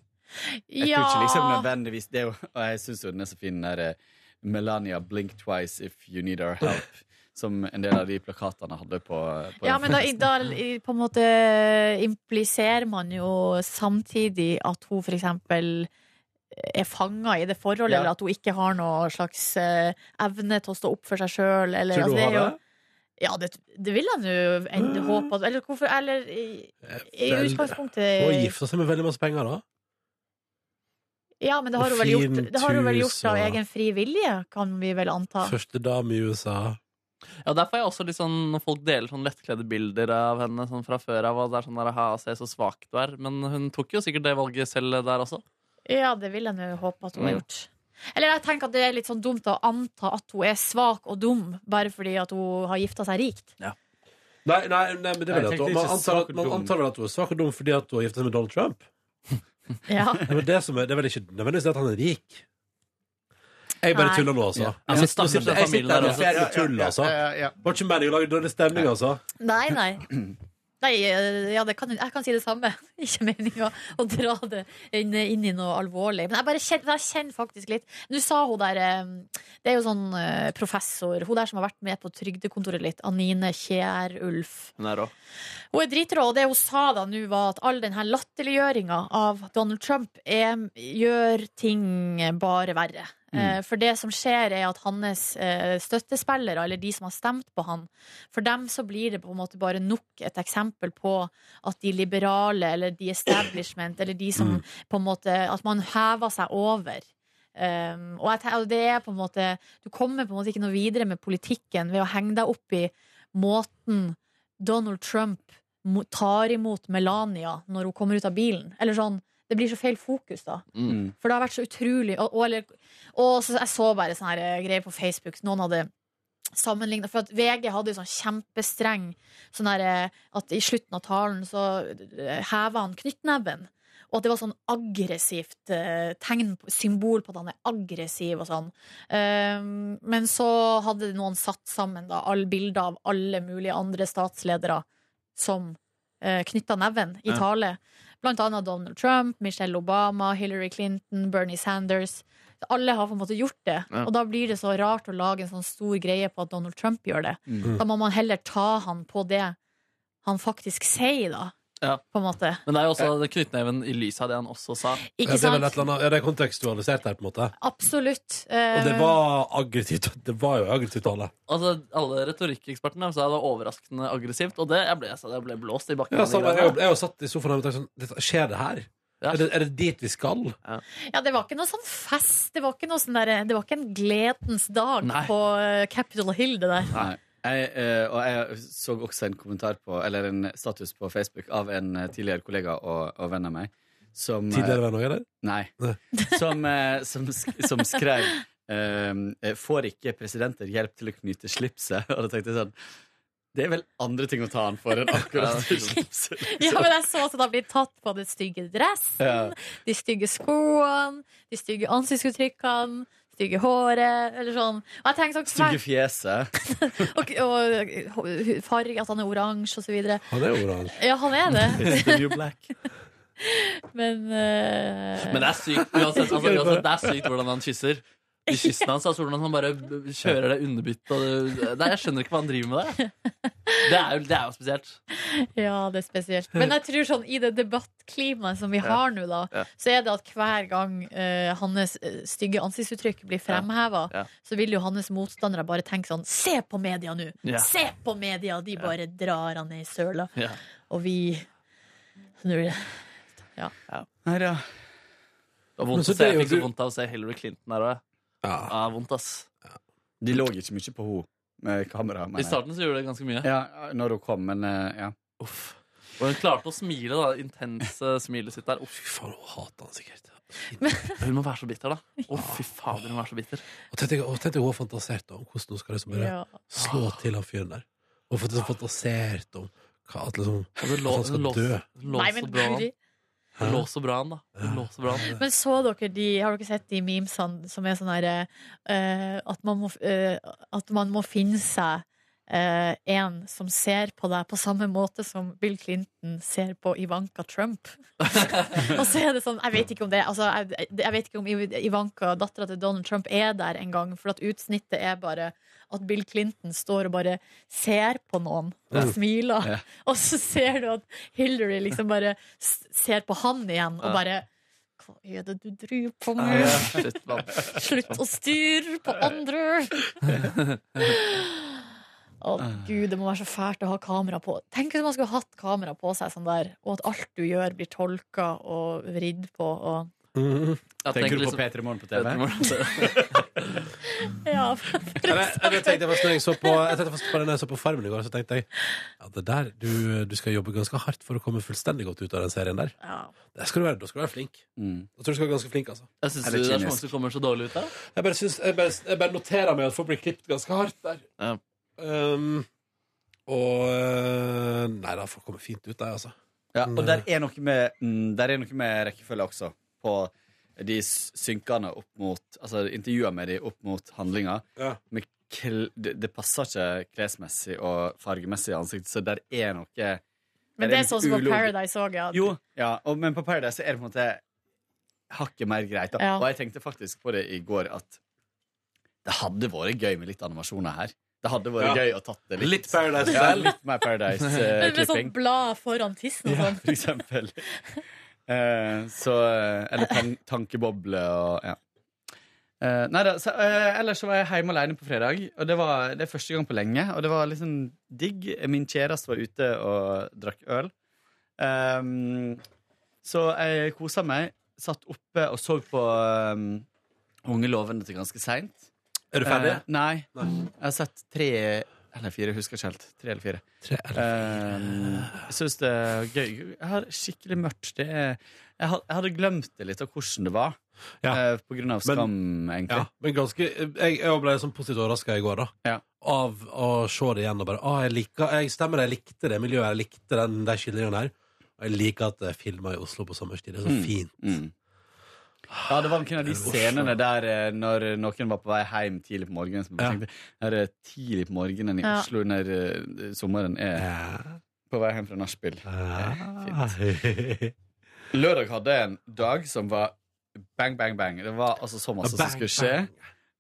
Speaker 9: Jeg tror ikke liksom nødvendigvis det er jo, Og jeg syns jo den er så fin, den der eh, Melania blink twice if you need our help. Som en del av de plakatene hadde på, på
Speaker 3: Ja, men da, da i- på en måte eh, impliserer man jo samtidig at hun for eksempel eh, er fanga i det forholdet,
Speaker 9: Ja.
Speaker 3: eller at hun ikke har noe slags eh, evne til å stå opp for seg altså, sjøl.
Speaker 2: Tror du hun har det?
Speaker 3: Ja, det, det vil han jo enda håpe at Eller hvorfor Eller i, i
Speaker 2: Vel,
Speaker 3: utgangspunktet
Speaker 2: Og gifta seg med veldig masse penger, da.
Speaker 3: Ja, men det har
Speaker 2: Og
Speaker 3: hun vel gjort,
Speaker 2: fint
Speaker 3: det har hun vel gjort
Speaker 2: hus
Speaker 3: av
Speaker 2: og-
Speaker 3: egen fri vilje, kan vi vel anta.
Speaker 2: Første dame i USA.
Speaker 4: Ja, Derfor er jeg også litt sånn Når folk deler sånn lettkledde bilder av henne sånn fra før av og det er sånn der, «Ha, se så svak du er. Men hun tok jo sikkert det valget selv der også.
Speaker 3: Ja, det vil jeg nå håpe at hun har
Speaker 4: Mm.
Speaker 3: gjort. Eller jeg tenker at det er litt sånn dumt å anta at hun er svak og dum bare fordi at hun har gifta seg rikt.
Speaker 2: Nei, nei, nei, men det
Speaker 9: Nei,
Speaker 2: vil
Speaker 9: jeg
Speaker 2: jeg at
Speaker 9: tenkte
Speaker 2: hun-
Speaker 9: ikke
Speaker 2: Man antar,
Speaker 9: svak
Speaker 2: at-
Speaker 9: og
Speaker 2: man
Speaker 9: dum.
Speaker 2: antar vel at hun er svak og dum fordi at hun har gifta seg med Donald Trump.
Speaker 3: Ja.
Speaker 2: Nei, men det, som er, det er vel ikke nødvendigvis det at han er rik. Jeg bare
Speaker 3: Nei.
Speaker 2: tuller nå, altså.
Speaker 9: Ja.
Speaker 2: Jeg
Speaker 4: men
Speaker 2: sitter- nå sitter- jeg sitter her og ser på tull, altså. Var ikke meningen å lage dårlig stemning, altså.
Speaker 3: Nei, nei. Nei, eh, ja, det kan, jeg kan si det samme. Ikke meninga å dra det inn, inn i noe alvorlig. Men jeg bare kjenner, jeg kjenner faktisk litt Nå sa hun der eh, Det er jo sånn eh, professor, hun der som har vært med på trygdekontoret litt, Anine Kierulf.
Speaker 4: Hun er rå.
Speaker 3: Hun er dritrå, og det hun sa da nå var at all denne latterliggjøringa av Donald Trump er, gjør ting bare verre. Eh, For det som skjer er at hans eh, støttespillere, eller de som har stemt på han, for dem så blir det på en måte bare nok et eksempel på at de liberale, eller de establishment, eller de som på en måte At man hever seg over. Um, og jeg, te- og det er på en måte Du kommer på en måte ikke noe videre med politikken ved å henge deg opp i måten Donald Trump mo- tar imot Melania når hun kommer ut av bilen. Eller sånn, Det blir så feil fokus, da.
Speaker 9: Mm.
Speaker 3: For det har vært så utrolig Og, og, eller, og så, jeg så bare sånne her eh, greier på Facebook. Noen hadde sammenlignet For at VG hadde jo sånn kjempestreng sånn her, At i slutten av talen så eh, heva han knyttneven. Og at det var sånn aggressivt eh, tegn, på- symbol på at han er aggressiv og sånn. Ehm, men så hadde noen satt sammen da, all bilder av alle mulige andre statsledere som uh, knytta neven i tale. Blant annet Donald Trump, Michelle Obama, Hillary Clinton, Bernie Sanders. Alle har på en måte gjort det,
Speaker 4: Ja.
Speaker 3: og da blir det så rart å lage en sånn stor greie på at Donald Trump gjør det.
Speaker 9: Mm.
Speaker 3: Da må man heller ta han på det han faktisk sier, da.
Speaker 4: Ja.
Speaker 3: På en måte.
Speaker 4: Men det er jo også knyttneven i lyset av det han også sa.
Speaker 2: Ja, det er
Speaker 3: Ikke
Speaker 2: vel
Speaker 3: sant?
Speaker 2: et eller annet, ja, det er kontekstualisert her, på en måte.
Speaker 3: Absolutt. Ehm,
Speaker 2: Og
Speaker 3: Eh.
Speaker 2: det var aggressivt. Det var jo aggressivt alle.
Speaker 4: Altså, Alle retorikkekspertene sa det var overraskende aggressivt, og det, jeg, ble, jeg, sa det, jeg ble blåst i bakken.
Speaker 2: Ja,
Speaker 4: av de
Speaker 2: samme, jeg,
Speaker 4: greiene.
Speaker 2: jeg har satt i sofaen her og tenkt sånn "Dette- Skjer det her?
Speaker 4: Ja.
Speaker 2: Er, det, er det dit vi skal?
Speaker 3: Ja, det var ikke noe sånn fest. Det var ikke, noe sånn der, det var ikke en gledens dag
Speaker 4: Nei.
Speaker 3: på eh, Capitol Hill, det der.
Speaker 9: Nei. Jeg, eh, og jeg så også en kommentar på, eller en status på Facebook av en eh, tidligere kollega og, og venn av meg. Som, eh,
Speaker 2: Tidligere venn òg, eller?
Speaker 9: Nei.
Speaker 2: Nei.
Speaker 9: Som, eh, som, sk som skrev eh, Får ikke presidenter hjelp til å knyte slipset? Og da tenkte jeg sånn Det er vel andre ting å ta han for enn akkurat slipset.
Speaker 3: Ja, men jeg så at han blir tatt på den stygge dressen,
Speaker 9: Ja.
Speaker 3: de stygge skoene, de stygge ansiktsuttrykkene, stygge håret, eller sånn. Og jeg tenker sånn
Speaker 9: Stygge fjeset.
Speaker 3: og, og, og farge, at han er oransje, og så videre.
Speaker 2: Han er oransje.
Speaker 3: Ja, han er det,
Speaker 9: It's the new black.
Speaker 3: men eh,
Speaker 4: Men det er sykt uansett, altså, uansett, det er sykt hvordan han kysser. De kyssene hans, altså hvordan han bare b- kjører det underbitt og det, det, Jeg skjønner ikke hva han driver med der. Det er jo, det er jo spesielt.
Speaker 3: Ja, det er spesielt. Men jeg tror sånn i det debattklimaet som vi har nå, da,
Speaker 4: Ja.
Speaker 3: så er det at hver gang eh, hans eh, stygge ansiktsuttrykk blir fremheva,
Speaker 4: Ja.
Speaker 3: så vil jo hans motstandere bare tenke sånn Se på media nå!
Speaker 4: Ja.
Speaker 3: Se på media! De bare drar han ned i søla.
Speaker 4: Ja.
Speaker 3: Og vi Nå er det-
Speaker 9: Nei da.
Speaker 4: Det var
Speaker 2: Men
Speaker 4: vondt
Speaker 2: så
Speaker 4: å se,
Speaker 2: det er
Speaker 4: jeg
Speaker 2: jo
Speaker 4: fikk så
Speaker 2: du-
Speaker 4: vondt av å se Hillary Clinton der òg.
Speaker 2: Ja.
Speaker 4: Ja, vondt, ass.
Speaker 9: De lå ikke mye på henne med kamera.
Speaker 4: I
Speaker 9: mener jeg.
Speaker 4: starten så gjorde det ganske mye.
Speaker 9: Ja, når hun kom, men eh, ja.
Speaker 4: Uff. Og hun klarte å smile, da. det Intense smilet sitt der. Uff,
Speaker 2: Fy faen, hun hater han sikkert.
Speaker 4: hun må være så bitter, da. Å, fy fader, hun må være så bitter.
Speaker 2: Og tenkte, og tenkte hun har fantasert da, om hvordan hun skal liksom bare
Speaker 3: ja.
Speaker 2: slå til han fyren der. Og fått- fantasert om hva, at liksom,
Speaker 4: Og det Altså, lå,
Speaker 2: At han skal
Speaker 4: hun lå,
Speaker 2: dø.
Speaker 4: hun lå
Speaker 3: Nei,
Speaker 4: så
Speaker 3: men
Speaker 4: bra an.
Speaker 3: Guri.
Speaker 4: Hun lå så bra an, da. Hun lå så bra an.
Speaker 3: Men så dere de Har dere sett de memesene som er sånn her eh, at, man må, eh, at man må finne seg eh, en som ser på deg på samme måte som Bill Clinton ser på Ivanka Trump. Og så er det sånn Jeg vet ikke om det altså, jeg, jeg vet ikke om Iv- Ivanka, dattera til Donald Trump, er der engang, for at utsnittet er bare at Bill Clinton står og bare ser på noen og smiler,
Speaker 9: Ja.
Speaker 3: og så ser du at Hillary liksom bare s- ser på han igjen og
Speaker 4: Ja.
Speaker 3: bare hva er det du driver på
Speaker 4: Nei,
Speaker 3: med?
Speaker 4: shit, mann.
Speaker 3: Slutt å styre på andre! Å gud, det må være så fælt å ha kamera på. Tenk hvis man skulle hatt kamera på seg sånn der, og at alt du gjør blir tolka og vridd på. Og...
Speaker 4: Jeg
Speaker 9: Tenker du
Speaker 4: liksom-
Speaker 9: på P3 Morgen på TV?
Speaker 3: Ja,
Speaker 2: Jeg, jeg, jeg tenkte først når jeg så på, jeg tenkte først på den jeg så på Farmen i går, så tenkte jeg ja, det der, du, du skal jobbe ganske hardt for å komme fullstendig godt ut av den serien der.
Speaker 3: ja.
Speaker 2: Det skal du være, da skal du være flink.
Speaker 9: Mm.
Speaker 2: Jeg tror du skal være ganske flink, altså.
Speaker 4: Jeg synes
Speaker 9: Er
Speaker 4: det
Speaker 9: det
Speaker 4: er så mange
Speaker 9: kynisk?
Speaker 4: som kommer så dårlig ut der.
Speaker 2: Jeg bare, syns- jeg bare, jeg bare noterer meg at folk blir klippet ganske hardt der.
Speaker 4: Ja.
Speaker 2: Um, og eh, Nei da, folk kommer fint ut, de, altså.
Speaker 9: Ja, og der er noe med, mm, der er noe med rekkefølge også. På de s- synkene opp mot Altså intervjuer med de opp mot handlinga.
Speaker 2: Ja.
Speaker 9: Med kl- det, det passer ikke klesmessig og fargemessig i ansiktet, så der er noe der
Speaker 3: Men det er
Speaker 9: noe
Speaker 3: sånn som på
Speaker 9: ulogisk.
Speaker 3: Paradise òg, ja.
Speaker 9: Jo, ja, og, men på Paradise så er det på en måte hakket mer greit. Da.
Speaker 3: Ja.
Speaker 9: Og jeg tenkte faktisk på det i går at det hadde vært gøy med litt animasjoner her. Det hadde vært
Speaker 2: Ja.
Speaker 9: gøy å tatt det litt.
Speaker 2: Litt Paradise
Speaker 9: ja,
Speaker 2: Hotel.
Speaker 9: litt mer
Speaker 3: Men
Speaker 9: eh,
Speaker 3: Med sånn
Speaker 9: Paradise-klipping.
Speaker 3: blad foran tissen og
Speaker 9: ja,
Speaker 3: sånn.
Speaker 9: for eksempel. Eh, så eh, Eller tan tankeboble og Ja. Eh, nei da, så, eh, ellers så var jeg hjemme alene på fredag, og det var det er første gang på lenge. Og det var liksom digg. Min kjæreste var ute og drakk øl. Ehm, så jeg kosa meg. Satt oppe og så på ehm, Unge lovende til ganske seint.
Speaker 2: Er du ferdig?
Speaker 9: Eh, nei.
Speaker 2: Nei.
Speaker 9: Jeg har sett tre eller fire, jeg husker ikke helt. Tre eller fire.
Speaker 2: Tre, eller-
Speaker 9: Um, jeg syns det er gøy. Jeg har skikkelig mørkt. Det er, jeg, had, jeg hadde glemt det litt av hvordan det var.
Speaker 2: Ja.
Speaker 9: eh, på grunn av skam,
Speaker 2: Ja,
Speaker 9: egentlig.
Speaker 2: men ganske Jeg, jeg ble sånn positivt overraska i går, da.
Speaker 9: Ja.
Speaker 2: Av å se det igjen og bare ah, jeg, liker, jeg stemmer, jeg likte det miljøet, jeg likte den, de skildringene her. Og jeg liker at det er filma i Oslo på sommerstid. Det er så fint.
Speaker 9: Mm. Ja, det var noen av de scenene der eh, når noen var på vei hjem tidlig på morgenen. Som
Speaker 2: Ja.
Speaker 9: jeg tenkte, her er tidlig på morgenen i
Speaker 3: Ja.
Speaker 9: Oslo når eh, sommeren er på vei hjem fra nachspiel.
Speaker 2: Ah.
Speaker 9: Lørdag hadde jeg en dag som var bang, bang, bang. Det var altså så masse som
Speaker 2: Bang,
Speaker 9: skulle skje.
Speaker 2: bang.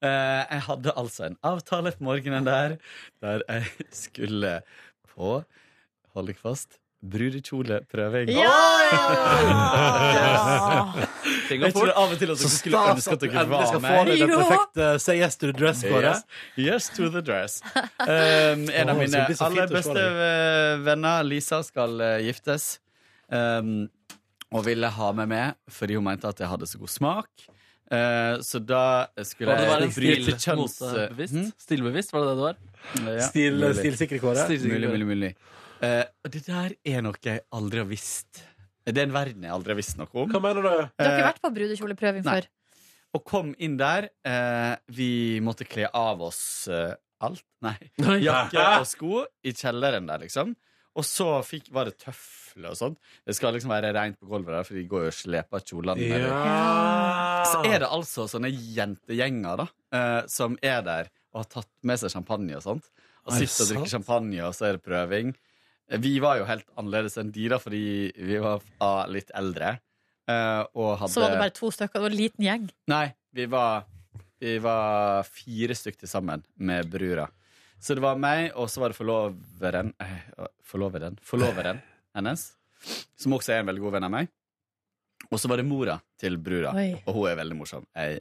Speaker 9: Eh, jeg hadde altså en avtale på morgenen der, der jeg skulle på Hold deg fast. Brudekjoleprøving.
Speaker 3: Ja!
Speaker 4: Ting
Speaker 9: Jeg
Speaker 4: går
Speaker 9: tror
Speaker 4: fort.
Speaker 9: av og til at
Speaker 2: Så
Speaker 9: dere skulle
Speaker 2: stas at
Speaker 9: ønske at
Speaker 2: du
Speaker 9: dere
Speaker 2: endelig
Speaker 9: var
Speaker 2: skal få
Speaker 9: med.
Speaker 2: deg det
Speaker 3: Jo.
Speaker 2: perfekte say yes to the dress-kåret.
Speaker 9: Yes, yes to the dress. Um, en
Speaker 2: Åh,
Speaker 9: av mine
Speaker 2: så det blir så fint
Speaker 9: aller
Speaker 2: å se
Speaker 9: beste
Speaker 2: deg.
Speaker 9: eh, venner, Lisa, skal eh, giftes. Um, og ville ha meg med fordi hun mente at jeg hadde så god smak. Eh, så da skulle
Speaker 4: Var det bare en
Speaker 9: jeg
Speaker 4: stil, eh,
Speaker 9: bryte kjønns... Hm?
Speaker 4: motebevisst? Stilbevisst, var det det det var?
Speaker 9: Ja,
Speaker 2: Stil,
Speaker 9: mulig.
Speaker 2: stilsikre kåret.
Speaker 4: Stil-
Speaker 9: Mulig, mulig, mulig. Eh, og det der er noe jeg aldri har visst. Det er en verden jeg aldri har visst noe om.
Speaker 2: Hva mener du?
Speaker 3: Du har ikke vært på brudekjoleprøving
Speaker 9: Nei.
Speaker 3: før?
Speaker 9: Og kom inn der. eh, vi måtte kle av oss eh, alt. Nei. Jakke og sko i kjelleren der, liksom. Og så fikk, var det tøfler og sånn. Det skal liksom være rent på gulvet der, for de går jo og sleper kjolene. med det. Så er det altså sånne jentegjenger da eh, som er der og har tatt med seg champagne og sånt. Og
Speaker 2: Er det
Speaker 9: sitter og drikker
Speaker 2: sant?
Speaker 9: champagne, og så er det prøving. Eh, Vi var jo helt annerledes enn de, da, fordi vi var ah, litt eldre. eh, og hadde
Speaker 3: Så var det bare to stykker. Det var en liten gjeng.
Speaker 9: Nei, vi var, vi var fire stykk til sammen med brura. Så det var meg, og så var det forloveren eh, Forloveren? Forloveren hennes, som også er en veldig god venn av meg. Og så var det mora til brura.
Speaker 3: Oi.
Speaker 9: Og hun er veldig morsom. Ei,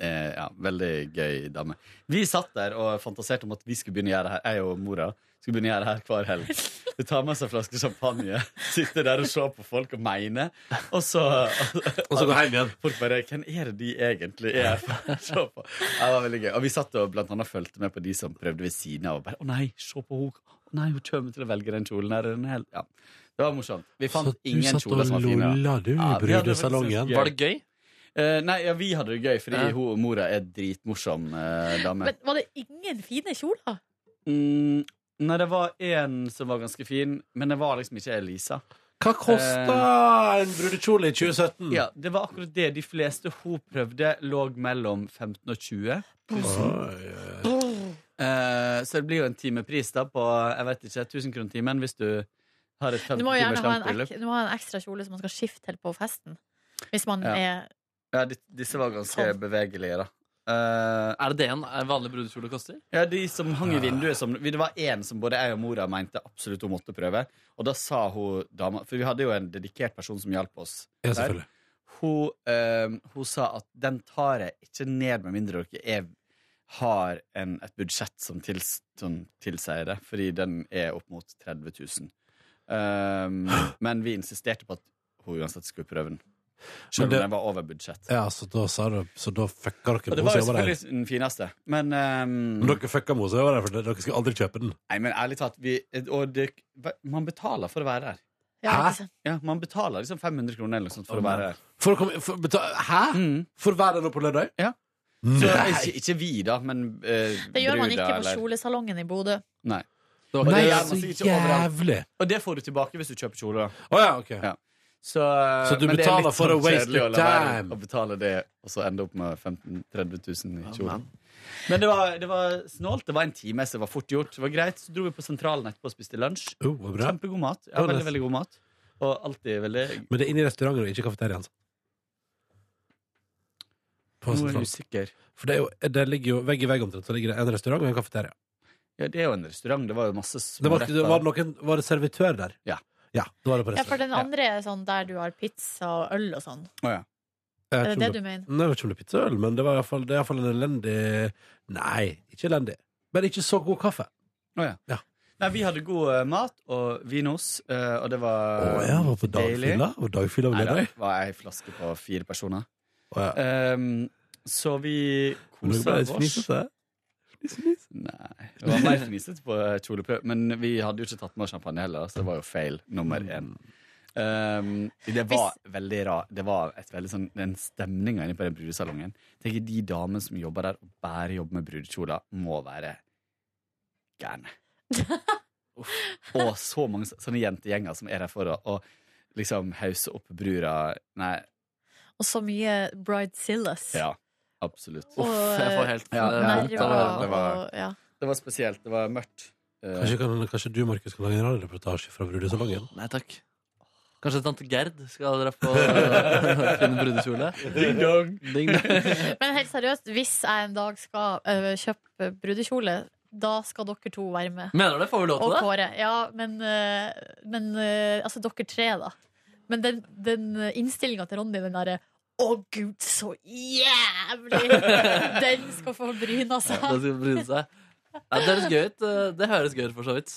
Speaker 9: eh, ja, veldig gøy dame. Vi satt der og fantaserte om at vi skulle begynne å gjøre det her. Jeg og mora skulle begynne å gjøre det her hver helg. Vi tar med oss en flaske champagne, sitter der og ser på folk og mener. Og så,
Speaker 2: Og så gå hjem igjen.
Speaker 9: Folk bare Hvem er det de egentlig er? se på. Ja, det var veldig gøy. Og vi satt og blant annet fulgte med på de som prøvde ved siden av. Og bare, Å nei, se på hun. Å nei, hun kommer til å velge den kjolen her. Den er helt- Ja. Det var morsomt. Vi fant ingen kjoler som var fine. da.
Speaker 2: lolla, du,
Speaker 9: Ja, vi hadde faktisk-
Speaker 2: brudesalongen.
Speaker 9: Ja.
Speaker 4: Var det gøy?
Speaker 9: Eh, nei, ja, vi hadde det gøy, fordi
Speaker 4: Ja.
Speaker 9: hun og mora er dritmorsom eh, dame.
Speaker 3: Men var det ingen fine kjoler?
Speaker 9: Mm, nei, det var én som var ganske fin, men det var liksom ikke Elisa.
Speaker 2: Hva kosta en brudekjole i 2017?
Speaker 9: Eh, Ja, Det var akkurat det. De fleste hun prøvde, lå mellom 15 og 20.
Speaker 2: Oi, oi.
Speaker 9: Eh, så det blir jo en timepris da på jeg vet ikke, 1000 kroner timen hvis du har et 15
Speaker 3: Du må gjerne
Speaker 9: timers
Speaker 3: ha en,
Speaker 9: langt bryllup.
Speaker 3: ek, du må ha en ekstra kjole som man skal skifte til på festen. Hvis man
Speaker 9: Ja.
Speaker 3: er
Speaker 9: Ja, de, disse var ganske
Speaker 3: Sånn.
Speaker 9: bevegelige, da. Eh,
Speaker 4: Er det det en en vanlig brudekjole koster?
Speaker 9: ja, de som hang i vinduet som, Det var én som både jeg og mora mente absolutt hun måtte prøve. Og da sa hun dama For vi hadde jo en dedikert person som hjalp oss.
Speaker 2: Ja, selvfølgelig.
Speaker 9: Hun, eh, hun sa at den tar jeg ikke ned med mindre dere er, har en, et budsjett som, tils, som tilsier det, fordi den er opp mot Ehm, 30 000. Um, men vi insisterte på at hun uansett skulle prøve den. Selv om
Speaker 2: det-
Speaker 9: den var over budsjett.
Speaker 2: Ja, så da, sa du, så da fucka
Speaker 9: Og
Speaker 2: dere med
Speaker 9: det var jo
Speaker 2: oss over der.
Speaker 9: selvfølgelig den fineste, men ehm,
Speaker 2: Men dere fucka med oss over der, for dere skulle aldri kjøpe den.
Speaker 9: Nei, men ærlig talt vi, og det, Man betaler for å være der.
Speaker 3: Ja,
Speaker 2: Hæ?
Speaker 3: ikke sant?
Speaker 9: Ja, Man betaler liksom 500 kroner eller noe sånt for å være der.
Speaker 2: For å komme, for, beta- hæ?
Speaker 9: Mm.
Speaker 2: For å være der nå på lørdag?
Speaker 9: Ja. Så,
Speaker 2: Nei!
Speaker 9: ikke, ikke vi, da, men eh,
Speaker 3: Det gjør man
Speaker 9: bruda,
Speaker 3: ikke på
Speaker 9: eller-
Speaker 3: kjolesalongen i Bodø.
Speaker 9: Nei.
Speaker 4: var
Speaker 9: Og
Speaker 2: Nei,
Speaker 9: det gjør
Speaker 2: så
Speaker 9: man sikkert ikke overalt.
Speaker 2: jævlig!
Speaker 9: Og det får du tilbake hvis du kjøper kjole. da.
Speaker 2: Å ja, OK.
Speaker 9: Ja. Så,
Speaker 2: Så du
Speaker 9: men det er
Speaker 2: betaler
Speaker 9: litt
Speaker 2: for å
Speaker 9: sånn
Speaker 2: waste
Speaker 9: kjedelig
Speaker 2: your
Speaker 9: å la være
Speaker 2: time.
Speaker 9: Å betale det, og så ende opp med 15 30 000 i kjolen.
Speaker 4: man.
Speaker 9: Men det var, det var snålt. Det var en time, så det var fort gjort. Det var greit. Så dro vi på sentralen etterpå og spiste lunsj.
Speaker 2: Oh, var bra.
Speaker 9: Kjempegod mat.
Speaker 2: Ja,
Speaker 9: Ja,
Speaker 2: det-
Speaker 9: veldig, veldig god mat. Og alltid veldig
Speaker 2: Men det er inne i restauranten og ikke kafeteriaen. altså. På
Speaker 9: Nå er jeg
Speaker 2: sentralen.
Speaker 9: usikker.
Speaker 2: For det, er jo, det ligger jo vegg i vegg omtrent. Så ligger det en restaurant og en kafeteria.
Speaker 9: Ja, det er jo en restaurant. Det var jo masse
Speaker 2: Det
Speaker 9: små
Speaker 2: var, det var, noen, var det servitør der?
Speaker 9: Ja.
Speaker 2: Ja, da var det på
Speaker 3: Ja, for
Speaker 2: restaurant.
Speaker 3: den andre er sånn der du har pizza og øl og sånn.
Speaker 9: Å, ja.
Speaker 2: Jeg
Speaker 3: Er
Speaker 2: vet
Speaker 3: det
Speaker 2: ikke om
Speaker 3: det du mener?
Speaker 2: Nei, jeg vet ikke om det er pizzaøl, men det, var i hvert fall, det er i hvert fall en elendig Nei, ikke elendig. Men ikke så god kaffe.
Speaker 9: Å, ja.
Speaker 2: Ja.
Speaker 9: Nei, vi hadde god eh, mat og vinos, eh, og det
Speaker 2: Å
Speaker 9: var
Speaker 2: ja, var på
Speaker 9: deilig.
Speaker 2: dagfylla? Var dagfylla på
Speaker 9: Nei, det
Speaker 2: lørdag?
Speaker 9: var ei flaske på fire personer.
Speaker 2: Å ja.
Speaker 9: Ehm, så vi
Speaker 2: Men det ble
Speaker 9: kosa
Speaker 2: litt
Speaker 9: oss.
Speaker 2: fnisete.
Speaker 9: Nei, det var mer fnisete på eh, kjoleprøve. Men vi hadde jo ikke tatt med oss champagne heller, så det var jo feil nummer én. Ehm, det var veldig rar Det var et veldig sånn den stemninga inne på den brudesalongen. Tenk de damene som jobber der og bare jobber med brudekjoler, må være gærne. Uff. Og så mange så- sånne jentegjenger som er der for å og liksom hause opp brura. Nei,
Speaker 3: Og så mye bridezillas.
Speaker 9: ja, absolutt.
Speaker 3: Og,
Speaker 4: Uff, jeg får helt
Speaker 9: Ja,
Speaker 4: eh, vondt
Speaker 9: ja,
Speaker 4: av det.
Speaker 9: var-
Speaker 3: nerver
Speaker 9: det var-
Speaker 3: og ja.
Speaker 9: Det var spesielt. Det var mørkt. Eh,
Speaker 2: Kanskje, kan, kanskje du, Markus, kan lage en radioreportasje fra brudesalongen?
Speaker 4: Nei takk. Kanskje tante Gerd skal dra på eh, fin brudekjole?
Speaker 9: Ding dong!
Speaker 4: Ding, dong.
Speaker 3: Men helt seriøst, hvis jeg en dag skal øh, kjøpe brudekjole, da skal dere to være med.
Speaker 4: Mener du det? Får vi lov
Speaker 3: Og
Speaker 4: til det?
Speaker 3: Kåre. Ja, men, øh, men øh, Altså, dere tre, da. Men den, den innstillinga til Ronny, den derre å, gud, så jævlig! Den skal få bryna seg.
Speaker 4: Da skal vi bryne seg. Ja, det høres gøy ut. eh, Det høres gøy ut, for så vidt.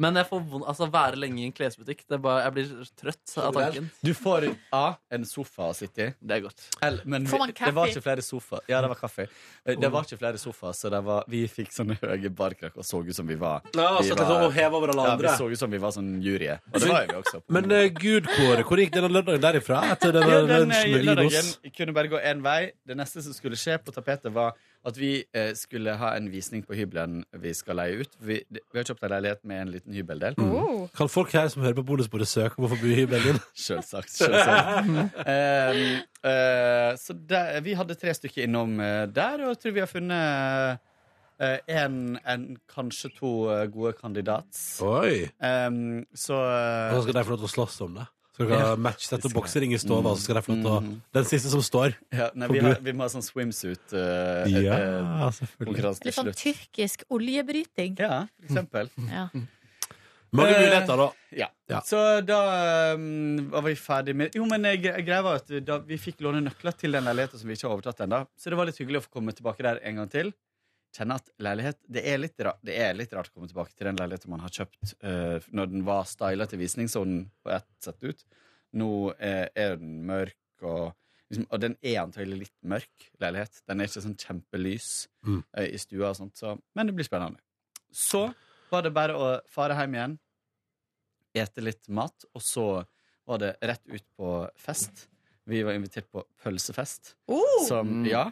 Speaker 4: Men jeg får vond, altså, være lenge i en klesbutikk det er bare, Jeg blir trøtt av tanken.
Speaker 9: Du får A, en sofa å sitte i.
Speaker 4: Det er godt.
Speaker 9: L, men
Speaker 3: Får man
Speaker 9: vi-
Speaker 3: kaffe?
Speaker 9: det var ikke flere sofaer. Ja, det var kaffe. Eh, Det var ikke flere sofaer, så det var, vi fikk sånne høye barkrakk og så ut som vi var Vi
Speaker 2: satt
Speaker 9: var-
Speaker 2: liksom og hev over alle
Speaker 9: ja, vi
Speaker 2: andre.
Speaker 9: så ut som vi var sånn jury. Og det var jo vi også. På.
Speaker 2: Men eh, gud, Kåre, hvor gikk denne lørdagen derifra? Etter denne
Speaker 9: Ja, den eh,
Speaker 2: lunsjen med Vinos?
Speaker 9: lørdagen kunne bare gå én vei. Det neste som skulle skje på tapetet, var at vi eh, skulle ha en visning på hybelen vi skal leie ut. Vi, vi har kjøpt en leilighet med en liten hybeldel.
Speaker 3: Oh.
Speaker 2: Kan folk her som hører på bonusbordet, søke om å få bo i hybelen din?
Speaker 9: Selvsagt. selvsagt. Ehm, eh, så der, vi hadde tre stykker innom eh, der, og jeg tror vi har funnet én, en, kanskje to eh, gode kandidats.
Speaker 2: Oi!
Speaker 9: Ehm, så
Speaker 2: Og så
Speaker 9: eh,
Speaker 2: skal de få lov til å slåss om det. Så dere
Speaker 9: Ja.
Speaker 2: kan matchsette og boksering i stova, og så skal de få lov til å
Speaker 9: Mm.
Speaker 2: Den siste som står.
Speaker 9: ja, nei, vi, har, vi må ha sånn swimsuit eh, eh,
Speaker 2: selvfølgelig.
Speaker 9: konkurranse til
Speaker 3: Litt sånn
Speaker 9: slutt.
Speaker 3: tyrkisk oljebryting.
Speaker 9: Ja, Mm. for eksempel.
Speaker 3: Ja.
Speaker 2: Mange
Speaker 9: Eh,
Speaker 2: muligheter, da.
Speaker 9: Ja.
Speaker 2: Ja.
Speaker 9: Så da ehm, var vi ferdig med Jo, men eh, gre- greia var at da vi fikk låne nøkler til den leiligheten som vi ikke har overtatt ennå, så det var litt hyggelig å få komme tilbake der en gang til. Kjenne at leilighet Det er litt, ra det er litt rart å komme tilbake til den leiligheten man har kjøpt eh, når den var styla til visning, så den på ett sett ut. Nå eh, er den mørk, og, liksom, og den er antagelig litt mørk leilighet. Den er ikke sånn kjempelys
Speaker 2: Mm.
Speaker 9: eh, i stua og sånt, så Men det blir spennende. Så var det bare å fare hjem igjen ete litt mat, og så var det rett ut på fest. Vi var invitert på pølsefest,
Speaker 3: Oh!
Speaker 9: som
Speaker 4: Mm.
Speaker 9: ja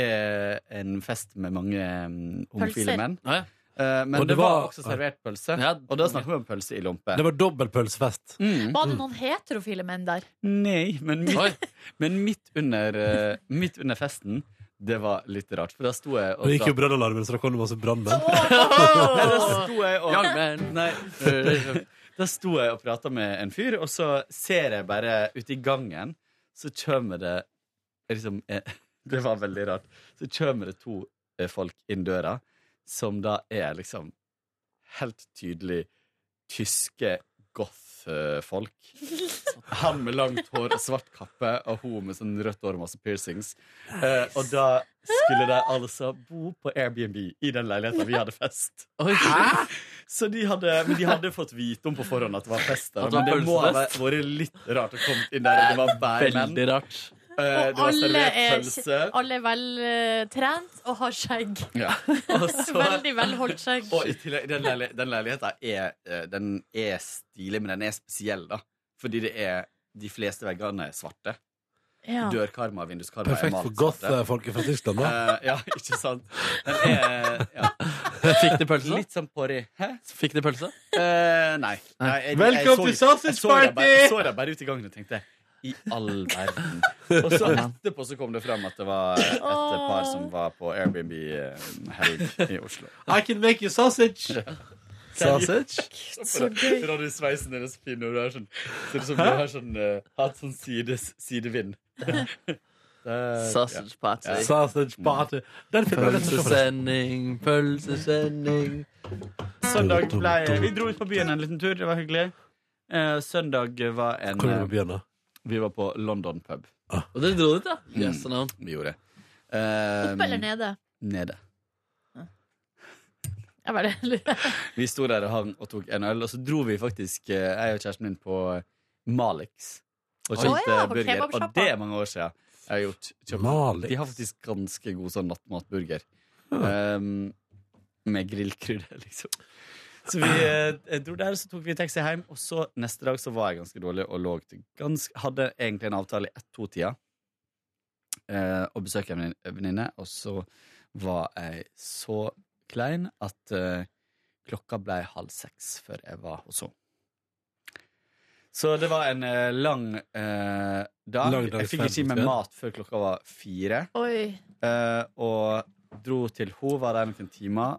Speaker 9: er en fest med mange mm, homofile
Speaker 3: Pølser.
Speaker 9: menn.
Speaker 4: Ja, ja.
Speaker 9: Eh, men
Speaker 2: Og
Speaker 9: det
Speaker 2: det
Speaker 9: var,
Speaker 2: var-
Speaker 9: også servert pølse,
Speaker 4: Ja.
Speaker 9: og da snakker vi om pølse i lompe.
Speaker 2: Det var dobbel pølsefest.
Speaker 9: Mm.
Speaker 3: Var det noen heterofile menn der?
Speaker 9: Nei, men midt,
Speaker 4: Oi.
Speaker 9: men midt, under, eh, midt under festen, det var litt rart, for da sto jeg og
Speaker 2: Det gikk jo
Speaker 9: prat-
Speaker 2: brannalarmen, så da kom det masse brannmenn.
Speaker 9: Nei, da sto jeg og
Speaker 4: Young man.
Speaker 9: Nei, øh, da sto jeg og prata med en fyr, og så ser jeg bare ute i gangen, så kommer det liksom eh, Det var veldig rart. Så kommer det to eh, folk inn døra, som da er liksom helt tydelig tyske goth-folk. Han med langt hår og svart kappe, og hun med sånn rødt hår og masse piercings. Eh, og da skulle de altså bo på Airbnb i den leiligheten vi hadde fest.
Speaker 4: Oi.
Speaker 9: Så de hadde, men de hadde fått vite om på forhånd at det var fest der.
Speaker 4: At det var
Speaker 9: Men det må ha vært
Speaker 4: pølsefest.
Speaker 9: vært litt rart å komme inn der, og det var bare menn.
Speaker 4: Veldig rart.
Speaker 9: Eh, Det
Speaker 3: Og
Speaker 9: var
Speaker 3: alle
Speaker 9: servert
Speaker 3: er,
Speaker 9: pølse.
Speaker 3: alle er vel eh, trent og har skjegg.
Speaker 9: Ja. Og så
Speaker 3: Veldig velholdt skjegg.
Speaker 9: Og i tillegg, den, leili den leiligheten er, eh, den er stilig, men den er spesiell, da. Fordi det er de fleste veggene er svarte.
Speaker 3: Ja.
Speaker 9: Dørkarma og vinduskarma er
Speaker 2: Perfekt for eh,
Speaker 9: malt svarte.
Speaker 2: goth-folket fra Tyskland, da.
Speaker 9: Eh, ja, ikke sant? Den er ja.
Speaker 4: Fikk de pølse?
Speaker 9: litt sånn porry. Hæ?
Speaker 4: Fikk de pølse?
Speaker 9: Eh, nei. nei jeg,
Speaker 2: Velkommen til sausage
Speaker 9: jeg så det bare-
Speaker 2: party!
Speaker 9: Jeg så det bare ut i gangen og tenkte i all verden. Og så etterpå så kom det frem at det var et par som var på Airbnb-helg i Oslo.
Speaker 2: I can make you sausage!
Speaker 4: Sausage?
Speaker 3: Så gøy.
Speaker 9: Når du sveisen din er så fin, og du har sånn, ser ut som du har sånn, eh, hatt sånn sides, sidevind.
Speaker 4: Sausage party.
Speaker 2: Sausage
Speaker 9: Mm.
Speaker 2: party. Den fikk jeg lyst til å se.
Speaker 4: Pølsesending, pølsesending
Speaker 9: Søndag ble Vi dro ut på byen en liten tur. Det var hyggelig. Eh, søndag var en eh,
Speaker 2: Hvor er det vi begynner?
Speaker 9: Vi var på London pub.
Speaker 4: Og dere dro dit, ja? Yes,
Speaker 9: Mm.
Speaker 4: no.
Speaker 9: Vi gjorde Eh,
Speaker 3: Opp eller nede?
Speaker 9: Nede.
Speaker 3: Jeg bare lurer.
Speaker 9: Vi sto der og, hang og tok en øl, og så dro vi faktisk, eh, jeg og kjæresten min, på eh, Malix. Og
Speaker 3: Å
Speaker 9: kjøpte
Speaker 3: ja, på
Speaker 9: burger. Og
Speaker 3: kebabsjappa.
Speaker 9: det er mange år siden jeg har gjort. Kjøpt.
Speaker 2: Malix.
Speaker 9: De har faktisk ganske god sånn nattmatburger. Um, med grillkrydder, liksom. Så vi eh, dro der, så tok vi taxi hjem, og så neste dag så var jeg ganske dårlig og lå til ganske Hadde egentlig en avtale i ett-to-tida eh, å besøke en vennin- venninne, og så var jeg så klein at eh, klokka ble halv seks før jeg var hos henne. Så det var en eh, lang eh, dag.
Speaker 2: Lang dag,
Speaker 9: jeg fikk ikke i meg
Speaker 2: ferdig.
Speaker 9: mat før klokka var fire.
Speaker 3: Oi.
Speaker 9: Eh, og dro til henne, var der noen timer.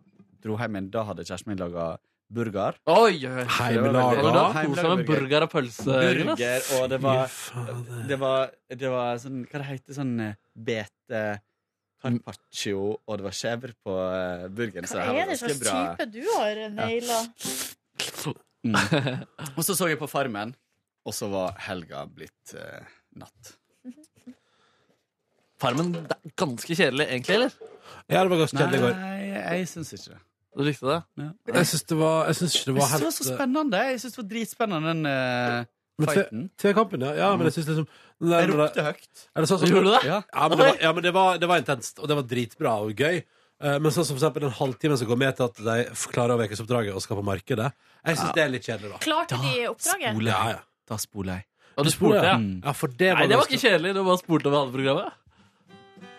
Speaker 9: Dro hjem igjen. Da hadde kjæresten min laga burger.
Speaker 4: Oi, oi, oi.
Speaker 9: Ja,
Speaker 4: Har du da
Speaker 2: Heimelaga.
Speaker 9: Heimelaga
Speaker 4: kosa med
Speaker 9: burger.
Speaker 4: burger og pølse?
Speaker 9: Burger, og det var,
Speaker 2: fader.
Speaker 9: det var, det var sånn Hva det heter sånn eh, bete Carpaccio, og det var skjever på eh, burgeren. Så
Speaker 3: Hva
Speaker 9: det
Speaker 3: er
Speaker 9: her var
Speaker 3: det
Speaker 9: ganske
Speaker 3: slags
Speaker 9: bra.
Speaker 3: type du har naila?
Speaker 9: Og så så jeg på Farmen, og så var helga blitt eh, natt.
Speaker 4: Farmen det er ganske kjedelig, egentlig, eller?
Speaker 2: Ja, det var ganske kjedelig i går.
Speaker 9: Nei, jeg syns ikke det.
Speaker 4: Du likte det?
Speaker 2: Jeg syns det var Jeg syns ikke det
Speaker 9: Jeg
Speaker 2: var
Speaker 9: synes det var eh, så
Speaker 2: helt eh,
Speaker 9: spennende. Jeg synes det var dritspennende, den eh,
Speaker 2: Men se-
Speaker 9: fighten. Mm.
Speaker 2: TV-kampen, ja. ja. Men jeg syns liksom
Speaker 9: Jeg ropte høyt.
Speaker 2: Er det sånn som
Speaker 4: Gjorde du det?
Speaker 2: Ja, men, det var, ja, men det, var, det var intenst, og det var dritbra og gøy. Eh, Men sånn som for eksempel den halvtimen som går med til at de f- klarer å ukesoppdraget og skal på markedet, jeg syns det er litt kjedelig, da.
Speaker 3: Klarte de oppdraget?
Speaker 2: Ja, ja.
Speaker 9: Da spoler jeg.
Speaker 4: Og du spolte, ja?
Speaker 9: Mm.
Speaker 2: ja, for det var
Speaker 4: Nei, det var
Speaker 2: ganske-
Speaker 4: ikke kjedelig. Du bare spolte over halve programmet.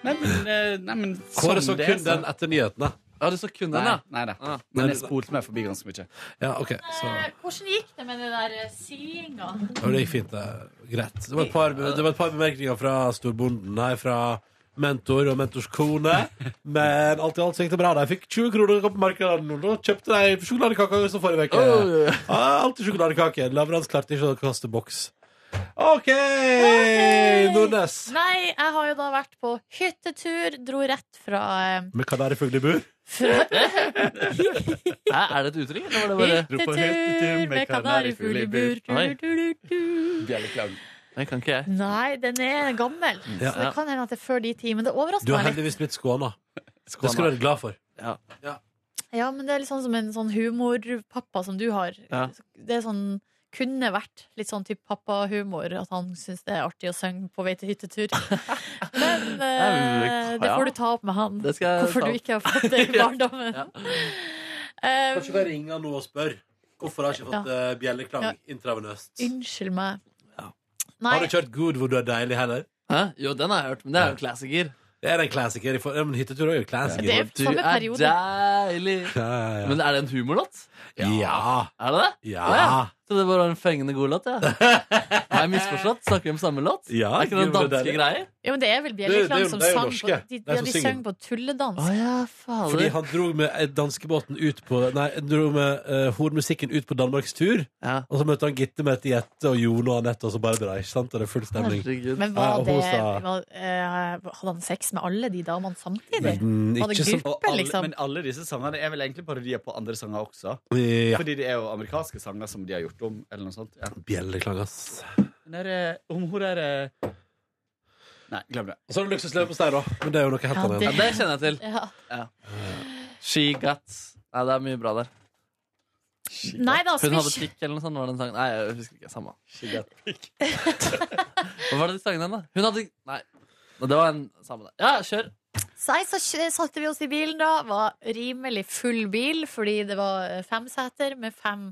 Speaker 9: Nei, men, eh, nei, men
Speaker 2: Kåre så
Speaker 9: sånn det er,
Speaker 2: kun
Speaker 9: så-
Speaker 2: den etter nyhetene.
Speaker 4: Ja, du så kun den,
Speaker 9: Nei,
Speaker 4: ja.
Speaker 9: nei da.
Speaker 4: Ah.
Speaker 9: Men jeg spolte meg forbi ganske mye.
Speaker 2: Ja, ok så.
Speaker 3: Eh, Hvordan gikk det med den der eh, silinga?
Speaker 2: Ja, Det gikk fint, det. Greit. Det var et par, det var et par bemerkninger fra storbonden her, fra mentor og mentors kone. Men alt i alt så gikk det bra. De fikk 20 kroner på markedet, og kjøpte de sjokoladekaker som forrige uke. Ah, Alltid sjokoladekake. Lavrans klarte ikke å kaste boks. OK, Nordnes.
Speaker 3: Nei, jeg har jo da vært på hyttetur. Dro rett fra, eh,
Speaker 2: Med kanarifugl i bur.
Speaker 3: fra
Speaker 4: Hæ, Er det et uttrykk, eller var det bare
Speaker 9: Dro på hyttetur
Speaker 3: hyttetur
Speaker 9: med
Speaker 3: med kanarifugl i bur.
Speaker 4: Oi.
Speaker 3: Du, du, du, du.
Speaker 9: Bjelleklang.
Speaker 4: Nei, kan ikke jeg.
Speaker 3: Nei, den er gammel.
Speaker 2: Ja.
Speaker 3: Så det kan hende at det er før de ti, men det
Speaker 2: Du
Speaker 3: overrasker
Speaker 2: har
Speaker 3: meg litt.
Speaker 2: heldigvis blitt skåna. Det skal du
Speaker 4: Skåna.
Speaker 2: være glad for.
Speaker 3: Ja, men det er litt sånn som en sånn humorpappa som du har.
Speaker 4: Ja.
Speaker 3: Det er sånn kunne vært litt sånn type pappahumor, at han syns det er artig å synge på vei til hyttetur. Men eh,
Speaker 4: Ja.
Speaker 3: det får du ta opp med han,
Speaker 4: Det skal jeg
Speaker 3: hvorfor du
Speaker 4: ta
Speaker 2: Sånn.
Speaker 4: opp.
Speaker 3: ikke har fått det i barndommen.
Speaker 4: Ja.
Speaker 3: Eh,
Speaker 2: Kanskje du kan ringe han nå og spørre. Hvorfor har jeg ikke fått eh, bjelleklang
Speaker 3: Ja.
Speaker 2: intravenøst?
Speaker 3: unnskyld meg.
Speaker 2: Ja.
Speaker 3: Nei,
Speaker 2: Har du kjørt Good hvor du er deilig heller?
Speaker 4: Hæ? Jo, den har jeg hørt, men det er jo en klassiker.
Speaker 2: Det er en klassiker. i for- ja, Men hyttetur er jo en klassiker.
Speaker 3: det er
Speaker 4: Du
Speaker 3: samme
Speaker 4: er
Speaker 3: periode.
Speaker 4: deilig.
Speaker 2: Ja, ja.
Speaker 4: Men er det en humorlåt?
Speaker 2: ja.
Speaker 4: Er det det? Å,
Speaker 2: Ja.
Speaker 4: Så det var en fengende god låt, ja. Har jeg misforstått? Snakker vi om samme låt?
Speaker 2: Ja,
Speaker 4: er ikke det
Speaker 2: Gud, det
Speaker 4: danske
Speaker 2: der-
Speaker 4: greier?
Speaker 3: ja, men det er vel
Speaker 2: det er
Speaker 3: Bjelleklang
Speaker 2: jo-
Speaker 3: som
Speaker 2: det er jo
Speaker 3: sang på
Speaker 2: norske.
Speaker 3: De,
Speaker 2: Det er
Speaker 3: ja,
Speaker 2: som
Speaker 3: de
Speaker 2: synger.
Speaker 3: sang på tulledans.
Speaker 4: Å ja,
Speaker 2: Fordi
Speaker 4: fader.
Speaker 2: han dro med eh, danskebåten ut på Nei, han dro med eh, hormusikken ut på Danmarkstur.
Speaker 4: Ja.
Speaker 2: Og så møtte han Gitte, Mette, Jette og Jone og Anette og så Barbara. Ikke sant? Og det er full stemning.
Speaker 4: Herregud.
Speaker 2: Ja,
Speaker 3: Men var
Speaker 2: og
Speaker 3: det,
Speaker 2: hun sa-
Speaker 3: var, eh, hadde han sex med alle de damene samtidig?
Speaker 2: Mm,
Speaker 3: Var det
Speaker 2: ikke sånn
Speaker 3: gruppe,
Speaker 9: Og alle,
Speaker 3: liksom?
Speaker 9: men alle disse sangene er vel egentlig parodier på andre sanger også.
Speaker 2: ja.
Speaker 9: Fordi det er jo amerikanske sanger som de har gjort om, eller noe sånt. Ja.
Speaker 2: Bjelleklang, ass.
Speaker 9: Den der, eh, om hun der eh, Nei, glem det.
Speaker 2: Og så har du Luksusløpestei, da. Men det er jo noe helt
Speaker 3: Ja,
Speaker 2: annet.
Speaker 4: Ja, det kjenner jeg til.
Speaker 3: Ja.
Speaker 4: She got Nei, det er mye bra der.
Speaker 3: Nei da,
Speaker 4: Hun hadde
Speaker 3: Swish.
Speaker 4: pikk eller noe sånt. Var det en sang? Nei, jeg husker ikke. Samme. Hva var det de sang den, da? Hun hadde Nei. Det var en samme der. Ja, kjør.
Speaker 3: Så jeg, så kj- satte vi oss i bilen da, var rimelig full bil, fordi det var eh, fem seter med fem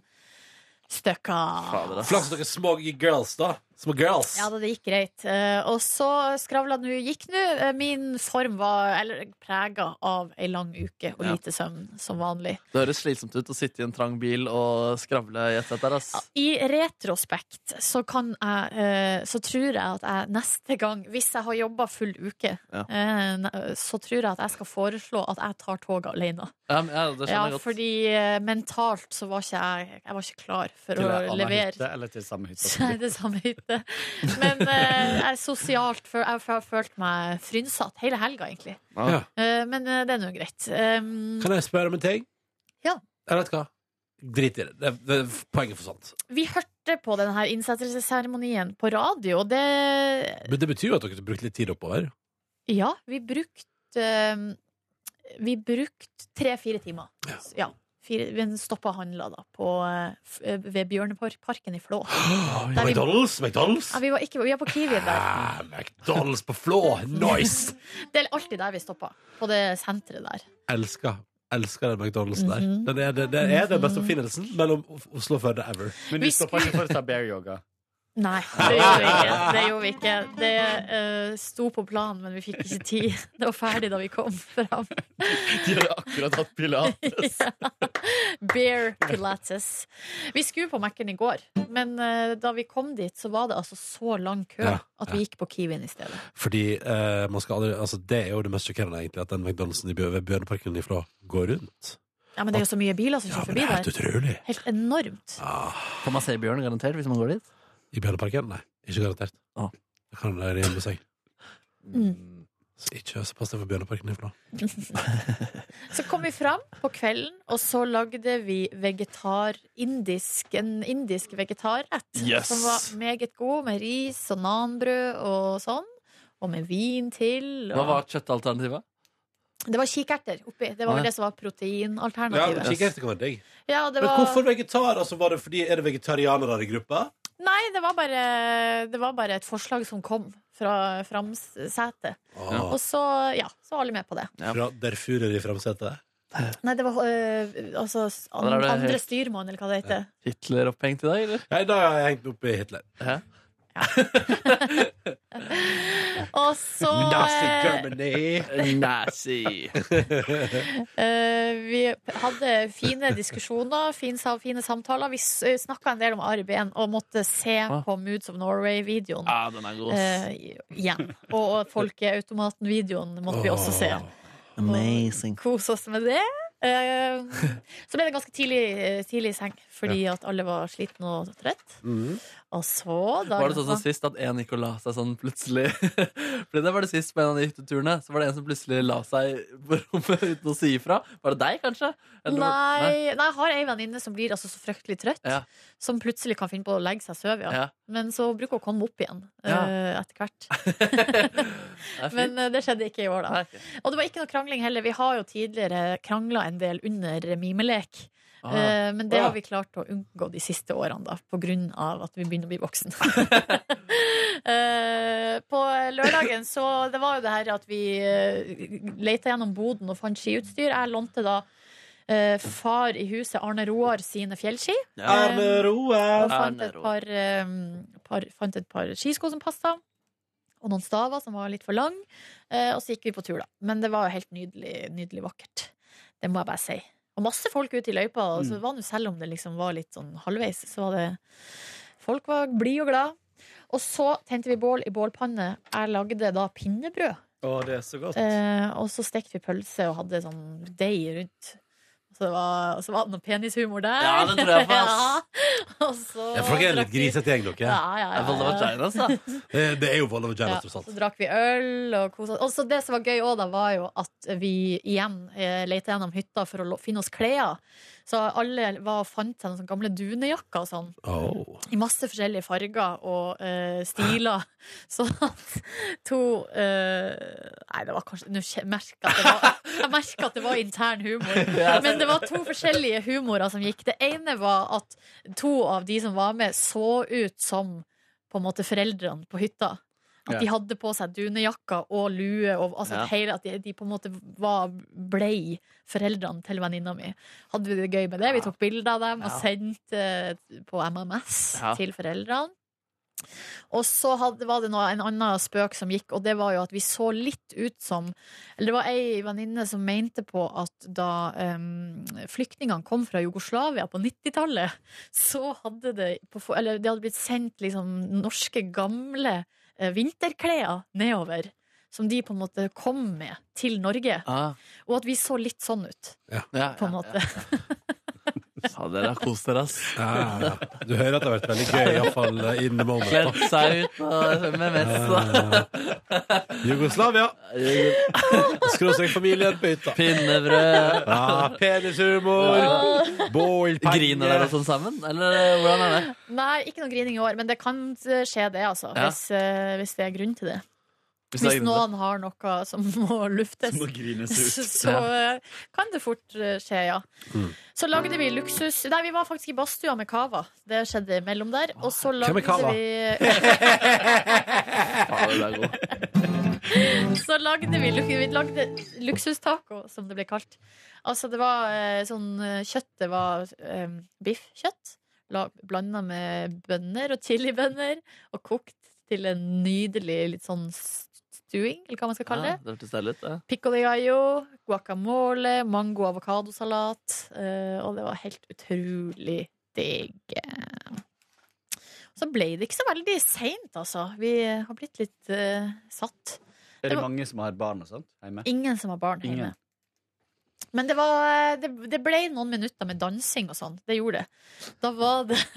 Speaker 3: stykker.
Speaker 4: Fader, ass.
Speaker 2: Flaks at dere er små girls, da. Små girls.
Speaker 3: Ja, da, det gikk greit. Eh, og så skravla nå gikk nå. Eh, min form var eller prega av ei lang uke og
Speaker 4: Ja.
Speaker 3: lite søvn, som vanlig.
Speaker 4: Det høres slitsomt ut å sitte i en trang bil og skravle i et sett der, ass.
Speaker 3: I retrospekt så kan jeg eh, Så tror jeg at jeg neste gang, hvis jeg har jobba full uke,
Speaker 4: Ja.
Speaker 3: eh, ne- så tror jeg at jeg skal foreslå at jeg tar toget alene.
Speaker 4: Ja, men, ja, det skjønner
Speaker 3: Ja,
Speaker 4: jeg godt.
Speaker 3: fordi eh, mentalt så var ikke jeg Jeg var ikke klar for
Speaker 9: Til
Speaker 3: å
Speaker 9: ei anna
Speaker 3: levere
Speaker 9: hytte, eller til samme hytte.
Speaker 3: Nei, det er samme hytte. Men eh, jeg er sosialt for, Jeg har følt meg frynsatt hele helga, egentlig.
Speaker 2: Ja.
Speaker 3: Eh, men eh, det er nå greit. Um,
Speaker 2: Kan jeg spørre om en ting?
Speaker 3: Ja.
Speaker 2: Jeg vet hva. Drit i det. det, det poenget forsvant.
Speaker 3: vi hørte på denne innsettelsesseremonien på radio, og det
Speaker 2: Men det betyr jo at dere brukte litt tid oppover.
Speaker 3: Ja, vi brukte eh, Vi brukte tre-fire timer. Ja. fire, vi stoppa og handla da på, eh, f- eh, ved Bjørneparken i Flå. Der vi-
Speaker 2: McDonald's! McDonald's!
Speaker 3: Ja, vi, var ikke, vi var på Kiwi der.
Speaker 2: Ah, McDonald's på Flå! Nice!
Speaker 3: Det er alltid der vi stoppa. På det senteret der.
Speaker 2: Elsker. Elsker den McDonald'sen der.
Speaker 3: Mhm.
Speaker 2: Den er, det, det er den beste oppfinnelsen mellom Oslo og Førde ever.
Speaker 9: Men
Speaker 3: Vi
Speaker 9: du stoppa ikke for å ta bear yoga.
Speaker 3: Nei, det gjorde vi ikke. Det, gjorde vi ikke. det eh, sto på planen, men vi fikk ikke tid. Det var ferdig da vi kom fram.
Speaker 9: De har akkurat hatt pilates.
Speaker 3: Bear pilates. Vi skulle på Mac-en i går, men eh, da vi kom dit, så var det altså så lang kø
Speaker 2: Ja,
Speaker 3: at vi gikk på Kiwien i stedet.
Speaker 2: Fordi eh, man skal aldri, altså, Det er jo det mest sjokkerende, egentlig, at den McDonald'sen i Bjør- ved Bjørneparken i Flå går rundt.
Speaker 3: Ja, Men det er jo så mye biler som
Speaker 2: Ja,
Speaker 3: kjører
Speaker 2: men det
Speaker 3: forbi
Speaker 2: er helt
Speaker 3: der.
Speaker 2: utrolig.
Speaker 3: Helt enormt.
Speaker 4: Får man se bjørn garantert hvis man går dit?
Speaker 2: I Bjørneparken? Nei, ikke garantert.
Speaker 4: Ah.
Speaker 2: Da kan det rime seg.
Speaker 3: Mm.
Speaker 2: Så ikke så pass deg for Bjørneparken i Flå.
Speaker 3: Så kom vi fram på kvelden, og så lagde vi vegetar, indisk, en indisk vegetarrett.
Speaker 4: Yes.
Speaker 3: Som var meget god, med ris og nanbrød og sånn. Og med vin til.
Speaker 4: Hva
Speaker 3: Og...
Speaker 4: var kjøttalternativet?
Speaker 3: Det var kikerter oppi. Det var
Speaker 4: Ja.
Speaker 3: vel det som var proteinalternativet.
Speaker 2: Kikkert kan være digg.
Speaker 3: Ja, det
Speaker 2: Men hvorfor
Speaker 3: var...
Speaker 2: vegetar? Altså, var det fordi, er det vegetarianere i gruppa?
Speaker 3: Nei, det var, bare, det var bare et forslag som kom fra Framsetet.
Speaker 2: Ah,
Speaker 3: Og så, ja, så var alle med på det.
Speaker 4: Ja.
Speaker 2: Fra Derfurer i framsetet?
Speaker 3: Nei, det var øh, altså an,
Speaker 4: Der er det helt-
Speaker 3: andre styrmann, eller hva det heter.
Speaker 4: Hitler opphengt i dag, eller?
Speaker 2: Nei, da har jeg hengt meg opp i Hitler.
Speaker 3: Og så eh,
Speaker 4: Nazi.
Speaker 3: Eh, vi hadde fine diskusjoner, fin, sa- fine samtaler. Vi snakka en del om Ari Behn og måtte se
Speaker 4: Ah.
Speaker 3: på Moods of Norway-videoen
Speaker 4: Ja, den er god. ass.
Speaker 3: eh, igjen. Og, og Folkeautomaten-videoen måtte vi også se.
Speaker 4: Amazing.
Speaker 3: Kose oss med det. Eh, så ble det ganske tidlig, eh, tidlig i seng, fordi at alle var slitne og trøtt. Og så da, liksom-
Speaker 4: Var det sånn som sist at en gikk og la seg sånn plutselig? Fordi det var det sist på en av de hytteturene. Så var det en som plutselig la seg på rommet uten å si ifra. Var det deg, kanskje? Eller var-
Speaker 3: Nei, nei, jeg har ei venninne som blir altså så fryktelig trøtt.
Speaker 4: Ja.
Speaker 3: Som plutselig kan finne på å legge seg og sove. Ja.
Speaker 4: Ja.
Speaker 3: Men så bruker hun å komme opp igjen
Speaker 4: Ja.
Speaker 3: eh, etter hvert.
Speaker 4: Det er fint.
Speaker 3: Men eh, det skjedde ikke i år, da.
Speaker 4: Nei, ok.
Speaker 3: Og det var ikke noe krangling heller. Vi har jo tidligere krangla en del under mimelek.
Speaker 4: Ah,
Speaker 3: Eh, Men det
Speaker 2: Å, ja.
Speaker 3: har vi klart å unngå de siste årene, da, på grunn av at vi begynner å bli voksen. Eh, på lørdagen så Det var jo det her at vi leita gjennom boden og fant skiutstyr. Jeg lånte da eh, far i huset, Arne Roar, sine fjellski.
Speaker 4: ja.
Speaker 3: Arne
Speaker 2: Roar!
Speaker 3: Og fant et
Speaker 4: Arne Roar.
Speaker 3: par, eh, par, fant et par skisko som passa. Og noen staver som var litt for lang. Eh, og så gikk vi på tur, da. Men det var jo helt nydelig, nydelig vakkert. Det må jeg bare si. Og masse folk ute i løypa. Og så var det jo selv om det liksom var litt sånn halvveis, så var det Folk var blide og glad. Og så tente vi bål i bålpanne. Jeg lagde da pinnebrød.
Speaker 9: Å, det er så godt.
Speaker 3: Eh, og så stekte vi pølse og hadde sånn deig rundt. Så det var, og så var det noe penishumor der.
Speaker 4: Ja, det tror jeg på, ass.
Speaker 3: Ja. Og så
Speaker 2: Ja, for dere er en
Speaker 3: drakk
Speaker 2: litt
Speaker 3: vi-
Speaker 2: grisete gjeng, dere.
Speaker 3: Ja, ja,
Speaker 4: Jeg
Speaker 3: ja,
Speaker 4: faller
Speaker 3: ja.
Speaker 4: vagina, altså.
Speaker 2: Det, det er jo vold og
Speaker 3: Ja,
Speaker 2: vagina, tross
Speaker 3: så
Speaker 2: alt.
Speaker 3: drakk vi øl og kosa oss. Og så det som var gøy òg, da, var jo at vi igjen eh, leita gjennom hytta for å lo- finne oss klær. Så alle var og fant seg noen sånne gamle dunejakker og sånn.
Speaker 2: Oh.
Speaker 3: I masse forskjellige farger og eh, stiler. Sånn at to eh, Nei, det var kanskje Nå kje- merker jeg at det var, jeg merker at det var intern humor. Men det var to forskjellige humorer som gikk. Det ene var at to av de som var med, så ut som på en måte foreldrene på hytta. At
Speaker 9: Ja.
Speaker 3: de hadde på seg dunejakker og lue, og altså
Speaker 4: Ja.
Speaker 3: at hele, at de, de på en måte var, blei foreldrene til venninna mi. Hadde vi det gøy med det. Vi tok bilder av dem og sendte eh, på MMS
Speaker 4: Ja.
Speaker 3: til foreldrene. Og så hadde, var det noe, en annen spøk som gikk, og det var jo at vi så litt ut som Eller det var ei venninne som mente på at da em, flyktningene kom fra Jugoslavia på 90-tallet, så hadde det på, for- Eller det hadde blitt sendt liksom norske, gamle eh, vinterklær nedover. Som de på en måte kom med til Norge.
Speaker 4: Ah,
Speaker 3: Og at vi så litt sånn ut,
Speaker 4: ja,
Speaker 3: på en måte.
Speaker 4: Ja, dere har kost dere, ass.
Speaker 2: Ja, ja, ja. Du hører at det har vært veldig gøy, iallfall eh, in the moment.
Speaker 4: Kledd seg ut og med E vest.
Speaker 2: Jugoslavia! Skråstrek familien på hytta.
Speaker 4: Pinnebrød.
Speaker 2: Ja, penishumor! Boilpanne.
Speaker 4: Griner
Speaker 2: altså.
Speaker 4: dere sånn sammen, eller hvordan er det?
Speaker 3: Nei, ikke noe grining i år, men det kan eh, skje det, altså.
Speaker 4: Ja.
Speaker 3: Hvis, eh, hvis det er grunn til det.
Speaker 4: Hvis
Speaker 3: Hvis
Speaker 4: det er grunn til
Speaker 3: noen har noe som må luftes, så, så eh, kan det fort eh, skje, ja. Så lagde vi luksus Nei, vi var faktisk i badstua med cava. Det skjedde imellom der. Og så
Speaker 2: Hvem er
Speaker 3: lagde
Speaker 2: cava?
Speaker 3: vi
Speaker 4: det. Faen, det er god.
Speaker 3: Så lagde vi, luk- vi lagde luksustaco, som det ble kalt. Altså, det var eh, sånn eh, Kjøttet var eh, biffkjøtt. la- Blanda med bønner og chilibønner. Og kokt til en nydelig litt sånn stuing, eller hva man skal kalle
Speaker 4: Ja,
Speaker 3: det.
Speaker 4: det hørtes deilig ut, det.
Speaker 3: Pico de gallo, guacamole, mango avokadosalat. eh, Og det var helt utrolig digg. Så ble det ikke så veldig seint, altså. Vi eh, har blitt litt eh, satt.
Speaker 9: Er
Speaker 3: det
Speaker 9: det
Speaker 3: var-
Speaker 9: mange som har barn og sånt hjemme?
Speaker 3: Ingen som har barn
Speaker 9: Ingen.
Speaker 3: hjemme. Men det, var, eh, det, det ble noen minutter med dansing og sånn. Det gjorde det. Da var det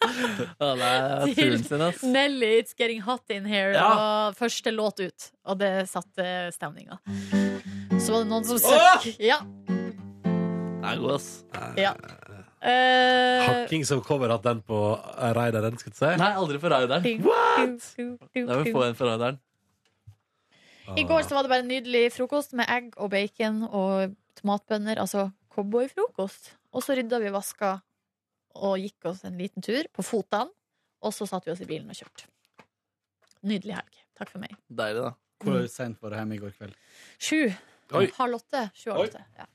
Speaker 4: Ja, det er turen sin, ass.
Speaker 3: Nelly It's Getting Hot In Here
Speaker 4: Ja.
Speaker 3: og første låt ut. Og det satte stemninga. Så var det noen som søkk. Ja,
Speaker 4: Den er god, ass.
Speaker 3: ja. Eh,
Speaker 2: Har Kings of Cover hatt den på raideren, skal jeg si?
Speaker 4: Nei, aldri for raideren. Da vil vi få en for raideren.
Speaker 3: I går så var det bare en nydelig frokost med egg og bacon og tomatbønner. Altså cowboyfrokost. Og så rydda vi og vaska og gikk oss en liten tur på fotene. Og så satte vi oss i bilen og kjørte. Nydelig helg. Takk for meg.
Speaker 4: Deilig, da.
Speaker 9: Hvor sent var du hjemme i går kveld?
Speaker 3: Sju.
Speaker 2: Oi.
Speaker 3: Halv åtte. Sju halv åtte. Ja.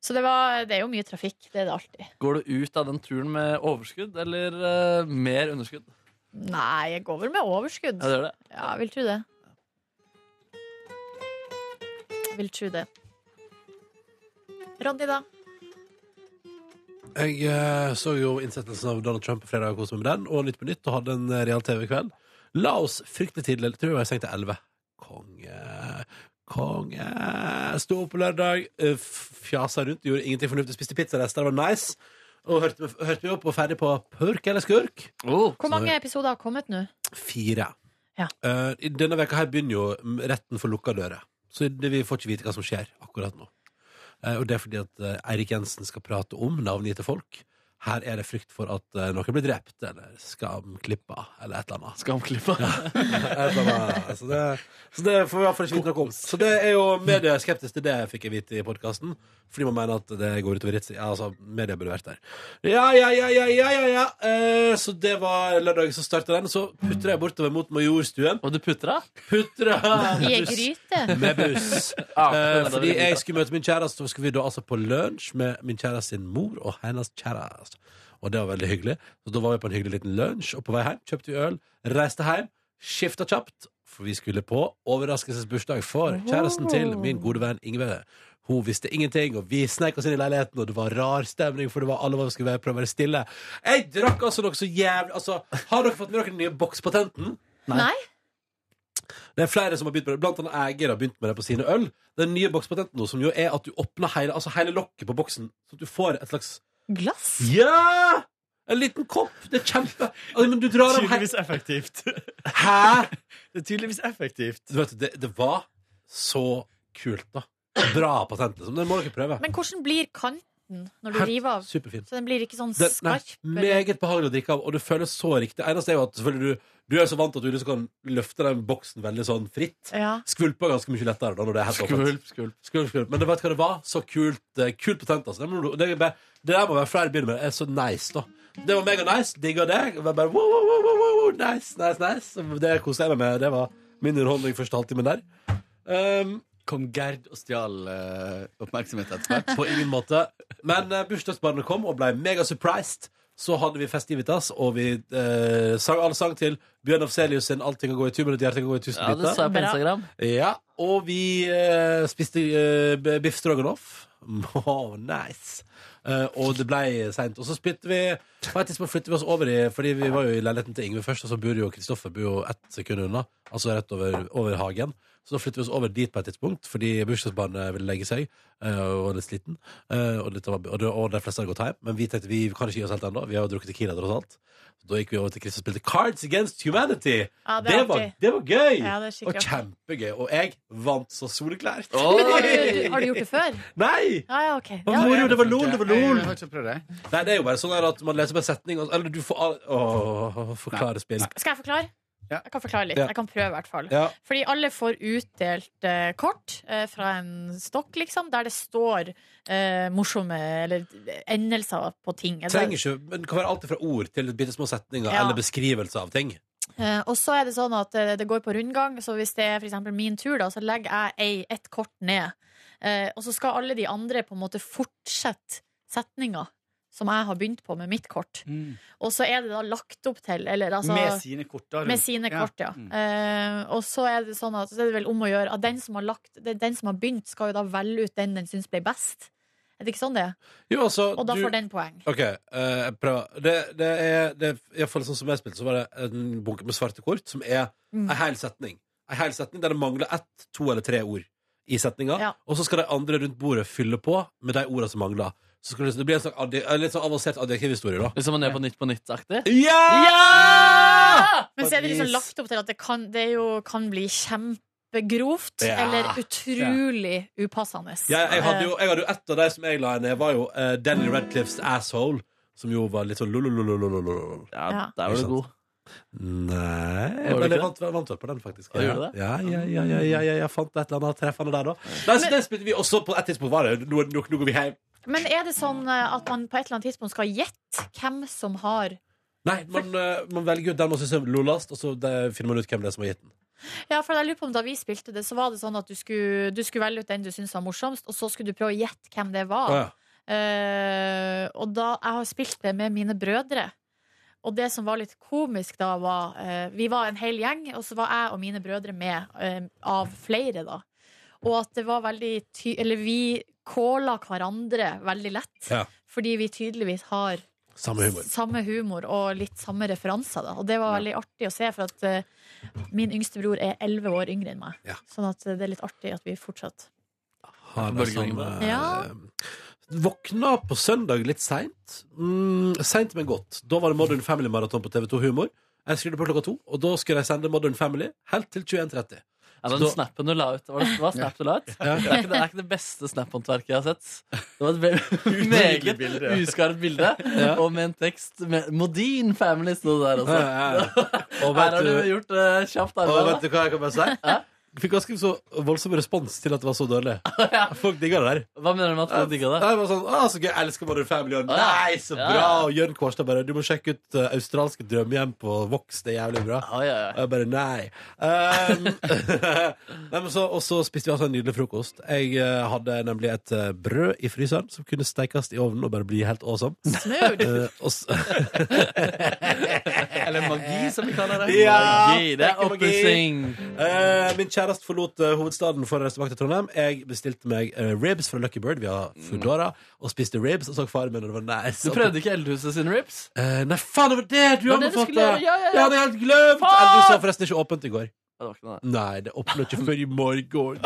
Speaker 3: Så det, var, det er jo mye trafikk. Det er det alltid.
Speaker 4: Går du ut av den turen med overskudd eller eh, mer underskudd?
Speaker 3: Nei, jeg går vel med overskudd.
Speaker 4: Ja, det gjør det.
Speaker 3: Ja, jeg vil tro det. Jeg vil tro det. Ronny, da?
Speaker 2: Jeg eh, så jo innsettelsen av Donald Trump på fredag og koste meg med den, og Nytt på Nytt, og hadde en eh, real TV-kveld. La oss fryktelig tidlig, tror jeg var sengt til 11. Konge, konge. Sto opp på lørdag, eh, f- fjasa rundt, gjorde ingenting fornuftig, spiste pizzarester, det var nice. Og hørte, meg- hørte meg opp og ferdig på Purk eller skurk.
Speaker 4: Oh,
Speaker 3: Hvor mange episoder har kommet nå?
Speaker 2: Fire.
Speaker 3: Ja.
Speaker 2: Eh, i denne veka her begynner jo mm, retten for lukka dører. Så det, vi får ikke vite hva som skjer akkurat nå. Eh, og det er fordi at eh, Eirik Jensen skal prate om navngitte folk. Her er det frykt for at eh, noen blir drept, eller skamklippa, eller et eller annet.
Speaker 4: Skamklippa.
Speaker 2: Et eller annet. sånn, eh, Så, det, så det får vi i hvert fall ikke vite noe om. Så det er jo medieskeptisk til det, fikk jeg vite i podkasten. Fordi man mener at det går utover ritsi. Ja, altså, media burde vært der. Ja, ja, ja, ja, ja, ja, ja. Eh, så det var lørdag som starta den. Så putra jeg bortover mot Majorstuen.
Speaker 4: Og du putter av?
Speaker 2: Putra
Speaker 3: I ei gryte?
Speaker 2: med buss. Eh, fordi jeg skulle møte min kjæreste, og skulle vi da altså på lunsj med min kjæreste sin mor og hennes kjæreste. Og det var veldig hyggelig. Så da var vi på en hyggelig liten lunsj, og på vei hjem kjøpte vi øl, reiste hjem, skifta kjapt, for vi skulle på overraskelsesbursdag for kjæresten til min gode venn Ingve. Hun visste ingenting, og vi snek oss inn i leiligheten, og det var rar stemning, for det var alle var skulle være, prøve å være stille. Jeg drakk altså noe så jævlig Altså, har dere fått med dere den nye bokspatenten?
Speaker 3: Nei?
Speaker 2: Det er flere som har begynt med det. Blant annet Eiger har begynt med det på sine øl. Den nye bokspatenten nå, som jo er at du åpner hele, altså hele lokket på boksen, så at du får et slags
Speaker 3: Glass?
Speaker 2: Ja! En liten kopp! Det er kjempe altså, Men du drar den her
Speaker 12: effektivt.
Speaker 2: Hæ?!
Speaker 12: Det er tydeligvis effektivt.
Speaker 2: Du vet, det, det var så kult, da. Bra patent, liksom. Det må dere prøve.
Speaker 3: Men hvordan blir kanten den når du
Speaker 2: Helt
Speaker 3: river av.
Speaker 2: superfin.
Speaker 3: Så den blir ikke sånn
Speaker 2: Det- nei,
Speaker 3: skarp. eller-
Speaker 2: meget behagelig å drikke av, og det føles så riktig. Eneste er jo at selvfølgelig du, du er så vant at du liksom kan løfte den boksen veldig sånn fritt.
Speaker 3: Ja.
Speaker 2: Skvulper ganske mye lettere da når det er helt åpent.
Speaker 4: Skvulp, skvulp.
Speaker 2: Skvulp, skvulp. Men du vet hva det var? Så kult, eh, kult potent. Altså. Det, må du- det, er bare- det der må være flere begynner med. Det er så nice, da. Det var mega nice. Digga det. Det var Bare, wow, wow, wow, wow, wow, nice, nice, nice. Det koste jeg meg med. Det var min underholdning første halvtimen der. Um,
Speaker 9: Kom Gerd og stjal eh, oppmerksomhet etter hvert?
Speaker 2: på ingen måte. Men eh, bursdagsbarnet kom og ble mega surprised. Så hadde vi festivitas, og vi eh, sang alle sang til Bjørn Afselius sin 'Allting kan gå i tur, men et hjerte kan gå i tusen
Speaker 4: Ja, det sa
Speaker 2: biter'.
Speaker 4: jeg på Instagram.
Speaker 2: Ja, og vi eh, spiste eh, b- biff stroganoff. Åh, nice. Eh, og det ble seint. Og så spytte vi På et tidspunkt flyttet vi oss over i Fordi vi var jo i leiligheten til Ingve først, og så bor jo Kristoffer bor jo ett sekund unna. Altså rett over, over hagen. Så da flyttet vi oss over dit på et tidspunkt fordi bursdagsbarnet ville legge seg eh, og var litt sliten. Eh, og, litt av, og, det- og de fleste hadde gått hjem. Men vi tenkte vi kan ikke gi oss helt ennå. Vi har jo drukket Tequila tross alt. Så da gikk vi over til Chris og spilte Cards Against Humanity.
Speaker 3: Ja, det
Speaker 2: det,
Speaker 3: er
Speaker 2: var,
Speaker 3: artig.
Speaker 2: det var gøy!
Speaker 3: Ja, det er
Speaker 2: og
Speaker 3: skikkelig artig.
Speaker 2: kjempegøy. Og jeg vant så soleklært.
Speaker 3: Men har du, har du gjort det før?
Speaker 2: Nei!
Speaker 3: Ja, ja, ok.
Speaker 2: Det
Speaker 3: Ja,
Speaker 2: var moro, det var lol, det var lol.
Speaker 9: Jeg har ikke prøvd det.
Speaker 2: Nei, det er jo bare sånn her at man leser på en setning og, Eller du får al- Åh, forklare spill.
Speaker 3: Skal jeg forklare?
Speaker 9: Ja.
Speaker 3: Jeg kan forklare litt.
Speaker 2: Ja.
Speaker 3: Jeg kan prøve, i hvert fall.
Speaker 2: Ja.
Speaker 3: Fordi alle får utdelt eh, kort eh, fra en stokk, liksom, der det står eh, morsomme eller eh, endelser på ting.
Speaker 2: Trenger ikke, men det kan være alt fra ord til bitte små setninger
Speaker 3: Ja.
Speaker 2: eller beskrivelser av ting.
Speaker 3: Eh, og så er det sånn at eh, det går på rundgang, så hvis det er for eksempel min tur, da, så legger jeg ei, ett kort ned. Eh, og så skal alle de andre på en måte fortsette setninga som jeg har begynt på med mitt kort. Og så er det da lagt opp til, eller Mm. altså
Speaker 9: Med sine kort. da, rundt.
Speaker 3: Med sine
Speaker 9: Ja.
Speaker 3: kort, ja.
Speaker 9: Mm.
Speaker 3: Eh, og så er det sånn at så er det vel om å gjøre at den som har, lagt, det, er den som har begynt, skal jo da velge ut den den syns ble best. Er det ikke sånn det er?
Speaker 2: Jo, altså,
Speaker 3: Og da
Speaker 2: du-
Speaker 3: får den poeng.
Speaker 2: Ok, eh, jeg prøver. Det, det er det, i hvert fall sånn som jeg spilte, så var det en bunke med svarte kort, som er
Speaker 3: Mm.
Speaker 2: en hel setning. En hel setning der det mangler ett, to eller tre ord i setninga.
Speaker 3: Ja.
Speaker 2: Og så skal de andre rundt bordet fylle på med de orda som mangler. Så skal det, det blir en slags adje- en litt sånn avansert adjektivhistorie, da.
Speaker 4: Liksom man gjør på Nytt på Nytt-aktig.
Speaker 2: Ja!
Speaker 3: Men så er det liksom
Speaker 2: Vis.
Speaker 3: lagt opp til at det kan, det jo kan bli kjempegrovt
Speaker 2: Ja.
Speaker 3: eller utrolig upassende.
Speaker 2: Jeg, jeg hadde jo, jeg hadde jo ett av de som jeg la ned, var jo eh, Danny Radcliffes Asshole. Som jo var litt sånn lolololololol.
Speaker 4: Ja,
Speaker 3: Ja.
Speaker 4: der var du god.
Speaker 2: Nei
Speaker 4: Var det
Speaker 2: Men jeg
Speaker 4: ikke?
Speaker 2: vant, jeg vant vel på den, faktisk.
Speaker 4: Ja, gjorde du det?
Speaker 2: Ja, ja, ja, ja, ja, ja, jeg fant et eller annet treffende der, da. Nei, så det spilte vi også på et tidspunkt. Var det nå, nå, nå går vi hjem.
Speaker 3: Men er det sånn eh, at man på et eller annet tidspunkt skal gjette hvem som har
Speaker 2: Nei, man, eh, man velger ut den man syns er lolast, og så eh, finner man ut hvem det er som har gitt den.
Speaker 3: Ja, for jeg lurer på om da vi spilte det, så var det sånn at du skulle, du skulle velge ut den du syntes var morsomst, og så skulle du prøve å gjette hvem det var.
Speaker 2: Å, ja.
Speaker 3: Eh, og da jeg har spilt det med mine brødre. Og det som var litt komisk da, var eh, Vi var en hel gjeng, og så var jeg og mine brødre med eh, av flere, da. Og at det var veldig ty Eller vi kåla hverandre veldig lett.
Speaker 2: Ja.
Speaker 3: Fordi vi tydeligvis har
Speaker 2: Samme humor.
Speaker 3: samme humor og litt samme referanser. Da. Og det var veldig artig å se, for at eh, min yngste bror er elleve år yngre enn meg.
Speaker 2: Ja.
Speaker 3: Sånn at det er litt artig at vi fortsatt
Speaker 2: Har det sånn,
Speaker 4: Bølgelengde.
Speaker 2: eh,
Speaker 3: Ja.
Speaker 2: Våkna på søndag litt seint. Mm, seint, men godt. Da var det Modern Family Marathon på TV2 Humor. Jeg skrudde på klokka to, og da skulle jeg sende Modern Family helt til 21.30.
Speaker 4: Ja, den
Speaker 2: Så-
Speaker 4: snappen du la ut, var det, var snap du la ut?
Speaker 2: Ja.
Speaker 4: Det, er ikke, det er ikke det beste snap-håndverket jeg har sett. Det var et ve- meget
Speaker 9: bilde, ja.
Speaker 4: uskarpt bilde, og med en tekst med 'Modin Family' sto det der også.
Speaker 2: Eh, Og
Speaker 4: Her
Speaker 2: vet
Speaker 4: har du
Speaker 2: du,
Speaker 4: gjort eh, kjapt
Speaker 2: og
Speaker 4: arbeid.
Speaker 2: Altså, vet du hva jeg kan bare si? Jeg fikk ganske så voldsom respons til at det var så dårlig. Folk digga det der.
Speaker 4: da. Hva mener du med at folk digga det?
Speaker 2: Jeg var sånn, ah, så gøy, jeg elsker Modern Family og
Speaker 4: Ja.
Speaker 2: Nei, så
Speaker 4: Ja.
Speaker 2: bra! Og Jørn Kårstad bare Du må sjekke ut eh, australske drømmehjem på Vox, det er jævlig bra.
Speaker 4: Oi, oi,
Speaker 2: Og
Speaker 4: oi.
Speaker 2: jeg bare nei. Um, nei men så, og så spiste vi altså en nydelig frokost. Jeg eh, hadde nemlig et eh, brød i fryseren som kunne steikes i ovnen og bare bli helt awesome.
Speaker 3: Smooth!
Speaker 2: Eh, og s-
Speaker 9: Eller magi, som vi kaller det.
Speaker 2: Ja,
Speaker 4: Magi, det er
Speaker 2: magi.
Speaker 4: oppussing.
Speaker 2: Eh, min kjæreste forlot eh, hovedstaden for å reise tilbake til Trondheim. Jeg bestilte meg eh, ribs fra Lucky Bird via Foodora og spiste ribs og så faren min, og det var nice.
Speaker 4: Du prøvde ikke Eldhuset sine rips?
Speaker 2: Eh, nei, faen, det var det du
Speaker 4: Det var det du
Speaker 2: anbefalte!
Speaker 4: skulle gjøre, ja, ja, ja.
Speaker 2: Det hadde jeg helt glemt!
Speaker 4: Faen!
Speaker 2: Eller, du sa forresten ikke åpent i går.
Speaker 4: Ja, Det var ikke noe,
Speaker 2: Nei, det åpner ikke før i morgen.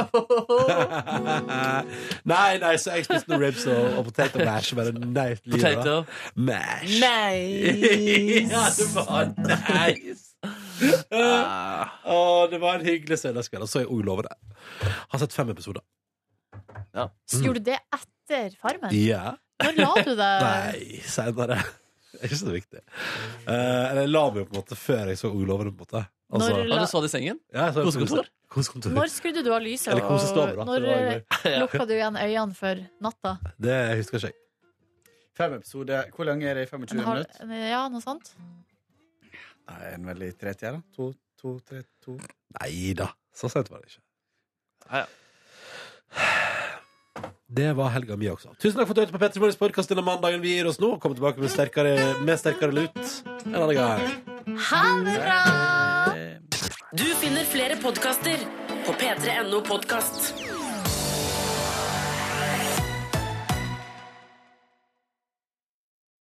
Speaker 4: det.
Speaker 2: nei, nei, så jeg spiste noen ribs og, og potato mash. Bare nei,
Speaker 4: Potato.
Speaker 2: mash. ja, det var nice!
Speaker 4: Ah.
Speaker 2: Å, det var en hyggelig søndagskveld. Og så er jeg òg lover det. Har sett fem episoder. Mm.
Speaker 3: Så gjorde du det etter Farmen?
Speaker 2: Ja.
Speaker 3: Når la du deg?
Speaker 2: Nei, seinere. Det er ikke så viktig. Eh, eller jeg la meg jo på en måte før jeg så ulovene, på en måte. Altså,
Speaker 3: Når la-
Speaker 4: Har du så det i sengen?
Speaker 2: ja, jeg så-
Speaker 4: Kosekontor?
Speaker 2: Kosekontor.
Speaker 3: Når skrudde du av lyset?
Speaker 2: Eller kose
Speaker 3: og
Speaker 2: stabler, da.
Speaker 3: Når
Speaker 2: Det var jo
Speaker 3: eh, lukka du igjen øynene for natta?
Speaker 2: Det husker ikke jeg.
Speaker 9: Fem episoder. Hvor lang er det? 25
Speaker 3: En halv-
Speaker 9: minutter?
Speaker 3: Ja, noe sånt?
Speaker 9: Nei, en veldig 30 da. To, to, tre, to.
Speaker 2: Nei da, så sent var det ikke.
Speaker 4: Ja, ja.
Speaker 2: Det var helga mi også. Tusen takk for at du hørte på Petter Morgens podkast denne mandagen vi gir oss nå. Kom tilbake med sterkere, med sterkere lut en annen gang.
Speaker 3: Ha det bra!
Speaker 5: Du finner flere podkaster på p3.no podkast.